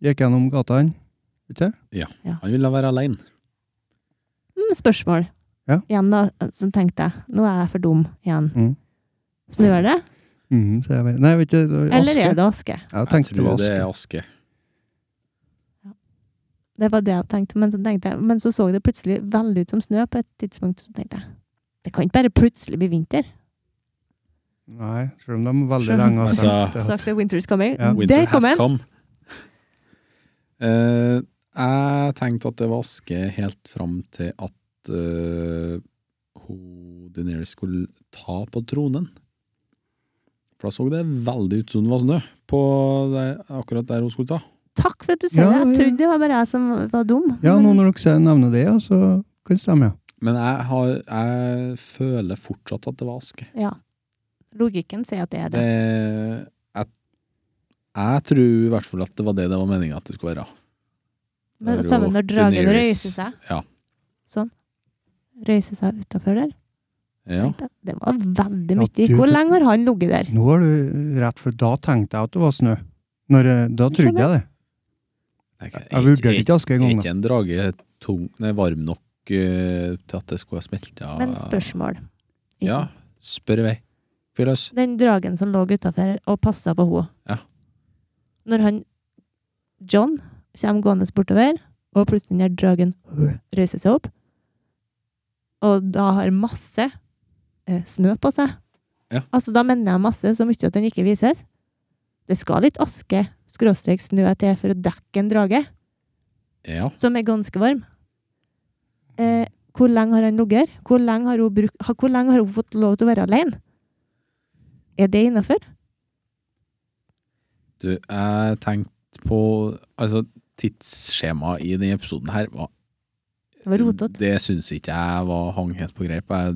[SPEAKER 1] gikk gjennom gatene? Ikke?
[SPEAKER 2] Han ville være alene.
[SPEAKER 3] Mm, spørsmål.
[SPEAKER 1] Ja.
[SPEAKER 3] Igjen da, så tenkte jeg, nå er jeg for dum igjen.
[SPEAKER 1] Mm.
[SPEAKER 3] Snør det,
[SPEAKER 1] Mhm, så jeg bare, nei, vet du, det var
[SPEAKER 3] eller
[SPEAKER 1] aske.
[SPEAKER 3] er det aske?
[SPEAKER 1] Jeg
[SPEAKER 2] Jeg
[SPEAKER 1] tenkte det
[SPEAKER 2] tror
[SPEAKER 1] var
[SPEAKER 2] det er
[SPEAKER 1] aske.
[SPEAKER 2] aske.
[SPEAKER 3] Det var det jeg tenkte, men så, tenkte jeg, men så så det plutselig veldig ut som snø på et tidspunkt. Så tenkte jeg, det kan ikke bare plutselig bli vinter.
[SPEAKER 1] Nei, selv om de er veldig
[SPEAKER 3] Selv-
[SPEAKER 1] lenge har
[SPEAKER 2] Altså-
[SPEAKER 1] sagt det.
[SPEAKER 3] Sagt at winter is coming.
[SPEAKER 1] Ja.
[SPEAKER 3] Det
[SPEAKER 2] Winter has
[SPEAKER 3] kom en.
[SPEAKER 2] come. Eh, jeg tenkte at det var aske helt fram til at eh, hun Daenerys skulle ta på tronen. For da så det veldig ut som det var snø på det, akkurat der hun skulle ta.
[SPEAKER 3] Takk for at du sier
[SPEAKER 1] Ja, ja.
[SPEAKER 3] det. Jeg trodde det var bare jeg som var dum.
[SPEAKER 1] Ja, nå
[SPEAKER 3] men
[SPEAKER 1] når dere sier- nevner det, ja, så kan det stemme, ja.
[SPEAKER 2] Men jeg, har, jeg føler fortsatt at det var aske.
[SPEAKER 3] ja. logikken sier at det er det.
[SPEAKER 2] Det, jeg, jeg tror i hvert fall at det var det det var meninga at det skulle være.
[SPEAKER 3] Men
[SPEAKER 2] det er
[SPEAKER 3] samme
[SPEAKER 2] jo
[SPEAKER 3] når dragen
[SPEAKER 2] Daenerys.
[SPEAKER 3] røyser seg.
[SPEAKER 2] Ja.
[SPEAKER 3] Sånn. Røyser seg utafor der.
[SPEAKER 2] Ja.
[SPEAKER 3] Tenkte jeg, Det var veldig
[SPEAKER 1] Ja,
[SPEAKER 3] mye.
[SPEAKER 1] du-
[SPEAKER 3] Hvor lenge har han ligget der?
[SPEAKER 1] Nå har du rett, for da tenkte jeg at det var snø. Når, eh, da trodde jeg det. Jeg vurderte ikke aske
[SPEAKER 2] Er
[SPEAKER 1] engang. da.
[SPEAKER 2] ikke en drage tung, nei, varm nok eh, til at det skulle ha smelta?
[SPEAKER 3] Men spørsmål.
[SPEAKER 2] Ja, spør i vei. Fyr løs.
[SPEAKER 3] Den dragen som lå utafor og passa på henne,
[SPEAKER 2] Ja.
[SPEAKER 3] Når han John kommer gående bortover, og plutselig den der dragen reiser seg opp, og da har masse eh, snø på seg
[SPEAKER 2] Ja.
[SPEAKER 3] Altså, da mener jeg masse, så mye at den ikke vises. Det skal litt aske, skråstrek snø til for å dekke en drage,
[SPEAKER 2] Ja.
[SPEAKER 3] som er ganske varm. Eh, hvor lenge har han ligget her? Hvor lenge har hun, bruk, ha- hvor lenge har hun fått lov til å være alene? Er det innafor?
[SPEAKER 2] Du, jeg tenkte på Altså, tidsskjemaet i denne episoden her var
[SPEAKER 3] Det var rotete.
[SPEAKER 2] Det syns ikke jeg var hang helt på greip. Jeg,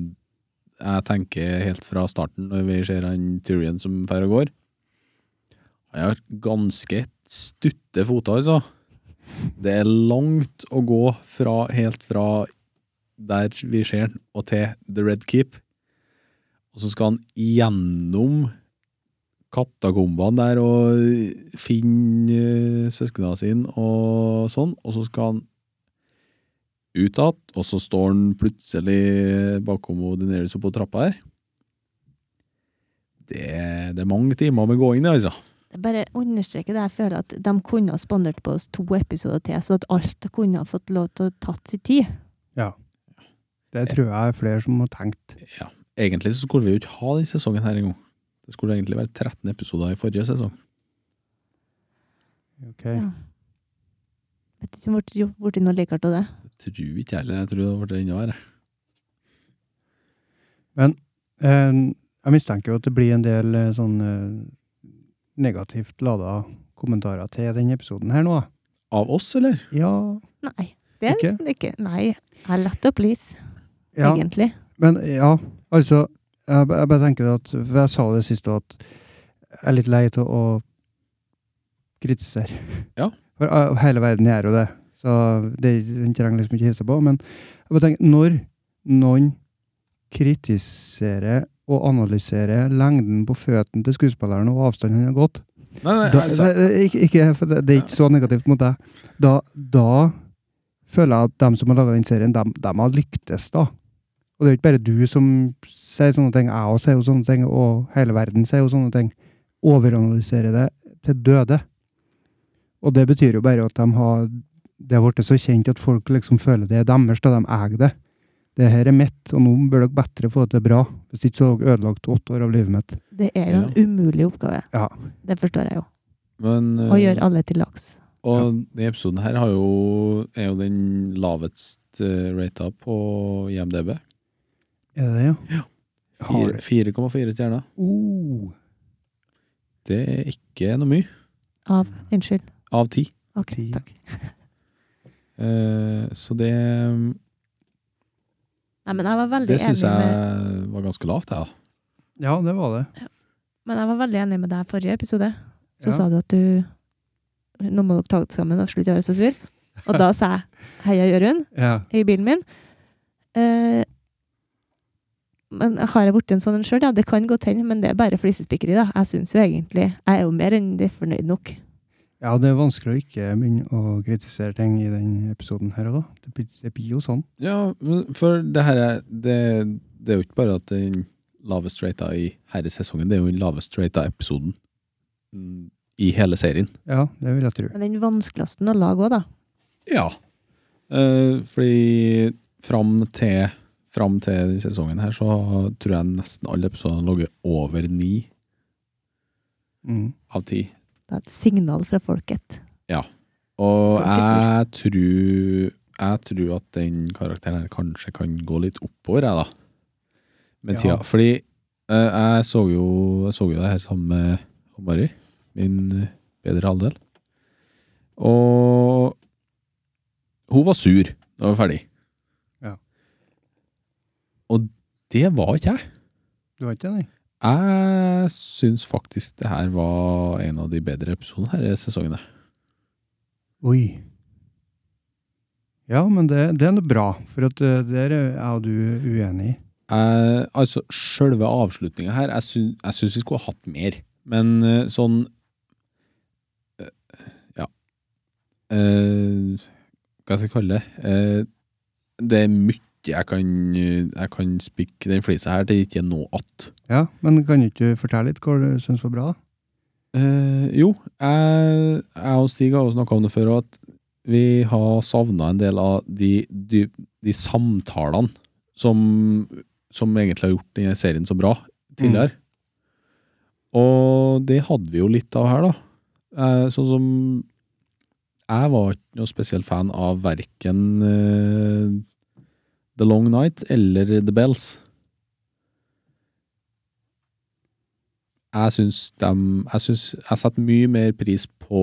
[SPEAKER 2] jeg tenker helt fra starten, når vi ser han Tyrion som drar og går. Han har ganske stutte føtter, altså. Det er langt å gå fra, helt fra der vi ser han, og til The Red Keep. Og så skal han gjennom katakombene der og finne eh, søsknene sine og sånn, og så skal han ut igjen, og så står han plutselig bakom og Daenerys oppe på trappa her. Det, det er mange timer med gåing, det, altså.
[SPEAKER 3] Jeg bare understreker det. Jeg føler at de kunne ha spandert på oss to episoder til, så at alt kunne ha fått lov til å tatt sin tid.
[SPEAKER 1] Det tror jeg er flere som har tenkt.
[SPEAKER 2] Egentlig så skulle vi jo ikke ha denne sesongen her engang. Det skulle egentlig være 13 episoder i forrige sesong.
[SPEAKER 1] Ok.
[SPEAKER 3] Ja. Vet ikke om det ble blitt noe likere av det.
[SPEAKER 2] Jeg tror ikke heller, jeg tror det ble enda verre.
[SPEAKER 1] Eh, Jeg mistenker jo at det blir en del eh, sånn eh, negativt lada kommentarer til denne episoden her nå. da.
[SPEAKER 2] Av oss, eller?
[SPEAKER 1] Ja,
[SPEAKER 3] Nei. Det er
[SPEAKER 1] Ikke?
[SPEAKER 3] nesten ikke. Nei. Jeg er lett å please,
[SPEAKER 1] ja.
[SPEAKER 3] egentlig.
[SPEAKER 1] Men ja, altså Jeg, ba- jeg bare tenker det at for Jeg sa det sist òg, at jeg er litt lei av å kritisere.
[SPEAKER 2] Ja.
[SPEAKER 1] For eh, hele verden gjør jo det. Så det den trenger liksom ikke hive seg på. Men jeg bare tenker, når noen kritiserer og analyserer lengden på føttene til skuespilleren og avstanden han har gått
[SPEAKER 2] Nei, nei,
[SPEAKER 1] da,
[SPEAKER 2] altså,
[SPEAKER 1] nei, nei, ikke, ikke, for det, det er ikke så negativt mot deg. Da, da føler jeg at dem som har laga den serien, dem, dem har lyktes, da. Og det er jo ikke bare du som sier sånne ting. Jeg også sier jo sånne ting, og hele verden sier jo sånne ting. Overanalyserer det til døde. Og det betyr jo bare at de har Det har blitt så kjent at folk liksom føler det er deres, da de eier det. Det her er mitt, og nå bør dere bedre få det til bra. Hvis ikke så har dere ødelagt åtte år av livet mitt.
[SPEAKER 3] Det er jo en umulig oppgave.
[SPEAKER 1] Ja. Eh.
[SPEAKER 3] Det forstår jeg jo.
[SPEAKER 2] men eh,
[SPEAKER 3] Å gjøre alle til laks.
[SPEAKER 2] Og denne episoden her har jo, er jo den lavest eh, rata på IMDb.
[SPEAKER 1] Er det det, ja? Har
[SPEAKER 2] Fire- 4,4 stjerner.
[SPEAKER 1] Oh.
[SPEAKER 2] Det er ikke noe mye.
[SPEAKER 3] Av Unnskyld.
[SPEAKER 2] Av ti.
[SPEAKER 3] Ok,
[SPEAKER 1] Ti.
[SPEAKER 3] takk.
[SPEAKER 2] Eh, så det,
[SPEAKER 3] Nei, men jeg var veldig
[SPEAKER 2] det syns
[SPEAKER 3] enig med
[SPEAKER 2] jeg var ganske lavt, jeg. da.
[SPEAKER 1] Ja, det var det.
[SPEAKER 3] Men jeg var veldig enig med deg i forrige episode. Så
[SPEAKER 1] Ja.
[SPEAKER 3] sa du at du Nå må dere ta dere sammen og slutte å være så sur. Og da sa jeg heia Jørund
[SPEAKER 1] Ja.
[SPEAKER 3] i bilen min. Eh, men har jeg blitt en sånn en sjøl? Ja, det kan godt hende, men det er bare flisespikkeri, da. Jeg syns jo egentlig Jeg er jo mer enn det fornøyd nok.
[SPEAKER 1] Ja, det er vanskelig å ikke begynne å kritisere ting i den episoden her og da. Det blir, det blir jo sånn.
[SPEAKER 2] Ja, men for det her er det, det er jo ikke bare at den lavest rata i herresesongen, det er jo den lavest rata episoden mm, i hele serien.
[SPEAKER 1] Ja, det vil jeg tro.
[SPEAKER 3] Men den vanskeligste å lage òg, da.
[SPEAKER 2] Ja. Eh, fordi fram til, fram til denne sesongen her, så tror jeg nesten alle episodene har ligget over ni
[SPEAKER 1] Mm.
[SPEAKER 2] av ti.
[SPEAKER 3] Det er et signal fra folket.
[SPEAKER 2] Og
[SPEAKER 3] Folk er
[SPEAKER 2] jeg tror, jeg tror at den karakteren her kanskje kan gå litt oppover, jeg, da. Med
[SPEAKER 1] Ja.
[SPEAKER 2] tida. Fordi eh, jeg så jo, jeg så jo det her sammen med Mari, min eh, bedre halvdel. Og hun var sur da hun var ferdig.
[SPEAKER 1] Ja.
[SPEAKER 2] Og det var ikke jeg.
[SPEAKER 1] Du har ikke det, nei?
[SPEAKER 2] Jeg syns faktisk det her var en av de bedre episodene her i sesongen. her.
[SPEAKER 1] Oi. Ja, men det, det er noe bra, for at eh, der er jeg og du uenig.
[SPEAKER 2] Jeg, altså, selve avslutninga her, jeg, sy jeg syns vi skulle ha hatt mer. Men eh, sånn eh, Ja. Eh, hva skal jeg kalle det? Eh, det er mye jeg kan, eh, jeg kan spikke den flisa her til det ikke er noe att.
[SPEAKER 1] Ja, men kan du ikke fortelle litt hva du syns var bra?
[SPEAKER 2] Eh, jo, jeg, jeg og Stig har jo snakka om det før, og at vi har savna en del av de, de, de samtalene som, som egentlig har gjort denne serien så bra tidligere. Og det hadde vi jo litt av her, da. Eh, sånn som Jeg var ikke noe spesiell fan av verken eh, The Long Night eller The Bells. Jeg syns dem Jeg syns Jeg setter mye mer pris på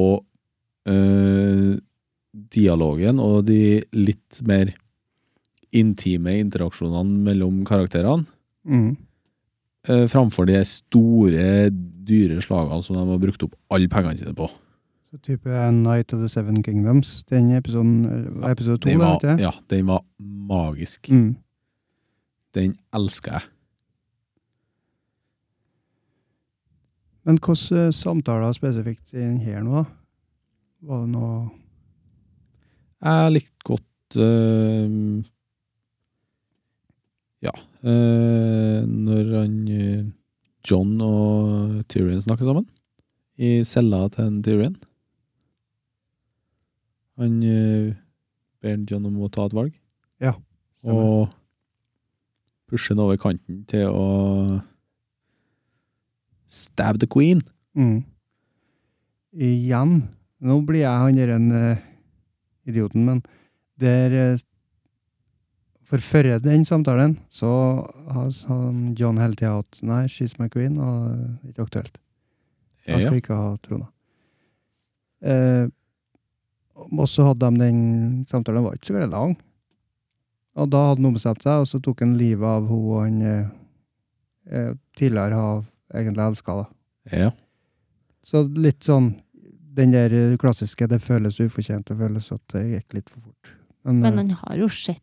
[SPEAKER 2] eh, dialogen og de litt mer intime interaksjonene mellom karakterene
[SPEAKER 1] Mm.
[SPEAKER 2] eh, framfor de store, dyre slagene som de har brukt opp alle pengene sine på.
[SPEAKER 1] Så type Night of the Seven Kingdoms, den episoden, eh, var episode to,
[SPEAKER 2] Den
[SPEAKER 1] da,
[SPEAKER 2] var,
[SPEAKER 1] vet jeg.
[SPEAKER 2] ja, den var magisk.
[SPEAKER 1] Mm.
[SPEAKER 2] Den elsker jeg.
[SPEAKER 1] Men hvilke eh, samtaler spesifikt i den her nå, da? Var det noe
[SPEAKER 2] Jeg likte godt eh, Ja. eh, når han eh, John og Tyrion snakker sammen. I cella til en Tyrion. Han eh, ber John om å ta et valg.
[SPEAKER 1] Ja,
[SPEAKER 2] Og pusher han over kanten til å stab the queen.
[SPEAKER 1] Mm. Igjen. Nå blir jeg han der en eh, idioten, men der eh, For før den samtalen, så har s- han John hele tida hatt Nei, she's my queen, og det er ikke aktuelt. Jeg skal ikke ha trona. Eh, og så hadde de den samtalen, den var ikke så veldig lang. Og da hadde han ombestemt seg, og så tok han livet av hun han eh, eh, tidligere har egentlig elska, da.
[SPEAKER 2] Ja.
[SPEAKER 1] Så litt sånn den der eh, klassiske 'det føles ufortjent', det føles at det gikk litt for fort. Men,
[SPEAKER 3] Men
[SPEAKER 1] eh,
[SPEAKER 3] han har jo sett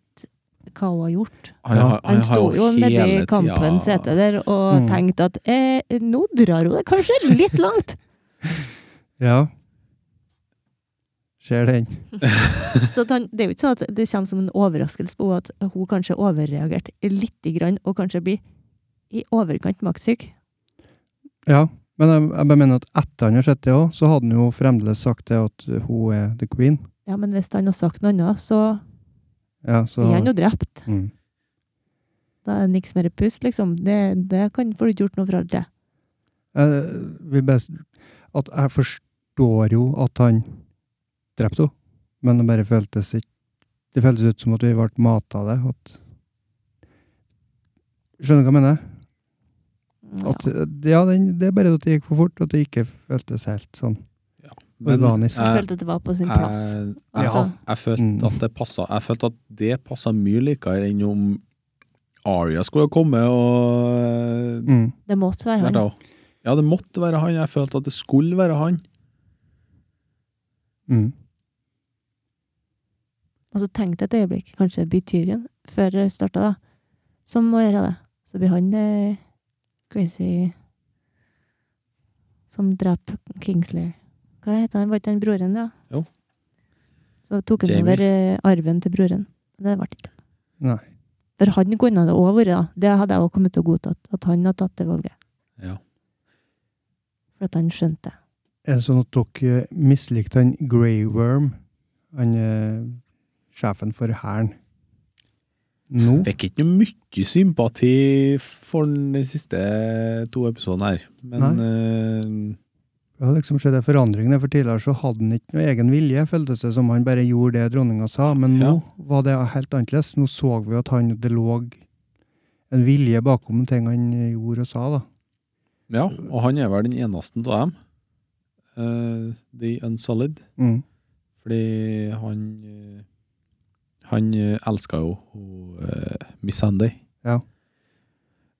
[SPEAKER 3] hva hun har gjort.
[SPEAKER 2] Han, har-
[SPEAKER 3] Han
[SPEAKER 2] har
[SPEAKER 3] sto jo nedi
[SPEAKER 2] hele
[SPEAKER 3] kampens
[SPEAKER 2] tida-
[SPEAKER 3] sete der og
[SPEAKER 1] Mm.
[SPEAKER 3] tenkte at eh, nå drar hun det kanskje litt langt.
[SPEAKER 1] ja. Ser den.
[SPEAKER 3] Så at han, det er jo ikke sånn at det kommer som en overraskelse på henne at hun kanskje overreagerte lite grann, og kanskje blir i overkant maktsyk.
[SPEAKER 1] Ja. Men jeg, jeg bare mener at etter han har sett det òg, så hadde han jo fremdeles sagt det at hun er the queen.
[SPEAKER 3] Ja, men hvis han har sagt noe annet, så
[SPEAKER 1] Ja, så,
[SPEAKER 3] blir han jo drept.
[SPEAKER 1] Mm.
[SPEAKER 3] Da er det niks mer pust, liksom. Det, det kan, får du ikke gjort noe for alt det.
[SPEAKER 1] Jeg vil bare s- At jeg forstår jo at han drepte henne, men det bare føltes ikke Det føltes ut som at vi ble mata av det. At, skjønner du hva jeg mener? At,
[SPEAKER 3] Ja.
[SPEAKER 1] ja, den, det er bare at det gikk for fort, og at det ikke føltes helt sånn
[SPEAKER 2] Men
[SPEAKER 1] organisk.
[SPEAKER 3] Jeg
[SPEAKER 2] jeg-
[SPEAKER 3] følte at det var på
[SPEAKER 2] Eh,
[SPEAKER 3] sin plass.
[SPEAKER 2] Jeg,
[SPEAKER 3] Altså.
[SPEAKER 2] jeg, jeg følte
[SPEAKER 1] Mm.
[SPEAKER 2] at det passa Jeg følte at det passa mye likere enn om Aria skulle komme og
[SPEAKER 1] Mm.
[SPEAKER 3] Det måtte være
[SPEAKER 2] Der
[SPEAKER 3] han.
[SPEAKER 2] da. Ja, det måtte være han. Jeg følte at det skulle være han.
[SPEAKER 1] Mm.
[SPEAKER 3] Og så tenkte jeg et øyeblikk, kanskje det blir Tyrion, før det starta, da. Som må gjøre det. Så blir han det crazy som dreper Kingslayer. Hva heter han? Var ikke han broren, da?
[SPEAKER 2] Jo.
[SPEAKER 3] Så tok han
[SPEAKER 2] Jamie.
[SPEAKER 3] over eh, arven til broren. Men Det ble ikke det.
[SPEAKER 1] Nei.
[SPEAKER 3] For han kunne det òg vært, da. Det hadde jeg òg kommet til å godta, at han hadde tatt det valget.
[SPEAKER 2] Ja.
[SPEAKER 3] For at han skjønte det.
[SPEAKER 1] Er det sånn at dere mislikte han Grey Worm, han eh, sjefen for hæren, nå?
[SPEAKER 2] Fikk ikke noe mye sympati for de siste to episodene her, men eh,
[SPEAKER 1] Det har liksom skjedd en forandring. der, For tidligere så hadde han ikke noe egen vilje, føltes det som han bare gjorde det dronninga sa. Men nå
[SPEAKER 2] Ja.
[SPEAKER 1] var det helt annerledes. Nå så vi at han, det lå en vilje bakom ting han gjorde og sa, da.
[SPEAKER 2] eh, Ja, og han er vel den eneste av dem. Eh, the Unsolid.
[SPEAKER 1] Mm.
[SPEAKER 2] Fordi han eh, Han eh, elska jo hun, eh, Miss Sandy.
[SPEAKER 1] Ja.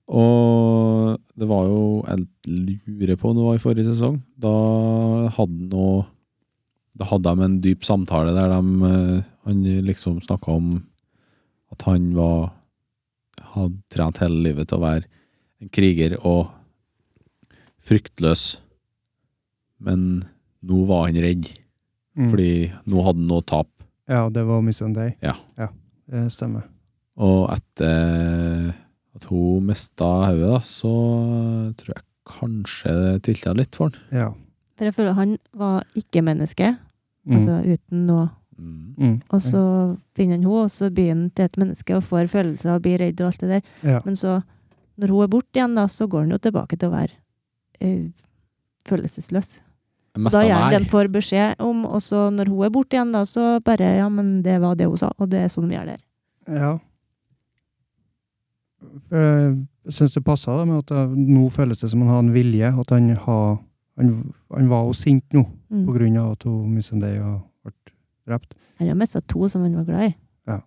[SPEAKER 2] Og det var jo Jeg lurer på om det var i forrige sesong. Da hadde han noe Da hadde de en dyp samtale der de eh, Han liksom snakka om at han var Hadde trent hele livet til å være en kriger og fryktløs. Men nå var han redd.
[SPEAKER 1] Mm.
[SPEAKER 2] Fordi nå hadde han noe å tape.
[SPEAKER 1] Ja, det var Miss Sunday.
[SPEAKER 2] Ja.
[SPEAKER 1] Det stemmer.
[SPEAKER 2] Og etter at hun mista hodet, da, så tror jeg kanskje det tilta litt for han.
[SPEAKER 1] Ja.
[SPEAKER 3] For jeg føler han var ikke-menneske,
[SPEAKER 1] Mm.
[SPEAKER 3] altså uten noe.
[SPEAKER 2] Mm.
[SPEAKER 1] Mm.
[SPEAKER 3] Og så finner han henne, og så blir han til et menneske og får følelser og blir redd og alt det der.
[SPEAKER 1] Ja.
[SPEAKER 3] Men så, når hun er borte igjen, da, så går han jo tilbake til å være eh, følelsesløs.
[SPEAKER 2] Mest
[SPEAKER 3] Da
[SPEAKER 2] av
[SPEAKER 3] gjør han det
[SPEAKER 2] meg.
[SPEAKER 3] han får beskjed om, og så når hun er borte igjen, da, så bare Ja, men det var det hun sa, og det er sånn vi gjør det her.
[SPEAKER 1] ja. For Jeg syns det passa da, med at jeg- nå føles det som han har en vilje. At han, har, han, han var jo sint nå på
[SPEAKER 3] Mm.
[SPEAKER 1] grunn av at hun mista deg og ble drept.
[SPEAKER 3] Han har mista to som han var glad i.
[SPEAKER 1] Ja.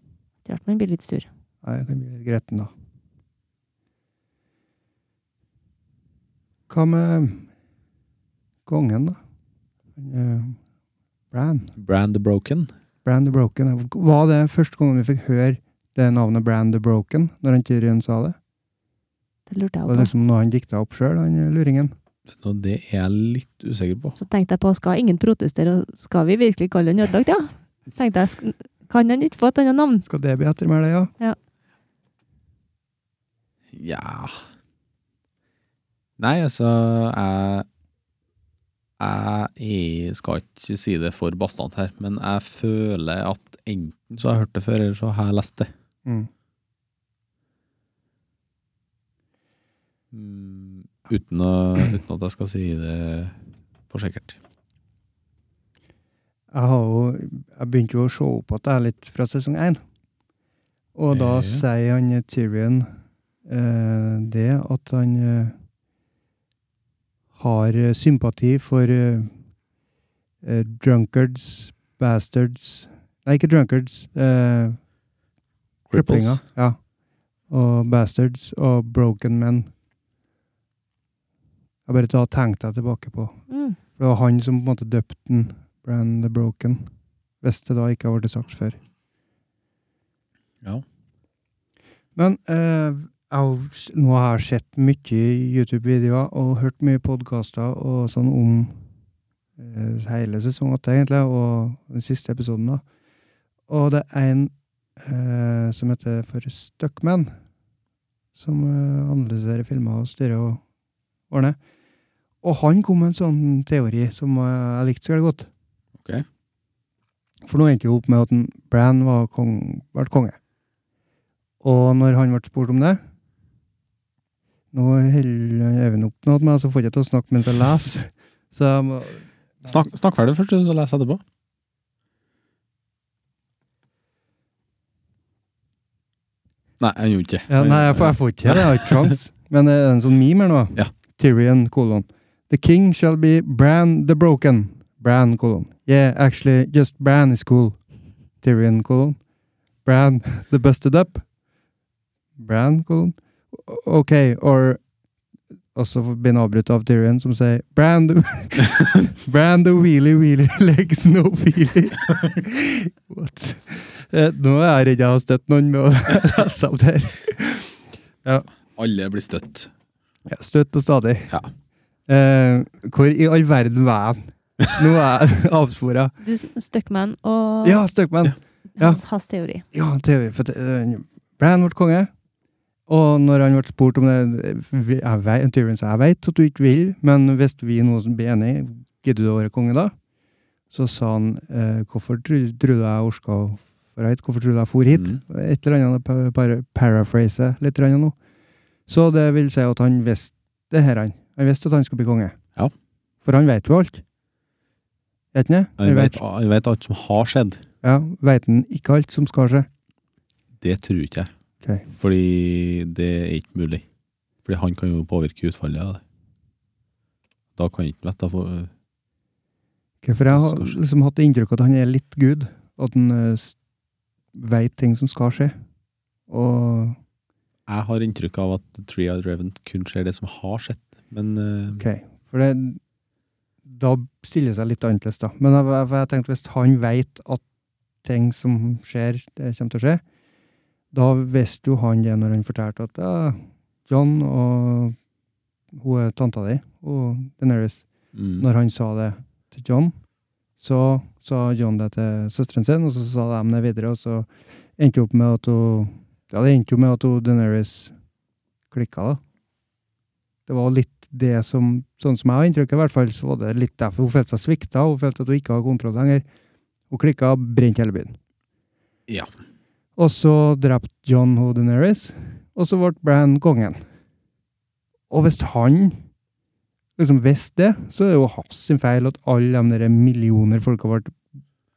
[SPEAKER 3] Det er rart man blir litt sur.
[SPEAKER 1] Nei, jeg kan bli litt gretten, da. Hva med kongen, da? Eh, Bran.
[SPEAKER 2] Brand the Broken.
[SPEAKER 1] Bran the Broken. Var det første gangen vi fikk høre det navnet Bran the Broken, når han Tyrion sa det?
[SPEAKER 3] Det lurte
[SPEAKER 1] Var det
[SPEAKER 3] jeg på.
[SPEAKER 1] liksom noe han dikta opp sjøl, han eh, luringen?
[SPEAKER 2] Og det er jeg litt usikker på.
[SPEAKER 3] Så tenkte jeg på, skal ingen protestere, og skal vi virkelig kalle han ødelagt, ja? Tenkte jeg, sk- kan han ikke få et annet navn?
[SPEAKER 1] Skal det bli ettermæle, ja?
[SPEAKER 2] Ja Nei, altså Jeg jeg skal ikke si det for bastant her, men jeg føler at enten så har jeg hørt det før, eller så har jeg lest det.
[SPEAKER 1] Mm.
[SPEAKER 2] Mm, Uten, å, uten at jeg skal si det for sikkert.
[SPEAKER 1] jeg har jo Jeg begynte jo å se opp at jeg er litt fra sesong én. Og da
[SPEAKER 2] Ja.
[SPEAKER 1] sier han eh, Tyrion eh, det at han eh, har eh, sympati for eh, eh, drunkards, bastards Nei, ikke drunkards. Eh, kriplinger.
[SPEAKER 2] Cripples.
[SPEAKER 1] Ja. Og bastards og broken men. Jeg bare da tenkte jeg tilbake på
[SPEAKER 3] Mm.
[SPEAKER 1] for det var han som på en måte døpte den, Brand the Broken. Hvis det da ikke har vært sagt før.
[SPEAKER 2] Ja.
[SPEAKER 1] Men eh, jeg har, s- nå har jeg sett mye YouTube-videoer og hørt mye podkaster og sånn om eh, hele sesong åtte, egentlig, og den siste episoden, da. Og det er en eh, som heter for Stuckman, som eh, analyserer filmer og styrer og ordner. Og han kom med en sånn teori som eh, jeg likte så veldig godt.
[SPEAKER 2] Ok.
[SPEAKER 1] For nå endte jo opp med at en Bran var kong, ble konge. Og når han ble spurt om det Nå holder han Even opp noe til meg, så får jeg ikke til å snakke mens jeg leser. Så jeg må
[SPEAKER 2] Snakk, snakk ferdig først, så leser jeg etterpå. Nei, jeg gjorde ikke
[SPEAKER 1] Ja, nei, jeg får, jeg får ikke til det. Jeg har ikke sjans. Men det er en sånn meme her nå.
[SPEAKER 2] Ja.
[SPEAKER 1] Tyrion, kolon. The king shall be Bran the Broken. Bran, kolon. Yeah, actually, just Bran is cool. Tyrion, kolon. Bran the Busted Up. Bran, kolon. O- Ok, or Og så blir han avbrutt av Tyrion, som sier Bran the, Bran the wheelie wheelie legs no feelie. What? Eh, nå er jeg redd jeg har støtt noen med å lese opp det her.
[SPEAKER 2] Alle blir støtt.
[SPEAKER 1] Ja, støtt og stadig.
[SPEAKER 2] Ja.
[SPEAKER 1] Eh, hvor i all verden var jeg? Nå er jeg avspora.
[SPEAKER 3] Du, Stuckman og
[SPEAKER 1] Ja, Stuckman! ja.
[SPEAKER 3] hans- hans teori.
[SPEAKER 1] Ja, teori. For det, eh, Bran ble konge. Og når han ble spurt om det vi- jeg vet, Tyrion sa jeg vet at du ikke vil, men hvis vi nå som blir enige, gidder du å være konge da? Så sa han eh, hvorfor trodde jeg orka å for hit? Hvorfor trodde jeg for hit?
[SPEAKER 2] Mm.
[SPEAKER 1] Et eller annet pa- par- paraphrase litt eller annet nå. Så det vil si at han visste det her, han. Han visste at han skulle bli konge.
[SPEAKER 2] Ja.
[SPEAKER 1] For han vet jo alt. Vet han det?
[SPEAKER 2] Jeg vet, jeg vet alt som har skjedd.
[SPEAKER 1] Ja, vet han ikke alt som skal skje?
[SPEAKER 2] Det tror ikke jeg.
[SPEAKER 1] Ok.
[SPEAKER 2] Fordi det er ikke mulig. Fordi han kan jo påvirke utfallet av det. Da kan jeg ikke vite. da får-
[SPEAKER 1] Ok, for jeg har
[SPEAKER 2] Skal skje.
[SPEAKER 1] liksom hatt det inntrykk at han er litt Gud. At han eh, s- vet ting som skal skje. Og
[SPEAKER 2] Jeg har inntrykk av at The Three Eyed Raven kun ser det som har skjedd. Men eh,
[SPEAKER 1] OK. For det, da stiller det seg litt annerledes, da. Men jeg, jeg, jeg tenkte hvis han vet at ting som skjer, det kommer til å skje, da visste jo han det når han fortalte at ja, John og hun er tanta di, og Deneris
[SPEAKER 2] mm,
[SPEAKER 1] Når han sa det til John, så sa John det til søsteren sin, og så sa de det videre, og så endte det opp med at hun Ja, det endte jo med at hun Daenerys klikka, da. Det var litt det som Sånn som jeg har inntrykk av, i hvert fall, så var det litt derfor hun følte seg svikta. Hun følte at hun ikke hadde kontroll lenger. Hun klikka, brente hele byen.
[SPEAKER 2] Ja.
[SPEAKER 1] Og så drepte John Hodeneris, og så ble Bran kongen. Og hvis han liksom visste det, så er det jo hans sin feil at alle de der millioner folk har vært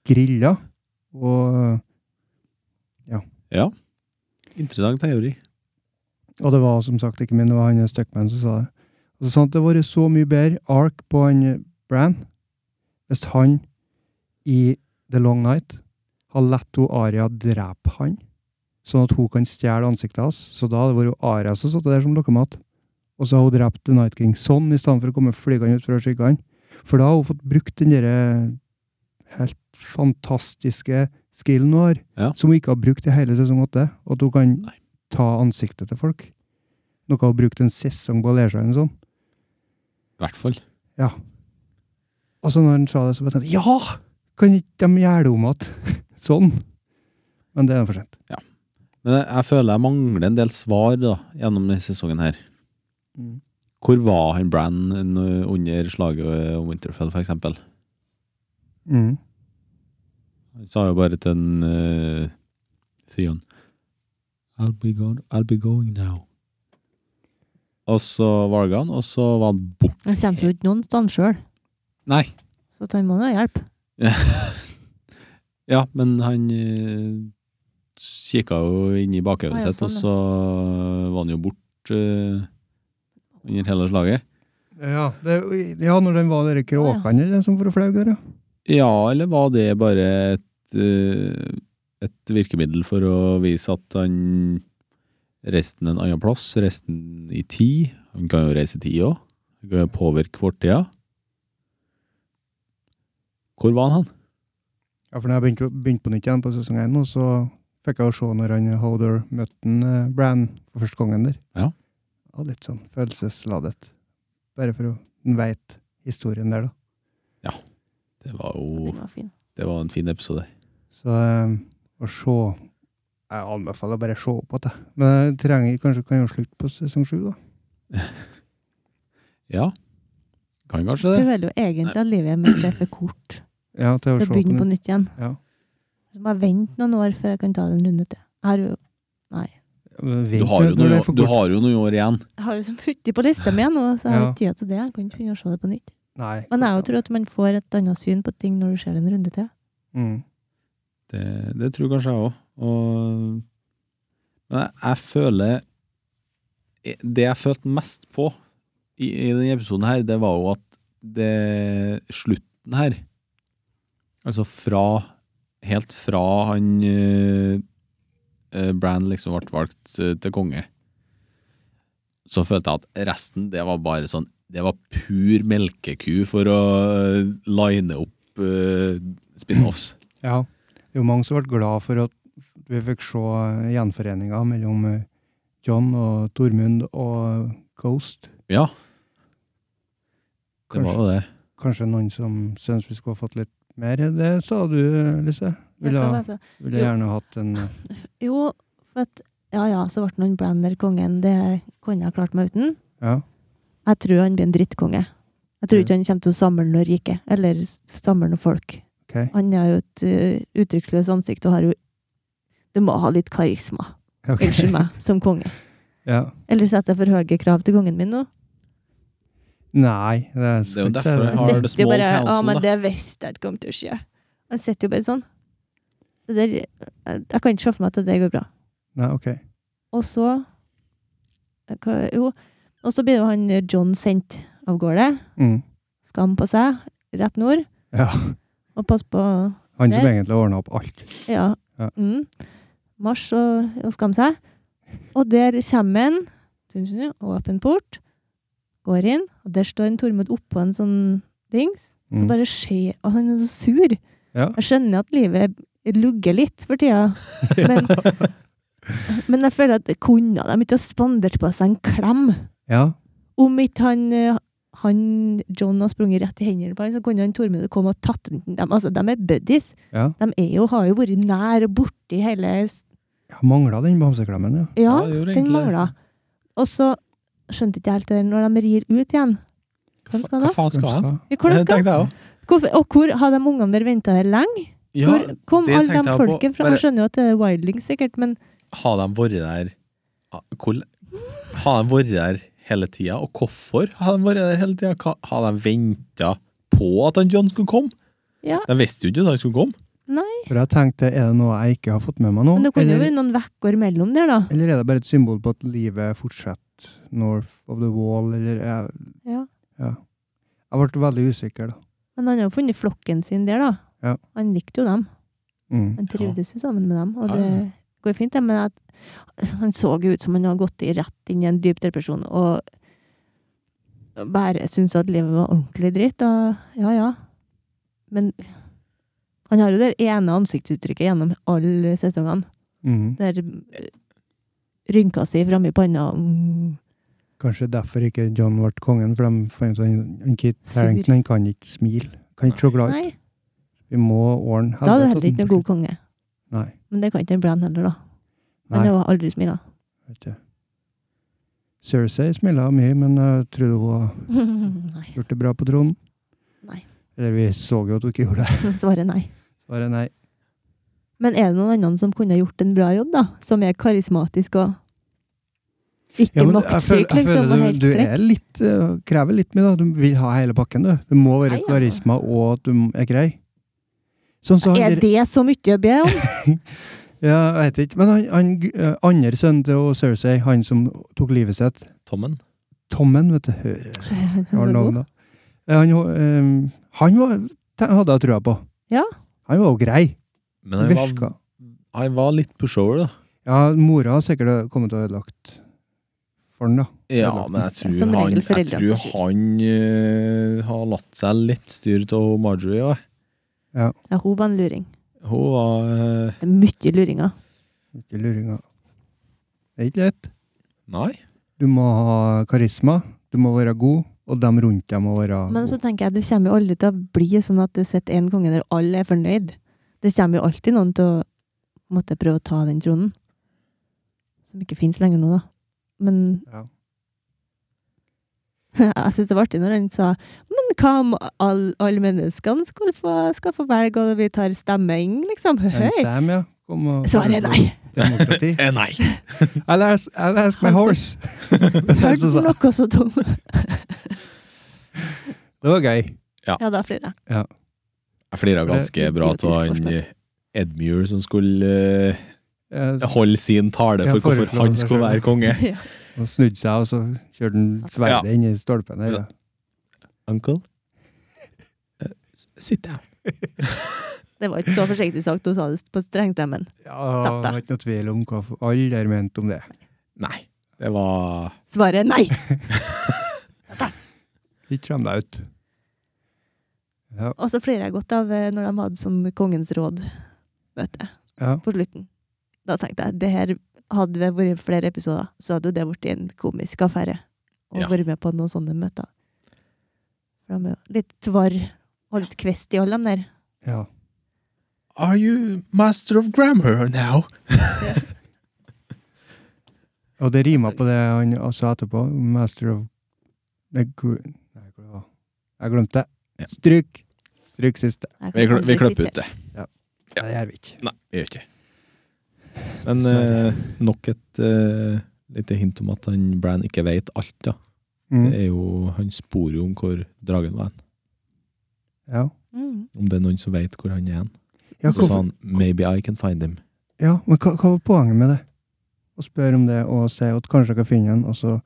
[SPEAKER 1] grilla. Og,
[SPEAKER 2] ja. Interessant teori.
[SPEAKER 1] og det var som sagt ikke min, det var han eh, Stuckman som sa det. Og så sa han at det hadde vært så mye bedre ark på han eh, Bran hvis han i The Long Night har latt hun Aria drepe han, sånn at hun kan stjele ansiktet hans. Så da hadde det vært Aria som satt der som lokkemat. Og så har hun drept The Night King sånn, i stedet for å komme flygende ut fra skyggene. For da har hun fått brukt den derre helt fantastiske skillen hun har,
[SPEAKER 2] Ja.
[SPEAKER 1] som hun ikke har brukt i hele sesong åtte. At hun kan
[SPEAKER 2] Nei.
[SPEAKER 1] ta ansiktet til folk. Noe hun har brukt en sesong på å lære seg. eller noe sånt.
[SPEAKER 2] I hvert fall.
[SPEAKER 1] Og så når han sa det, så bare tenkte jeg ja! Kan ikke de gjøre det om igjen? Sånn. Men det er for sent.
[SPEAKER 2] Men jeg, jeg føler jeg mangler en del svar da, gjennom denne sesongen her.
[SPEAKER 1] Mm.
[SPEAKER 2] Hvor var han Bran n- under slaget om Winterfell, for eksempel?
[SPEAKER 1] Mm.
[SPEAKER 2] Han sa jo bare til en uh, Theon I'll be, gone, I'll be going now. Og så var han, og så var han borte.
[SPEAKER 3] Det kommer jo ikke noen stand sjøl,
[SPEAKER 2] Nei.
[SPEAKER 3] så han må nå hjelpe.
[SPEAKER 2] Ja, men han uh, kikka jo inn i bakhodet
[SPEAKER 3] Å, ja,
[SPEAKER 2] sitt, og
[SPEAKER 3] sånn, ja.
[SPEAKER 2] så var han jo borte eh, under hele slaget.
[SPEAKER 1] Ja, det, ja, når den var de kråkene eller den som for å flaue der, ja.
[SPEAKER 2] Ja, eller var det bare et, eh, et virkemiddel for å vise at han resten en annen plass, resten i tid? Han kan jo reise i tid òg. Han kan jo påvirke fortida. Hvor var han?
[SPEAKER 1] Ja, for når jeg begynte, begynte på nytt igjen på sesong 1 nå, så fikk jeg jo se når han Hodor møtte han, eh, Bran for første gangen der.
[SPEAKER 2] Ja.
[SPEAKER 1] Og litt sånn følelsesladet. Bare for å han vet historien der, da.
[SPEAKER 2] Det var jo
[SPEAKER 3] Den var fin.
[SPEAKER 2] det var en fin episode.
[SPEAKER 1] Så eh, å se Jeg anbefaler bare å se opp igjen, jeg. Men jeg trenger kanskje kan jo slutte på sesong 7, da.
[SPEAKER 2] Ja, kan kanskje
[SPEAKER 3] Du
[SPEAKER 2] det.
[SPEAKER 3] vil jo egentlig at livet mitt er for kort
[SPEAKER 1] Ja, til å
[SPEAKER 3] til å
[SPEAKER 1] se på
[SPEAKER 3] begynne på
[SPEAKER 1] nytt.
[SPEAKER 3] nytt igjen.
[SPEAKER 1] Ja.
[SPEAKER 3] Så må jeg vente noen år før jeg kan ta det en runde til. Jeg har jo Nei.
[SPEAKER 2] Du har jo noen, år- du har jo noen år igjen.
[SPEAKER 3] Jeg har jo så mye på lista mi nå, så jeg har
[SPEAKER 1] Ja.
[SPEAKER 3] ikke tid til det. Jeg kan ikke begynne å se det på nytt.
[SPEAKER 1] Nei.
[SPEAKER 3] Men jeg jo tror at man får et annet syn på ting når du ser det en runde til.
[SPEAKER 1] mm.
[SPEAKER 2] Det, det tror kanskje jeg òg. Og Men jeg, jeg føler Det jeg følte mest på i, i denne episoden her, det var jo at det slutten her Altså fra Helt fra han eh, eh, Bran liksom ble valgt eh, til konge, så følte jeg at resten, det var bare sånn Det var pur melkeku for å eh, line opp eh, spin-offs.
[SPEAKER 1] Ja. Det er jo mange som ble glad for at vi fikk se eh, gjenforeninga mellom eh, John og Tormund og Ghost.
[SPEAKER 2] Ja, det var
[SPEAKER 1] Kanskje,
[SPEAKER 2] jo det.
[SPEAKER 1] kanskje noen som syns vi skulle ha fått litt mer. Det sa du, Lise.
[SPEAKER 3] Det
[SPEAKER 1] Ville,
[SPEAKER 3] var altså-
[SPEAKER 1] ville
[SPEAKER 3] jo.
[SPEAKER 1] gjerne hatt en eh,
[SPEAKER 3] Jo, for at Ja ja, så ble han Brander kongen. Det kunne jeg klart meg uten.
[SPEAKER 1] Ja.
[SPEAKER 3] Jeg tror han blir en drittkonge. Jeg tror ikke han kommer til å samle noe rike, eller s- samle noe folk.
[SPEAKER 1] Ok.
[SPEAKER 3] Han har jo et eh, uttrykksløst ansikt og har jo Du må ha litt karisma,
[SPEAKER 1] Ok.
[SPEAKER 3] unnskyld meg, som konge.
[SPEAKER 1] Ja.
[SPEAKER 3] Eller setter jeg for høye krav til kongen min nå?
[SPEAKER 1] Nei, det er,
[SPEAKER 2] Det er jo derfor jeg
[SPEAKER 3] Han
[SPEAKER 2] har
[SPEAKER 3] sitter
[SPEAKER 2] det
[SPEAKER 3] jo
[SPEAKER 2] small
[SPEAKER 3] bare
[SPEAKER 2] council,
[SPEAKER 3] Ja, men
[SPEAKER 2] da.»
[SPEAKER 3] det visste jeg ikke kom til å skje. Han sitter jo bare sånn. Det der, jeg, jeg kan ikke se for meg at det går bra.
[SPEAKER 1] Nei, ok.
[SPEAKER 3] Og så eh, hva, Jo. Og så blir jo han eh, John sendt av gårde.
[SPEAKER 1] Mm.
[SPEAKER 3] Skam på seg. Rett nord.
[SPEAKER 1] Ja.
[SPEAKER 3] Og pass på
[SPEAKER 1] Han som
[SPEAKER 3] Der.
[SPEAKER 1] egentlig ordna opp alt.
[SPEAKER 3] Ja.
[SPEAKER 1] Ja.
[SPEAKER 3] Mm. Mars og, og skam seg. Og der kommer han. Tun, tun, tun, Åpen port. Går inn, og der står en Tormod oppå en sånn dings.
[SPEAKER 1] Mm.
[SPEAKER 3] Så bare skjer Og han er så sur.
[SPEAKER 1] Ja.
[SPEAKER 3] Jeg skjønner at livet lugger litt for tida. Men, men jeg føler at det kunne de ikke ha spandert på seg en klem?
[SPEAKER 1] Ja.
[SPEAKER 3] Om ikke han, eh, han John har sprunget rett i hendene på han, så kunne han Tormund komme og tatt rundt dem. Altså, de er buddies.
[SPEAKER 1] ja.
[SPEAKER 3] De er jo, har jo vært nær og borti hele s-
[SPEAKER 1] Jeg mangla den bamseklemmen, ja.
[SPEAKER 3] Ja,
[SPEAKER 2] det gjorde
[SPEAKER 3] den
[SPEAKER 2] egentlig det.
[SPEAKER 3] mangla. Og så skjønte ikke helt det når de rir ut igjen. Hva de skal
[SPEAKER 2] Hva
[SPEAKER 3] da?
[SPEAKER 2] faen skal han?
[SPEAKER 3] Hvor de
[SPEAKER 2] Det
[SPEAKER 3] skal?
[SPEAKER 2] tenkte jeg òg.
[SPEAKER 3] Hvorfor, og hvor har de ungene der venta her lenge?
[SPEAKER 2] Ja,
[SPEAKER 3] hvor kom
[SPEAKER 2] det
[SPEAKER 3] alle
[SPEAKER 2] tenkte jeg
[SPEAKER 3] de
[SPEAKER 2] på.
[SPEAKER 3] folket fra?
[SPEAKER 2] Bare-
[SPEAKER 3] Jeg skjønner jo at det er wildlings, sikkert, men
[SPEAKER 2] har de vært der ah, hvor, Har de vært der hele tida, og hvorfor har de vært der hele tida? Hva- Har de venta på at han John skulle komme?
[SPEAKER 3] Ja.
[SPEAKER 2] De visste jo ikke at han skulle komme.
[SPEAKER 1] For jeg tenkte, er det noe jeg ikke har fått med meg nå?
[SPEAKER 3] men det kunne jo
[SPEAKER 1] Eller,
[SPEAKER 3] vært noen vekker mellom der, da.
[SPEAKER 1] eller er det bare et symbol på at livet fortsetter north of the wall, eller jeg,
[SPEAKER 3] Ja.
[SPEAKER 1] jeg ble veldig usikker da.
[SPEAKER 3] Men han har jo funnet flokken sin der, da.
[SPEAKER 1] Ja.
[SPEAKER 3] Han likte jo dem.
[SPEAKER 1] Mm.
[SPEAKER 3] Han trivdes jo sammen med dem, og
[SPEAKER 2] Ja, ja.
[SPEAKER 3] det går fint, det, men at han så jo ut som han hadde gått i rett inn i en dyp depresjon og bare syntes at livet var ordentlig dritt. Og ja, ja. Men han har jo det ene ansiktsuttrykket gjennom alle sesongene.
[SPEAKER 2] Mm.
[SPEAKER 1] Mhm.
[SPEAKER 3] Der eh, rynka si framme i panna mm,
[SPEAKER 1] Kanskje derfor ikke John ble kongen, for de fant ut at han- han Kit
[SPEAKER 3] Sur.
[SPEAKER 1] Harington han kan ikke smile. Kan ikke se glad ut.
[SPEAKER 3] Nei,
[SPEAKER 1] Vi må ordne
[SPEAKER 3] da er du
[SPEAKER 1] helvete
[SPEAKER 3] heller ikke
[SPEAKER 1] til
[SPEAKER 3] noen god konge.
[SPEAKER 1] Nei.
[SPEAKER 3] Men det kan ikke bli han heller, da.
[SPEAKER 1] Nei.
[SPEAKER 3] Han har jo aldri smila.
[SPEAKER 1] Vet du. Cersei smiler mye, men jeg trodde hun har
[SPEAKER 3] nei.
[SPEAKER 1] gjort det bra på tronen.
[SPEAKER 3] Nei.
[SPEAKER 1] Eller vi så jo at hun ikke gjorde det.
[SPEAKER 3] Svaret er nei.
[SPEAKER 1] Svaret er nei.
[SPEAKER 3] Men er det noen andre som kunne ha gjort en bra jobb, da? Som er karismatisk og ikke
[SPEAKER 1] Ja, men eh, jeg føler-
[SPEAKER 3] maktsyk,
[SPEAKER 1] jeg
[SPEAKER 3] liksom, og
[SPEAKER 1] føler
[SPEAKER 3] helt
[SPEAKER 1] Du, du er
[SPEAKER 3] frekk?
[SPEAKER 1] litt, eh, krever litt mye, da. Du vil ha hele pakken, du. Du må være
[SPEAKER 3] Nei, ja.
[SPEAKER 1] karisma og at du er grei. Sånn som han
[SPEAKER 3] Er
[SPEAKER 1] der,
[SPEAKER 3] det så mye å be om?
[SPEAKER 1] ja, jeg vet ikke, men han, han gu- eh, andre sønnen til hun Cersei, han som tok livet sitt,
[SPEAKER 2] Tommen.
[SPEAKER 1] Tommen, vet du, hører
[SPEAKER 3] Så
[SPEAKER 1] Har
[SPEAKER 3] god.
[SPEAKER 1] navn, da. Eh, Han, eh, han var, te- hadde jeg trua på.
[SPEAKER 3] Ja.
[SPEAKER 1] Han var jo grei.
[SPEAKER 2] Men han var,
[SPEAKER 1] Virka.
[SPEAKER 2] han var litt pushover, da.
[SPEAKER 1] Ja, mora har sikkert kommet til å ha ødelagt for han, da.
[SPEAKER 2] Ja, men jeg tror
[SPEAKER 3] Som regel
[SPEAKER 2] han, jeg
[SPEAKER 3] foreldrene
[SPEAKER 2] tror
[SPEAKER 3] som styrer.
[SPEAKER 2] han eh, har latt seg litt styre av Marjorie òg.
[SPEAKER 3] Ja, hun var en luring.
[SPEAKER 2] Hun var eh,
[SPEAKER 3] Det er mye luringer.
[SPEAKER 1] Ikke luringa. Det er ikke lett.
[SPEAKER 2] Nei.
[SPEAKER 1] Du må ha karisma, du må være god, og dem rundt deg må være
[SPEAKER 3] Men så
[SPEAKER 1] gode.
[SPEAKER 3] tenker jeg, det kommer jo aldri til å bli sånn at det sitter en konge der alle er fornøyd. Det kommer jo alltid noen til å måtte prøve å ta den tronen. Som ikke fins lenger nå, da. Men
[SPEAKER 1] Ja.
[SPEAKER 3] jeg syns det var artig når han sa Men hva om all- alle menneskene skulle få, skal få velge, og vi tar stemming, liksom?
[SPEAKER 1] Men
[SPEAKER 3] Høy!
[SPEAKER 1] Sam, ja. Kom og
[SPEAKER 3] Svaret er nei.
[SPEAKER 1] Demokrati.
[SPEAKER 2] Eh, nei.
[SPEAKER 1] I'll ask, I'll ask my horse.
[SPEAKER 3] Hørte
[SPEAKER 1] Så sa-
[SPEAKER 3] du noe så dumt?
[SPEAKER 1] det var gøy.
[SPEAKER 3] Ja, da flirer jeg.
[SPEAKER 2] Jeg flira ganske bra
[SPEAKER 3] Idiotisk
[SPEAKER 2] av han
[SPEAKER 3] forslag.
[SPEAKER 2] eh, Edmure som skulle eh,
[SPEAKER 1] Eh,
[SPEAKER 2] holde sin tale
[SPEAKER 1] Ja,
[SPEAKER 2] for hvorfor
[SPEAKER 1] foreslå
[SPEAKER 2] han
[SPEAKER 1] seg
[SPEAKER 2] skulle
[SPEAKER 1] selv.
[SPEAKER 2] være konge.
[SPEAKER 1] Han snudde seg, og så kjørte han sverdet
[SPEAKER 2] Ja.
[SPEAKER 1] inn i stolpen. Der, ja.
[SPEAKER 2] Uncle?
[SPEAKER 1] Eh,
[SPEAKER 2] Sitt down.
[SPEAKER 3] Det var ikke så forsiktig sagt, hun sa det på strengstemmen.
[SPEAKER 1] Ja,
[SPEAKER 3] Satt
[SPEAKER 1] det
[SPEAKER 3] deg.
[SPEAKER 1] var ikke noe tvil om hva for- alle der mente om det.
[SPEAKER 2] Nei, det var
[SPEAKER 3] Svaret er nei!
[SPEAKER 1] Ikke kom deg ut. Ja,
[SPEAKER 3] Og så flirer jeg godt av eh, når de hadde sånn Kongens råd-møte
[SPEAKER 1] ja.
[SPEAKER 3] på slutten. Da tenkte jeg det her hadde det vært flere episoder, så hadde jo det blitt en komisk affære. Å
[SPEAKER 2] Ja.
[SPEAKER 3] være med på noen sånne møter. For de er jo litt tvarr og litt kvest i alle dem der.
[SPEAKER 1] ja.
[SPEAKER 2] Are you master of grammar now?
[SPEAKER 1] Og det rima på det han sa etterpå. Master of the gr Nei, hva det var. Jeg glemte det.
[SPEAKER 2] Ja.
[SPEAKER 1] Stryk! Stryk siste.
[SPEAKER 3] Jeg kan
[SPEAKER 2] Vi, kl
[SPEAKER 3] aldri
[SPEAKER 2] vi klipper
[SPEAKER 3] sitte-
[SPEAKER 2] ut det.
[SPEAKER 1] Nei, det gjør vi ikke.
[SPEAKER 2] Nei, vi gjør ikke det. Men
[SPEAKER 1] Sorry.
[SPEAKER 2] eh, nok et eh, lite hint om at han Bran ikke veit alt, da. Det
[SPEAKER 1] Mm.
[SPEAKER 2] er jo, Han spor jo om hvor dragen var hen.
[SPEAKER 1] Ja.
[SPEAKER 3] Mm.
[SPEAKER 2] Om det er noen som veit hvor han er hen.
[SPEAKER 1] Ja,
[SPEAKER 2] Så sa
[SPEAKER 1] hvorfor-
[SPEAKER 2] han 'maybe I can find him'.
[SPEAKER 1] ja, men hva, hva var poenget med det? Å spørre om det og si at kanskje dere finner en, og så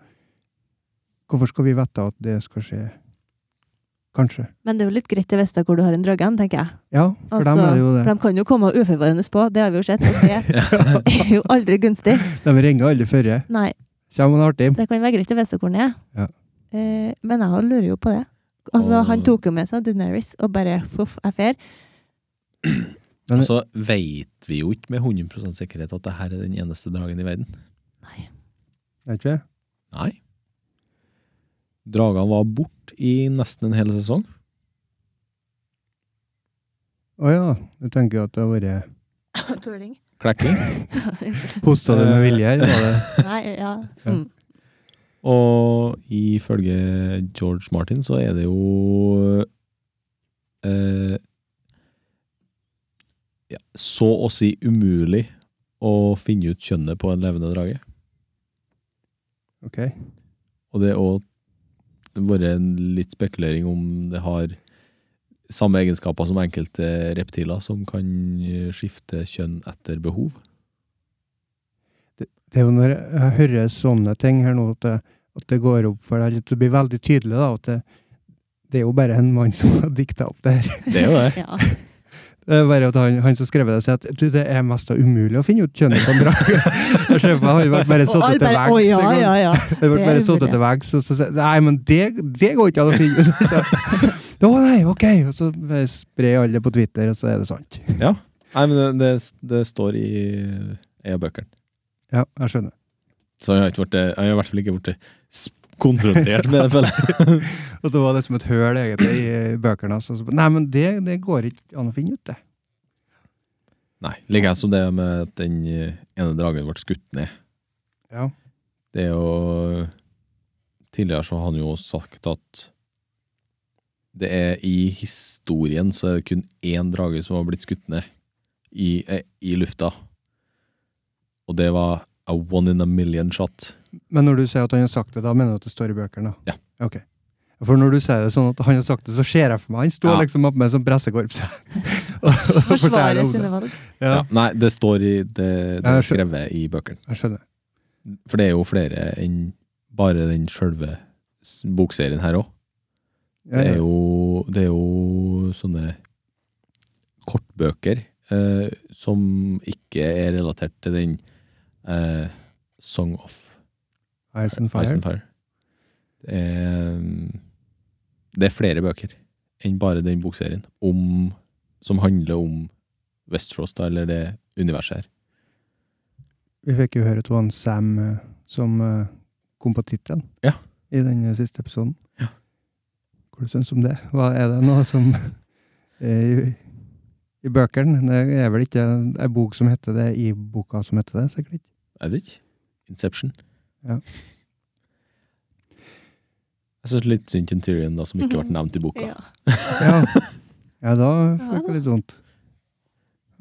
[SPEAKER 1] Hvorfor skal vi vite at det skal skje? Kanskje.
[SPEAKER 3] Men det er jo litt greit å vite hvor du har en drage, tenker jeg.
[SPEAKER 1] Ja, for dem
[SPEAKER 3] Altså,
[SPEAKER 1] er det jo
[SPEAKER 3] For
[SPEAKER 1] det.
[SPEAKER 3] de kan jo komme uforvarende på, det har vi jo sett. Og det er jo aldri gunstig.
[SPEAKER 1] De ringer aldri før.
[SPEAKER 3] Nei,
[SPEAKER 1] Kommer han
[SPEAKER 3] Så
[SPEAKER 1] artig?
[SPEAKER 3] det kan være greit å vite hvor den er.
[SPEAKER 1] Ja.
[SPEAKER 3] Eh, men jeg lurer jo på det. Altså,
[SPEAKER 2] Og-
[SPEAKER 3] Han tok jo med seg Deneris og bare foff, jeg fer.
[SPEAKER 1] Men-
[SPEAKER 2] Og så veit vi jo ikke med 100 sikkerhet at det her er den eneste dragen i verden.
[SPEAKER 1] Vet ikke?
[SPEAKER 2] Nei. Dragene var borte i nesten en hel sesong.
[SPEAKER 1] Å ja. Du tenker jo at det har vært
[SPEAKER 3] Puling.
[SPEAKER 2] Klekking.
[SPEAKER 1] Hosta du med vilje, eller var det
[SPEAKER 3] Nei, ja. Mm.
[SPEAKER 2] Og ifølge George Martin så er det jo eh, ja, Så å si umulig å finne ut kjønnet på en levende drage.
[SPEAKER 1] Ok.
[SPEAKER 2] Og det er òg vært en litt spekulering om det har samme egenskaper som enkelte reptiler, som kan eh, skifte kjønn etter behov.
[SPEAKER 1] Det er jo når jeg hører sånne ting her nå, at det, at det går opp for deg, at det blir veldig tydelig da, at det, det er jo bare en mann som har dikta opp det her.
[SPEAKER 2] Det er jo det.
[SPEAKER 3] Ja.
[SPEAKER 1] Det er bare at han, han som skrev det, sier at du, det er mest umulig å finne ut kjønnet på en drage. Jeg ser for meg, han ble bare
[SPEAKER 3] Og
[SPEAKER 1] satt
[SPEAKER 3] alle
[SPEAKER 1] til
[SPEAKER 3] bare
[SPEAKER 1] veggs.
[SPEAKER 3] Å, ja,
[SPEAKER 1] ikke sant?
[SPEAKER 3] ja, ja.
[SPEAKER 1] Det ble
[SPEAKER 3] Det
[SPEAKER 1] bare
[SPEAKER 3] er
[SPEAKER 1] satt
[SPEAKER 3] umulig.
[SPEAKER 1] til veggs, og så sier jeg, Nei, men det, det går ikke an å finne ut! Så, Å nei, ok! Og så bare sprer alle det på Twitter, og så er det sant.
[SPEAKER 2] Nei, men det, det, det står i en av bøkene.
[SPEAKER 1] Ja, jeg skjønner.
[SPEAKER 2] Så jeg har, ikke vært, jeg har i hvert fall ikke blitt sp- konfrontert med det, føler jeg.
[SPEAKER 1] Og det var liksom et høl egentlig i bøkene. Altså. Så, Nei, men det, det går ikke an å finne ut, det.
[SPEAKER 2] Nei. Like som det med at den eh, ene dragen ble skutt ned.
[SPEAKER 1] Ja.
[SPEAKER 2] Det er jo Tidligere så har han jo sagt at det er i historien så er det kun én drage som har blitt skutt ned i, eh, i lufta. Og det var a one in a million shot.
[SPEAKER 1] Men når du sier at han har sagt det, da mener du at det står i bøkene? da?
[SPEAKER 2] Ja.
[SPEAKER 1] Ok. For når du sier det sånn at han har sagt det, så ser jeg for meg han står
[SPEAKER 2] Ja.
[SPEAKER 1] liksom opp med som pressekorps. og- og forteller
[SPEAKER 9] Forsvare
[SPEAKER 1] om det.
[SPEAKER 9] sine valg.
[SPEAKER 1] Ja,
[SPEAKER 2] Ja. Nei, det står i det, det
[SPEAKER 1] Ja,
[SPEAKER 2] er
[SPEAKER 1] jeg skjø-
[SPEAKER 2] skrevet i bøkene.
[SPEAKER 1] jeg skjønner.
[SPEAKER 2] For det er jo flere enn bare den sjølve s- bokserien her òg.
[SPEAKER 1] Ja,
[SPEAKER 2] Det, er
[SPEAKER 1] ja.
[SPEAKER 2] jo, det er jo sånne kortbøker eh, som ikke er relatert til den eh, Song of
[SPEAKER 1] Ice and
[SPEAKER 2] Ice
[SPEAKER 1] Fire.
[SPEAKER 2] and Fire. Det er, mm, det er flere bøker enn bare den bokserien om, som handler om Westeros, da, eller det universet her.
[SPEAKER 1] Vi fikk jo høre til han Sam eh, som eh, kom på tittelen
[SPEAKER 2] Ja.
[SPEAKER 1] i den eh, siste episoden.
[SPEAKER 2] Ja.
[SPEAKER 1] Hva du syns om det? Hva er det nå som eh, i, i bøkene? Det er vel ikke ei bok som heter det i boka som heter det, sikkert ikke?
[SPEAKER 2] Jeg vet ikke. Inception.
[SPEAKER 1] Ja.
[SPEAKER 2] Jeg syns litt synd på Tyrion, da, som ikke ble nevnt i boka.
[SPEAKER 3] Ja.
[SPEAKER 1] Ja, ja da
[SPEAKER 9] Ja,
[SPEAKER 1] fikk
[SPEAKER 9] da.
[SPEAKER 1] jeg litt vondt.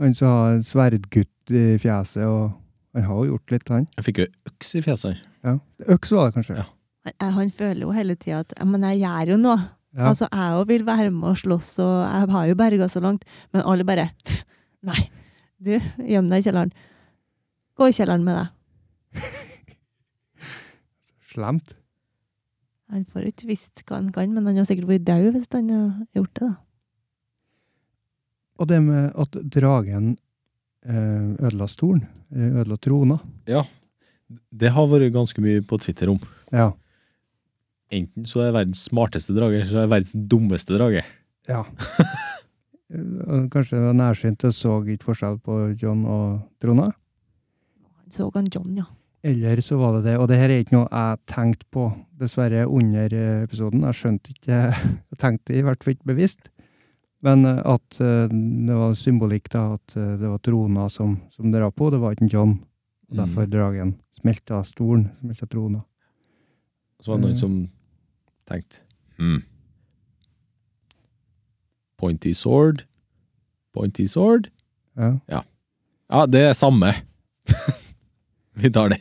[SPEAKER 1] Han som har en sverdgutt i fjeset, og han har jo gjort litt, han.
[SPEAKER 2] Jeg fikk jo øks i fjeset.
[SPEAKER 1] Ja. Øks var det kanskje.
[SPEAKER 2] Ja.
[SPEAKER 9] Han, han føler jo hele tida at Men jeg gjør jo noe.
[SPEAKER 1] Ja.
[SPEAKER 9] Altså, jeg òg vil være med og slåss, og jeg har jo berga så langt. Men alle bare «Pff, Nei, du, gjem deg i kjelleren. Gå i kjelleren med deg.
[SPEAKER 1] Slemt.
[SPEAKER 9] Han får jo ikke visst hva han kan, men han har sikkert vært død hvis han har gjort det, da.
[SPEAKER 1] Og det med at dragen eh, ødela stolen, eh, ødela trona.
[SPEAKER 2] Det har vært ganske mye på Twitter om.
[SPEAKER 1] Ja.
[SPEAKER 2] Enten så er jeg verdens smarteste drage, eller så er jeg verdens dummeste drage.
[SPEAKER 1] ja. Eh, og Kanskje det var nærsynt og så ikke forskjell på John og trona.
[SPEAKER 9] Han så han John, ja.
[SPEAKER 1] Eller så var det det, og det her er ikke noe jeg tenkte på, dessverre, under eh, episoden. Jeg skjønte ikke Jeg tenkte i hvert fall ikke bevisst. Men eh, at eh, det var symbolikk, da, at eh, det var trona som, som drap på, det var ikke en John. Og
[SPEAKER 2] Mm.
[SPEAKER 1] derfor dragen smelta stolen, smelta trona.
[SPEAKER 2] Så var det
[SPEAKER 1] Mm.
[SPEAKER 2] noen som tenkte hmm. Pointy sword, pointy sword.
[SPEAKER 1] Ja.
[SPEAKER 2] Ja, det er samme. Vi tar det.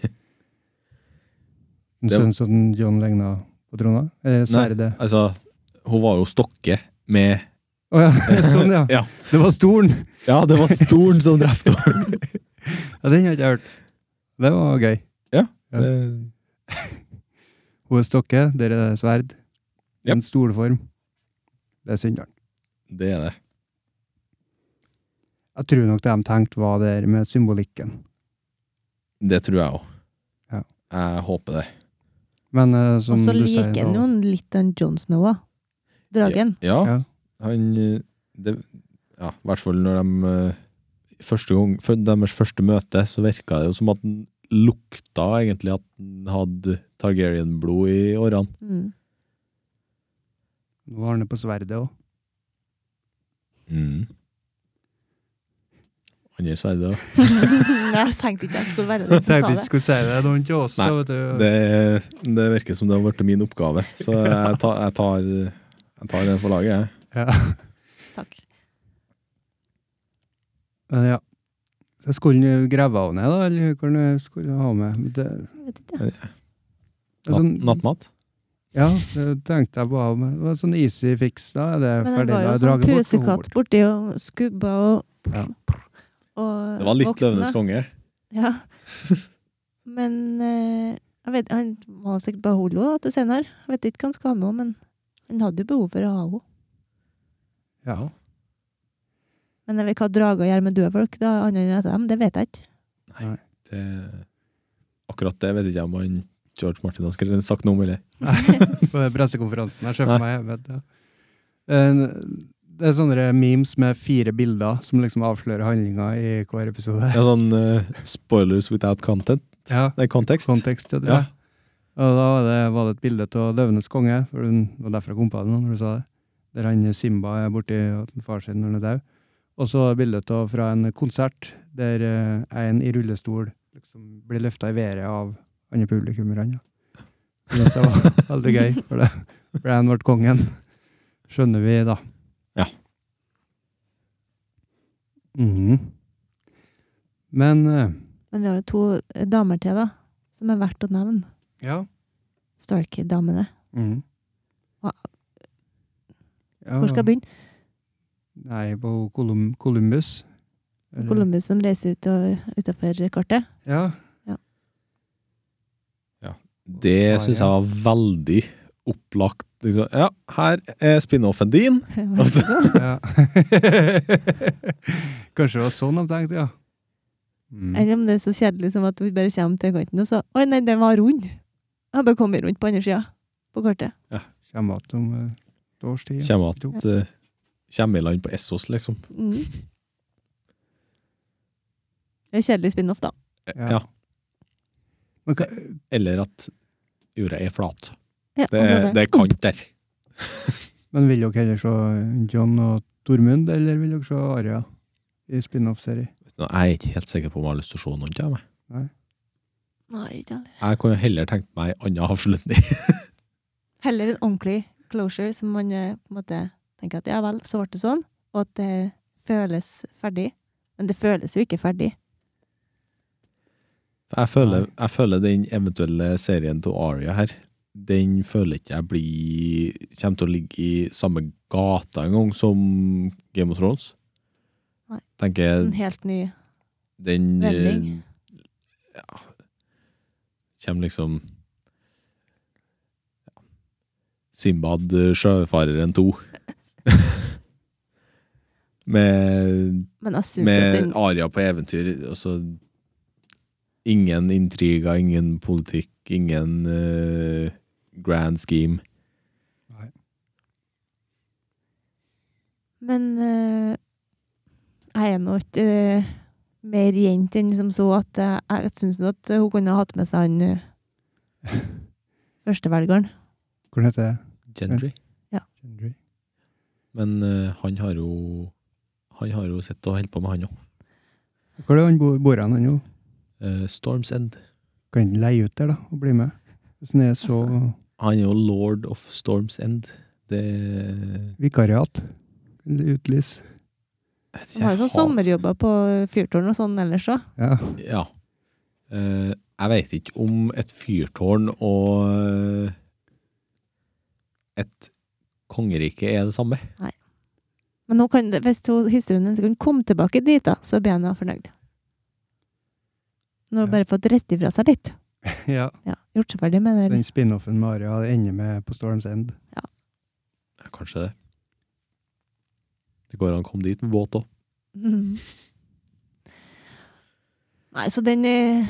[SPEAKER 1] Den
[SPEAKER 2] Det-
[SPEAKER 1] syns at den John ligna på trona? Eller sverdet?
[SPEAKER 2] Altså, hun var jo stokke med
[SPEAKER 1] Å ja, sånn ja.
[SPEAKER 2] Ja.
[SPEAKER 1] Det var stolen!
[SPEAKER 2] Ja, det var stolen som drepte henne!
[SPEAKER 1] Ja, den har jeg ikke hørt. Det var gøy. Ja.
[SPEAKER 2] Det-
[SPEAKER 1] Hun er stokke, der er det sverd.
[SPEAKER 2] Ja.
[SPEAKER 1] En stolform. Det er synderen.
[SPEAKER 2] Det er det.
[SPEAKER 1] Jeg tror nok det de tenkte var det her med symbolikken.
[SPEAKER 2] Det tror jeg òg.
[SPEAKER 1] Ja.
[SPEAKER 2] Jeg håper det.
[SPEAKER 1] Men eh, som
[SPEAKER 9] Og så
[SPEAKER 1] du sier
[SPEAKER 9] liker han
[SPEAKER 1] da-
[SPEAKER 9] jo litt den John Snow, da. Dragen.
[SPEAKER 2] Ja,
[SPEAKER 1] Ja.
[SPEAKER 2] han eh, det, Ja, i hvert fall når de eh, Første gang, før deres første møte, så virka det jo som at han lukta egentlig at han hadde Targaryen-blod i årene.
[SPEAKER 9] Mm.
[SPEAKER 1] Nå var Mm. han på sverdet òg.
[SPEAKER 2] andre sverdet.
[SPEAKER 3] Nei, jeg tenkte ikke jeg skulle være den
[SPEAKER 1] Tenkte
[SPEAKER 3] som sa
[SPEAKER 1] ikke
[SPEAKER 3] det.
[SPEAKER 1] skulle si det noen til oss.
[SPEAKER 2] Nei,
[SPEAKER 1] så vet du.
[SPEAKER 2] Det, det virker som det har blitt min oppgave, så jeg tar, jeg tar, jeg tar den for laget, jeg.
[SPEAKER 1] Ja.
[SPEAKER 3] Takk.
[SPEAKER 1] Men ja. Så skulle han jo grave av ned, da, eller hva han skulle ha med? Det,
[SPEAKER 3] Jeg vet ikke.
[SPEAKER 1] det er sånn,
[SPEAKER 2] Natt- Nattmat?
[SPEAKER 1] ja, det tenkte jeg bare med. Det var sånn easy fix, da er det
[SPEAKER 3] Men det
[SPEAKER 1] ferdig.
[SPEAKER 3] var
[SPEAKER 1] da
[SPEAKER 3] jo
[SPEAKER 1] er
[SPEAKER 3] sånn
[SPEAKER 1] draget bort, så
[SPEAKER 3] pusekatt
[SPEAKER 1] bort.
[SPEAKER 3] borti og skubba og,
[SPEAKER 1] Ja.
[SPEAKER 3] og
[SPEAKER 2] Det var litt
[SPEAKER 3] våkna.
[SPEAKER 2] Løvenes konge.
[SPEAKER 3] Ja. Men eh, jeg vet, han må sikkert beholde henne da, til senere. Jeg vet ikke hva han skal ha med henne, men han hadde jo behov for å ha henne.
[SPEAKER 1] Ja.
[SPEAKER 3] Men jeg vet hva drager gjør med døde folk, da, annet enn etter dem, det vet jeg ikke.
[SPEAKER 2] Det, akkurat det vet ikke jeg om han George Martin har skrevet- sagt noe om, eller?
[SPEAKER 1] På den pressekonferansen jeg ser for meg. jeg Vet, ja. En- Det er sånne memes med fire bilder som liksom avslører handlinga i hver episode.
[SPEAKER 2] Ja, sånn eh, spoilers without content.
[SPEAKER 1] Ja,
[SPEAKER 2] Nei, kontekst.
[SPEAKER 1] kontekst, ja. det
[SPEAKER 2] Ja.
[SPEAKER 1] er. Og da var det, var det et bilde av Løvenes konge, for den- det var derfor jeg kom på det nå når du sa det. Der han Simba er borti og den far sin når han er død. Og så er bildet av fra en konsert der eh, en i rullestol liksom blir løfta i været av andre publikummerne. Ja. Så Det var veldig gøy, for det ble han ble kongen. Skjønner vi, da.
[SPEAKER 2] Ja.
[SPEAKER 1] Mhm. Men eh,
[SPEAKER 3] Men vi har jo to eh, damer til, da, som er verdt å nevne.
[SPEAKER 1] Ja.
[SPEAKER 3] Starkey-damene.
[SPEAKER 1] Mhm.
[SPEAKER 3] Hva-
[SPEAKER 1] Ja,
[SPEAKER 3] Hvor skal jeg begynne?
[SPEAKER 1] Nei, på Colum Columbus. Eller-
[SPEAKER 3] Columbus som reiser ut og, utenfor kartet.
[SPEAKER 1] Ja. Ah,
[SPEAKER 2] Det syns jeg var veldig opplagt. Liksom, ja, her er spin-offen din! Og så-
[SPEAKER 1] ja. Kanskje det var sånn de tenkte, ja. Mm.
[SPEAKER 3] Eller om det er så kjedelig som at vi bare kommer til kanten og så Oi, nei, den var rund! Jeg har bare kommet rundt på andre sida på kartet.
[SPEAKER 1] Kommer igjen om eh, et års tid. ja.
[SPEAKER 2] Kommer at eh, Kommer i land på Essos, liksom.
[SPEAKER 3] Mm. Det er kjedelig spin-off, da.
[SPEAKER 1] Ja.
[SPEAKER 2] Eh, Ja.
[SPEAKER 1] Men hva,
[SPEAKER 2] Eller at jorda er flat.
[SPEAKER 3] Ja,
[SPEAKER 2] Det,
[SPEAKER 3] altså
[SPEAKER 2] det er kant der.
[SPEAKER 1] men vil dere heller se John og Tormund, eller vil dere se Aria i spin-off-serie?
[SPEAKER 2] Nå, jeg er ikke helt sikker på om jeg har lyst til å se noen av dem. jeg.
[SPEAKER 3] Nei, ikke heller.
[SPEAKER 2] Jeg kunne heller tenkt meg en annen avslutning.
[SPEAKER 3] Heller en ordentlig closure, som man eh, på en måte tenker at ja vel, så ble det sånn, og at det føles ferdig. Men det føles jo ikke ferdig.
[SPEAKER 2] Jeg føler, jeg føler den eventuelle serien til Aria her, den føler ikke jeg blir Kommer til å ligge i samme gata engang som Game of Thrones.
[SPEAKER 3] Nei.
[SPEAKER 2] Tenker
[SPEAKER 3] En helt ny
[SPEAKER 2] den eh,
[SPEAKER 3] Vending.
[SPEAKER 2] Ja. Kommer liksom ja, Simbad eh, sjøfareren 2. med
[SPEAKER 3] Men jeg syns at
[SPEAKER 2] med
[SPEAKER 3] den
[SPEAKER 2] Aria på eventyr. Og så ingen intriger, ingen politikk, ingen eh, grand scheme.
[SPEAKER 3] Men eh, jeg er nå ikke eh, mer jente enn som så at eh, jeg syns nå at hun kunne ha hatt med seg han eh, førstevelgeren.
[SPEAKER 1] Hvordan heter det?
[SPEAKER 2] Gendry.
[SPEAKER 1] Gendry?
[SPEAKER 2] Men eh, han har jo Han har jo sett og holdt på med, han òg.
[SPEAKER 1] Hvor er han bo- bor han nå?
[SPEAKER 2] Eh, Storms End.
[SPEAKER 1] Kan han leie ut der, da, og bli med? Hvis han er så
[SPEAKER 2] Han er jo lord of Storms End. Det
[SPEAKER 3] Altså-
[SPEAKER 2] jeg
[SPEAKER 1] vikariat. Eller utlys.
[SPEAKER 2] vet ikke,
[SPEAKER 3] Han har
[SPEAKER 2] jeg
[SPEAKER 3] jo sånn sommerjobber på fyrtårn og sånn ellers òg.
[SPEAKER 1] Ja.
[SPEAKER 2] Ja. Eh, jeg veit ikke om et fyrtårn og eh, et kongerike er det samme.
[SPEAKER 3] Men nå kan, det- hvis hun- historien hennes kan komme tilbake dit, da, så blir jeg nå fornøyd. Nå har hun
[SPEAKER 1] Ja.
[SPEAKER 3] bare fått rett ifra seg litt.
[SPEAKER 1] ja.
[SPEAKER 3] Ja, gjort seg ferdig med det.
[SPEAKER 1] Den spin-offen med Aria det ender med på Storms End.
[SPEAKER 2] Ja, Kanskje det. Det går an å komme dit med båt òg.
[SPEAKER 3] Mhm. Nei, så den er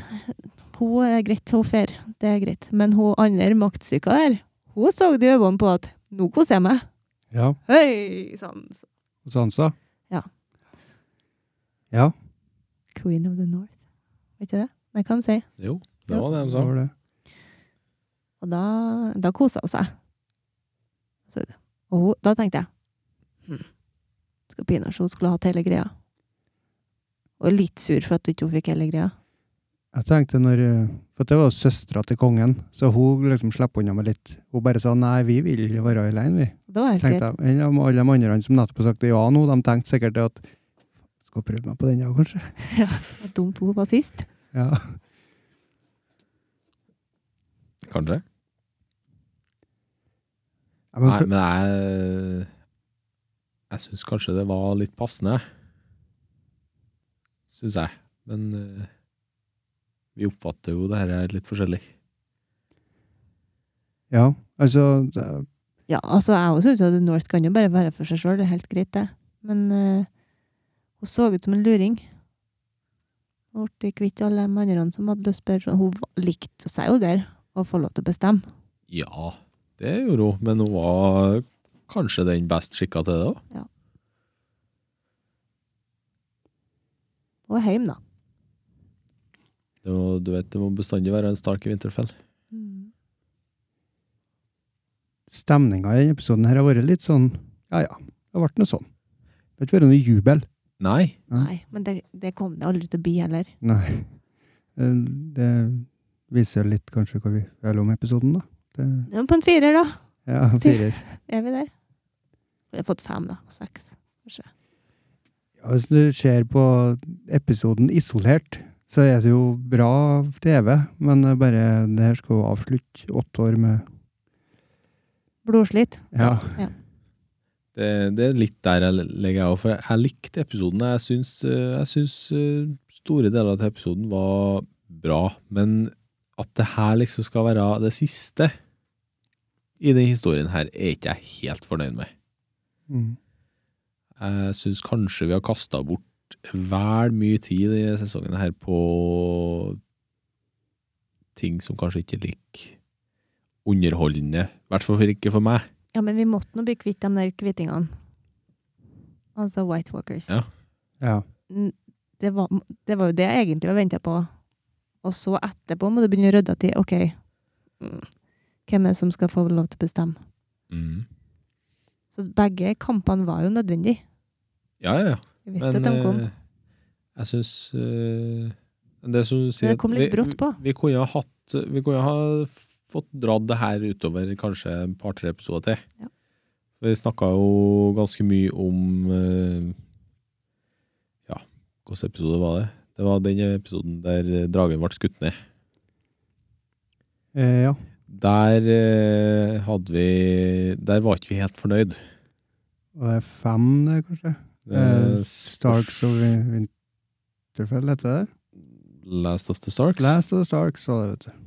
[SPEAKER 3] Hun er greit, hun fer. Det er greit. Men hun andre maktsyka der, hun så det i øynene på at nå koser jeg meg.
[SPEAKER 1] Ja.
[SPEAKER 3] Høy! Sånn. så-
[SPEAKER 1] Og Sansa.
[SPEAKER 3] Ja.
[SPEAKER 1] Ja,
[SPEAKER 3] Queen of the North. Vet du det? Nei, hva de sier.
[SPEAKER 2] Jo, det var det de
[SPEAKER 1] det
[SPEAKER 2] sa.
[SPEAKER 1] var det.
[SPEAKER 3] Og da, da kosa hun seg. Så, og hun, hmm, da tenkte jeg hm, Skal pinadø hun skulle hatt hele greia. Og litt sur for at du ikke fikk hele greia.
[SPEAKER 1] Jeg tenkte når eh, For det var jo søstera til kongen, så hun liksom slapp unna med litt. Hun bare sa nei, vi vil være alene, vi.
[SPEAKER 3] Det var helt greit.
[SPEAKER 1] Tenkte jeg, ja, men Alle de andre som nettopp har sagt ja nå, de tenkte sikkert det at Skal prøve meg på den, ja, kanskje?
[SPEAKER 3] Det var Dumt hun var sist.
[SPEAKER 1] Ja.
[SPEAKER 2] Kanskje.
[SPEAKER 1] Ja, men,
[SPEAKER 2] Nei, men jeg Jeg syns kanskje det var litt passende. Syns jeg. Men eh, vi oppfatter jo det her litt forskjellig.
[SPEAKER 1] ja, altså det-
[SPEAKER 3] Ja, altså, jeg også synes at North kan jo bare være for seg sjøl, det er helt greit, det. Men eh, hun så ut som en luring. Hun ble kvitt alle de andre som hadde lyst på det. Hun var- likte seg jo der, og få lov til å bestemme.
[SPEAKER 2] Ja, det gjorde hun, men hun var kanskje den best skikka til det òg.
[SPEAKER 3] Og hjem, da.
[SPEAKER 2] Det må- Du vet, det må bestandig være en Stark i Winterfell.
[SPEAKER 1] Stemninga i denne episoden her har vært litt sånn Ja ja, det ble noe sånn. Det har ikke vært noe jubel.
[SPEAKER 2] Nei,
[SPEAKER 3] Nei, men det, det kom det aldri til å bli heller.
[SPEAKER 1] Nei. Eh, Det viser jo litt kanskje hva vi føler om episoden, da. Det,
[SPEAKER 3] Det var på en firer, da.
[SPEAKER 1] ja, firer.
[SPEAKER 3] Er vi der? Vi har fått fem, da. og Seks.
[SPEAKER 1] Ja, hvis du ser på episoden isolert, så er det jo bra TV, men det er bare det her skal jo avslutte åtte år med
[SPEAKER 3] Blodslitt.
[SPEAKER 1] Ja.
[SPEAKER 2] det, det er litt der jeg legger jeg òg, for jeg likte episoden. Jeg syns, eh, jeg syns eh, store deler av episoden var bra, men at det her liksom skal være det siste i den historien her, er ikke jeg helt fornøyd med.
[SPEAKER 1] Mm.
[SPEAKER 2] Jeg syns kanskje vi har kasta bort vel mye tid i sesongen her på ting som kanskje ikke er like underholdende. I hvert fall ikke for meg.
[SPEAKER 3] Ja, men vi måtte nå bli kvitt de der kvittingene. Altså White Walkers.
[SPEAKER 2] Ja.
[SPEAKER 1] ja.
[SPEAKER 3] N- Det var, det var jo det jeg egentlig var venta på. Og så etterpå må du begynne å rydde til OK, mm, hvem er det som skal få lov til å bestemme? Så begge kampene var jo nødvendige.
[SPEAKER 2] Ja, ja, ja.
[SPEAKER 3] Vi visste at de kom.
[SPEAKER 2] eh, jeg syns eh, Det som du sier
[SPEAKER 3] det kom litt
[SPEAKER 2] vi-
[SPEAKER 3] brått på.
[SPEAKER 2] Vi, vi kunne ha hatt Vi kunne ha fått dratt det her utover kanskje et par-tre episoder til.
[SPEAKER 3] Ja.
[SPEAKER 2] Vi snakka jo ganske mye om eh, Ja, hvilken episode var det? Det var den episoden der dragen ble skutt ned.
[SPEAKER 1] Eh, ja.
[SPEAKER 2] Der eh, hadde vi Der var ikke vi helt fornøyd.
[SPEAKER 1] Og det er fem, det, kanskje?
[SPEAKER 2] Eh,
[SPEAKER 1] Eh, Starks of Winterfell, heter det?
[SPEAKER 2] Last of the Starks.
[SPEAKER 1] Blast of the Starks, var det, vet du.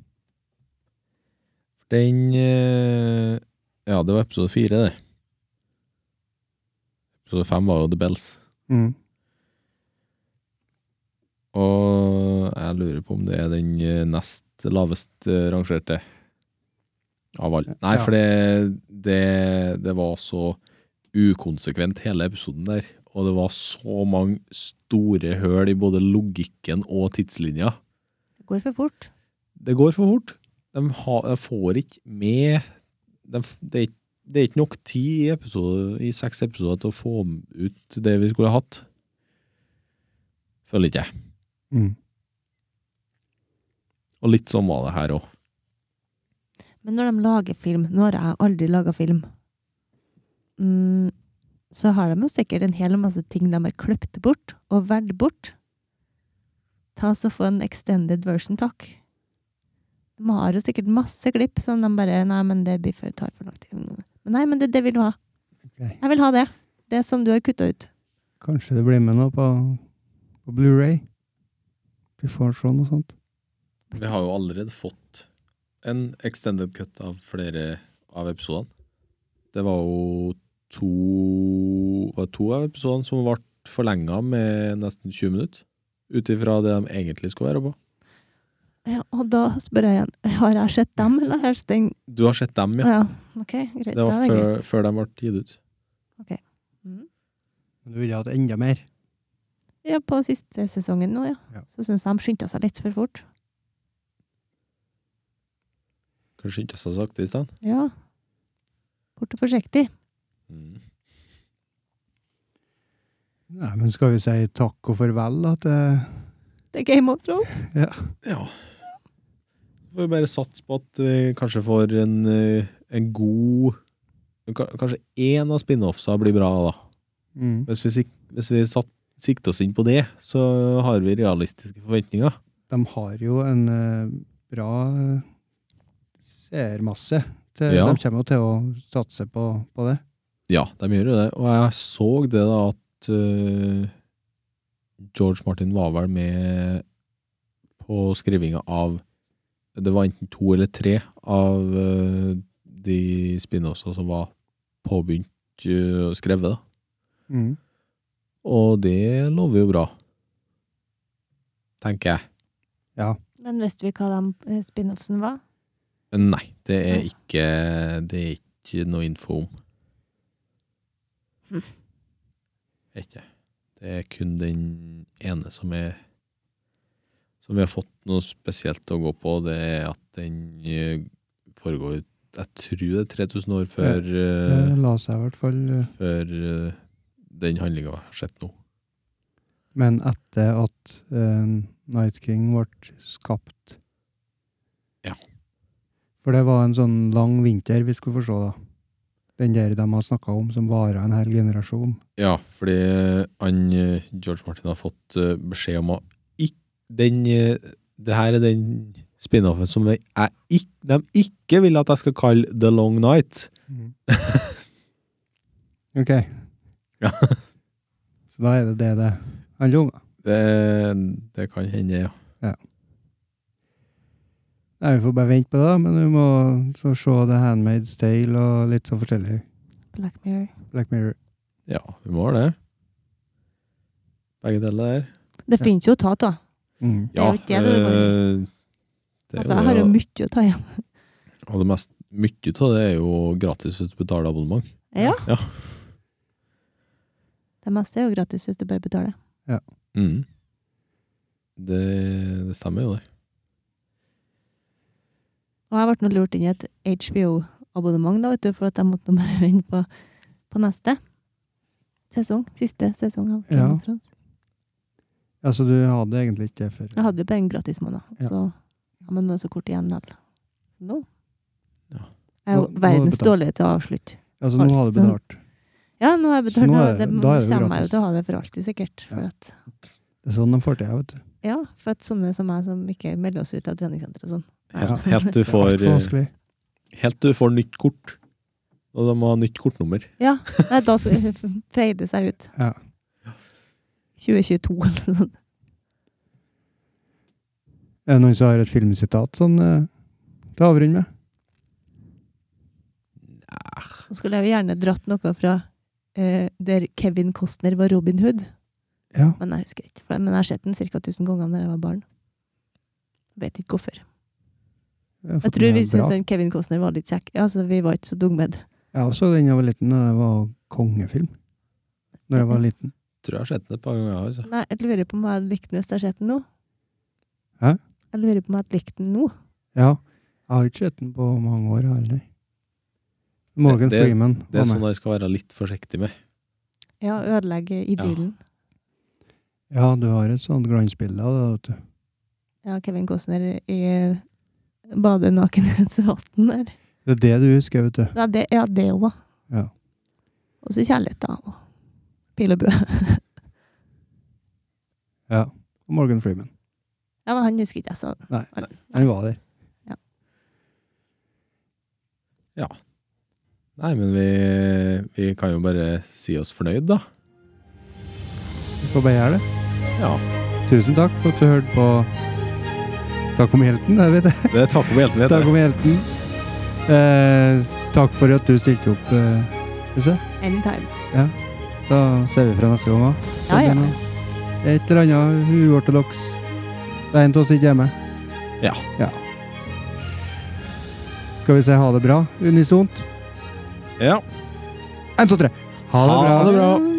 [SPEAKER 2] Den eh, Ja, det var episode fire, det. Episode fem var jo The Bells.
[SPEAKER 1] Mm.
[SPEAKER 2] Og jeg lurer på om det er den eh, nest lavest eh, rangerte av alle. Nei,
[SPEAKER 1] Ja.
[SPEAKER 2] for det, det, det var så ukonsekvent, hele episoden der. Og det var så mange store høl i både logikken og tidslinja.
[SPEAKER 3] Det går for fort.
[SPEAKER 2] det går for fort. De, ha, de får ikke med de, f- det, er ikke- det er ikke nok tid i, episode, i seks episoder til å få ut det vi skulle hatt. Føler ikke jeg.
[SPEAKER 1] Mm.
[SPEAKER 2] Og litt sånn var det her òg.
[SPEAKER 3] Men når de lager film Nå har jeg aldri laga film. Mm, så har de jo sikkert en hel masse ting de har kløpt bort og valgt bort. Ta så Få en extended version, takk. De har jo sikkert masse klipp som de bare Nei, men det blir for, tar for lang tid. Men nei, men det, det vil du ha.
[SPEAKER 1] Ok.
[SPEAKER 3] Jeg vil ha det. Det som du har kutta ut.
[SPEAKER 1] Kanskje det blir med noe på, på Blu-ray? Vi får se noe sånt.
[SPEAKER 2] Vi har jo allerede fått en extended cut av flere av episodene. Det var jo to, var det to av episodene som ble forlenga med nesten 20 minutter. Ut ifra det de egentlig skulle være på.
[SPEAKER 3] Ja, og da spør jeg igjen. Har jeg sett dem, eller har jeg sett den?
[SPEAKER 2] Du har sett dem, ja?
[SPEAKER 3] Ja. Ok, greit.
[SPEAKER 2] Det
[SPEAKER 3] da
[SPEAKER 2] var
[SPEAKER 3] er det
[SPEAKER 2] før,
[SPEAKER 3] greit.
[SPEAKER 2] før de ble gitt ut.
[SPEAKER 3] Mm.
[SPEAKER 1] Men du ville hatt enda mer?
[SPEAKER 3] Ja, på siste sesongen nå, ja.
[SPEAKER 1] Ja.
[SPEAKER 3] Så syns jeg de skyndte seg litt for fort.
[SPEAKER 2] Kan skynde seg sakte i stedet.
[SPEAKER 3] Ja. Fort og forsiktig.
[SPEAKER 1] Nei, men skal vi si takk og farvel da, til
[SPEAKER 3] Det er Game of Thrones.
[SPEAKER 2] Ja. Får vi bare satse på at vi kanskje får en, eh, en god ka- Kanskje én av spin-offsa blir bra, da.
[SPEAKER 1] mm.
[SPEAKER 2] Hvis vi, sik hvis vi satt, sikter oss inn på det, så har vi realistiske forventninger.
[SPEAKER 1] De har jo en eh, bra eh, seermasse. til-
[SPEAKER 2] Ja.
[SPEAKER 1] De kommer jo til å satse på, på det.
[SPEAKER 2] Ja, de gjør jo det. Og jeg så det da at øh, George Martin var vel med på skrivinga av Det var enten to eller tre av øh, de spin-offsa som var påbegynt øh, og skrevet. da.
[SPEAKER 1] Mm.
[SPEAKER 2] Og det lover jo bra. Tenker jeg.
[SPEAKER 1] Ja.
[SPEAKER 3] Men visste vi hva de eh, spin-offsen var?
[SPEAKER 2] Men nei, det er ikke Det er ikke noe info om.
[SPEAKER 3] Hm.
[SPEAKER 2] Vet ikke. Det er kun den ene som er Som vi har fått noe spesielt å gå på, det er at den eh, foregår Jeg tror det er 3000 år før, eh,
[SPEAKER 1] Det la seg i hvert fall. eh,
[SPEAKER 2] før eh, den handlinga har skjedd nå.
[SPEAKER 1] Men etter at eh, Night King ble skapt.
[SPEAKER 2] Ja.
[SPEAKER 1] For det var en sånn lang vinter vi skulle få se, da. Den der de har snakka om, som varer en hel generasjon.
[SPEAKER 2] Ja, fordi han, eh, George Martin har fått eh, beskjed om å ikk- den, eh, Det her er den spin-offen som jeg ikk, de ikke vil at jeg skal kalle The Long Night.
[SPEAKER 1] OK.
[SPEAKER 2] Ja.
[SPEAKER 1] Så da er det det det handler om. da.
[SPEAKER 2] Det, det kan hende, ja.
[SPEAKER 1] Nei, vi får bare vente på det, da, men vi må så se The Handmaid's Tale og litt så forskjellig.
[SPEAKER 3] Black Mirror.
[SPEAKER 1] Black Mirror.
[SPEAKER 2] Ja, vi må ha det. Begge deler der.
[SPEAKER 3] Det finnes jo å ta av.
[SPEAKER 1] Mm.
[SPEAKER 3] Det er jo ikke det det går i.
[SPEAKER 2] eh, det er
[SPEAKER 3] Altså,
[SPEAKER 2] jo
[SPEAKER 3] jeg har
[SPEAKER 2] det,
[SPEAKER 3] jo mye å ta igjen.
[SPEAKER 2] og- Og det mest mye av det er jo gratis hvis du betaler abonnement.
[SPEAKER 3] Ja.
[SPEAKER 2] Ja.
[SPEAKER 3] Det meste er jo gratis hvis du bare betaler.
[SPEAKER 2] Mm. Det, det stemmer jo, det.
[SPEAKER 3] Og jeg ble nå lurt inn i et HBO-abonnement, da, vet du, for at jeg måtte nå bare inn på, på neste sesong. Siste sesong av Game
[SPEAKER 1] Ja.
[SPEAKER 3] of Thrones.
[SPEAKER 1] Altså, du hadde egentlig ikke det før.
[SPEAKER 3] Jeg hadde jo bare en gratis måned,
[SPEAKER 1] Ja.
[SPEAKER 3] så ja, men nå er det så kort igjen likevel. Så Nå.
[SPEAKER 2] Ja.
[SPEAKER 3] Jeg er jo
[SPEAKER 1] Nå- nå er det
[SPEAKER 3] verdens
[SPEAKER 1] betalt.
[SPEAKER 3] dårlige til å avslutte.
[SPEAKER 1] Altså, nå har du
[SPEAKER 3] Sånn.
[SPEAKER 1] betalt.
[SPEAKER 3] Ja, nå har jeg
[SPEAKER 1] Så
[SPEAKER 3] betalt.
[SPEAKER 1] nå
[SPEAKER 3] Nå
[SPEAKER 1] er
[SPEAKER 3] det,
[SPEAKER 1] det- da er det
[SPEAKER 3] kommer jeg jo
[SPEAKER 1] gratis.
[SPEAKER 3] til å ha det for alltid, sikkert. For
[SPEAKER 1] Ja.
[SPEAKER 3] at,
[SPEAKER 1] Det er sånn de får til, vet du.
[SPEAKER 3] ja, for at sånne som meg, som ikke melder oss ut av treningssenteret og sånn.
[SPEAKER 1] Ja.
[SPEAKER 2] Helt, helt, du
[SPEAKER 1] Det er
[SPEAKER 2] får,
[SPEAKER 1] altfor
[SPEAKER 2] eh,
[SPEAKER 1] vanskelig.
[SPEAKER 2] helt til du får nytt kort. Og de må ha nytt kortnummer.
[SPEAKER 3] Ja, nei, da så- feier det seg ut.
[SPEAKER 1] Ja.
[SPEAKER 3] 2022 eller noe sånt.
[SPEAKER 1] Er det noen som har et filmsitat sånn eh, til å avrunde med?
[SPEAKER 3] Så skulle jeg jo gjerne dratt noe fra eh, der Kevin Costner var Robin Hood.
[SPEAKER 1] Ja.
[SPEAKER 3] Men jeg husker ikke, for det, men jeg har sett den ca. 1000 ganger da jeg var barn. Jeg vet ikke hvorfor.
[SPEAKER 1] Jeg,
[SPEAKER 3] Jeg tror vi syntes han Kevin Costner var litt kjekk. Altså, vi var ikke så dumme.
[SPEAKER 1] Jeg også den da jeg var liten, og det var kongefilm. Når jeg var liten.
[SPEAKER 2] Tror jeg har sett den et par ganger. Altså.
[SPEAKER 3] Nei, jeg lurer på om jeg hadde likt den hvis jeg hadde sett den nå.
[SPEAKER 1] Hæ?
[SPEAKER 3] Jeg lurer på om jeg hadde likt den nå.
[SPEAKER 1] Ja. Jeg har ikke sett den på mange år, jeg heller. Morgan
[SPEAKER 2] Det- det-
[SPEAKER 1] Freeman
[SPEAKER 2] Det er
[SPEAKER 1] var
[SPEAKER 2] sånn
[SPEAKER 1] med.
[SPEAKER 2] jeg skal være litt forsiktig med.
[SPEAKER 3] Ja, ødelegge idyllen.
[SPEAKER 1] Ja, du har et sånt glansbilde av det, vet du.
[SPEAKER 3] Ja. Kevin Costner i eh, badenakenhetsvann der.
[SPEAKER 1] Det er det du husker, vet du.
[SPEAKER 3] Nei, det, ja, det òg.
[SPEAKER 1] Ja.
[SPEAKER 3] Og så kjærlighet, da. Og pil og bue.
[SPEAKER 1] ja. Og Morgan Freeman.
[SPEAKER 3] Ja, men han husker ikke jeg sånn.
[SPEAKER 1] Nei,
[SPEAKER 3] Nei.
[SPEAKER 1] han var der.
[SPEAKER 2] Nei, men vi, vi kan jo bare si oss fornøyd, da.
[SPEAKER 1] Vi får bare gjøre det.
[SPEAKER 2] Ja.
[SPEAKER 1] Tusen takk for at du hørte på Takk om hjelten, det vet jeg.
[SPEAKER 2] Det er taco på hjelten, vet
[SPEAKER 1] Takk
[SPEAKER 2] jeg.
[SPEAKER 1] om hjelten. Eh, takk for at du stilte opp, eh, Lise.
[SPEAKER 3] Anytime.
[SPEAKER 1] Da ser vi fra neste gang òg.
[SPEAKER 3] Ja, ja.
[SPEAKER 1] Et eller annet uortodoks. Det er en av oss ikke hjemme.
[SPEAKER 2] Ja.
[SPEAKER 1] ja. Skal vi si ha det bra unisont?
[SPEAKER 2] Ja.
[SPEAKER 1] Én, to, tre. Ha det bra.
[SPEAKER 2] Ha det bra.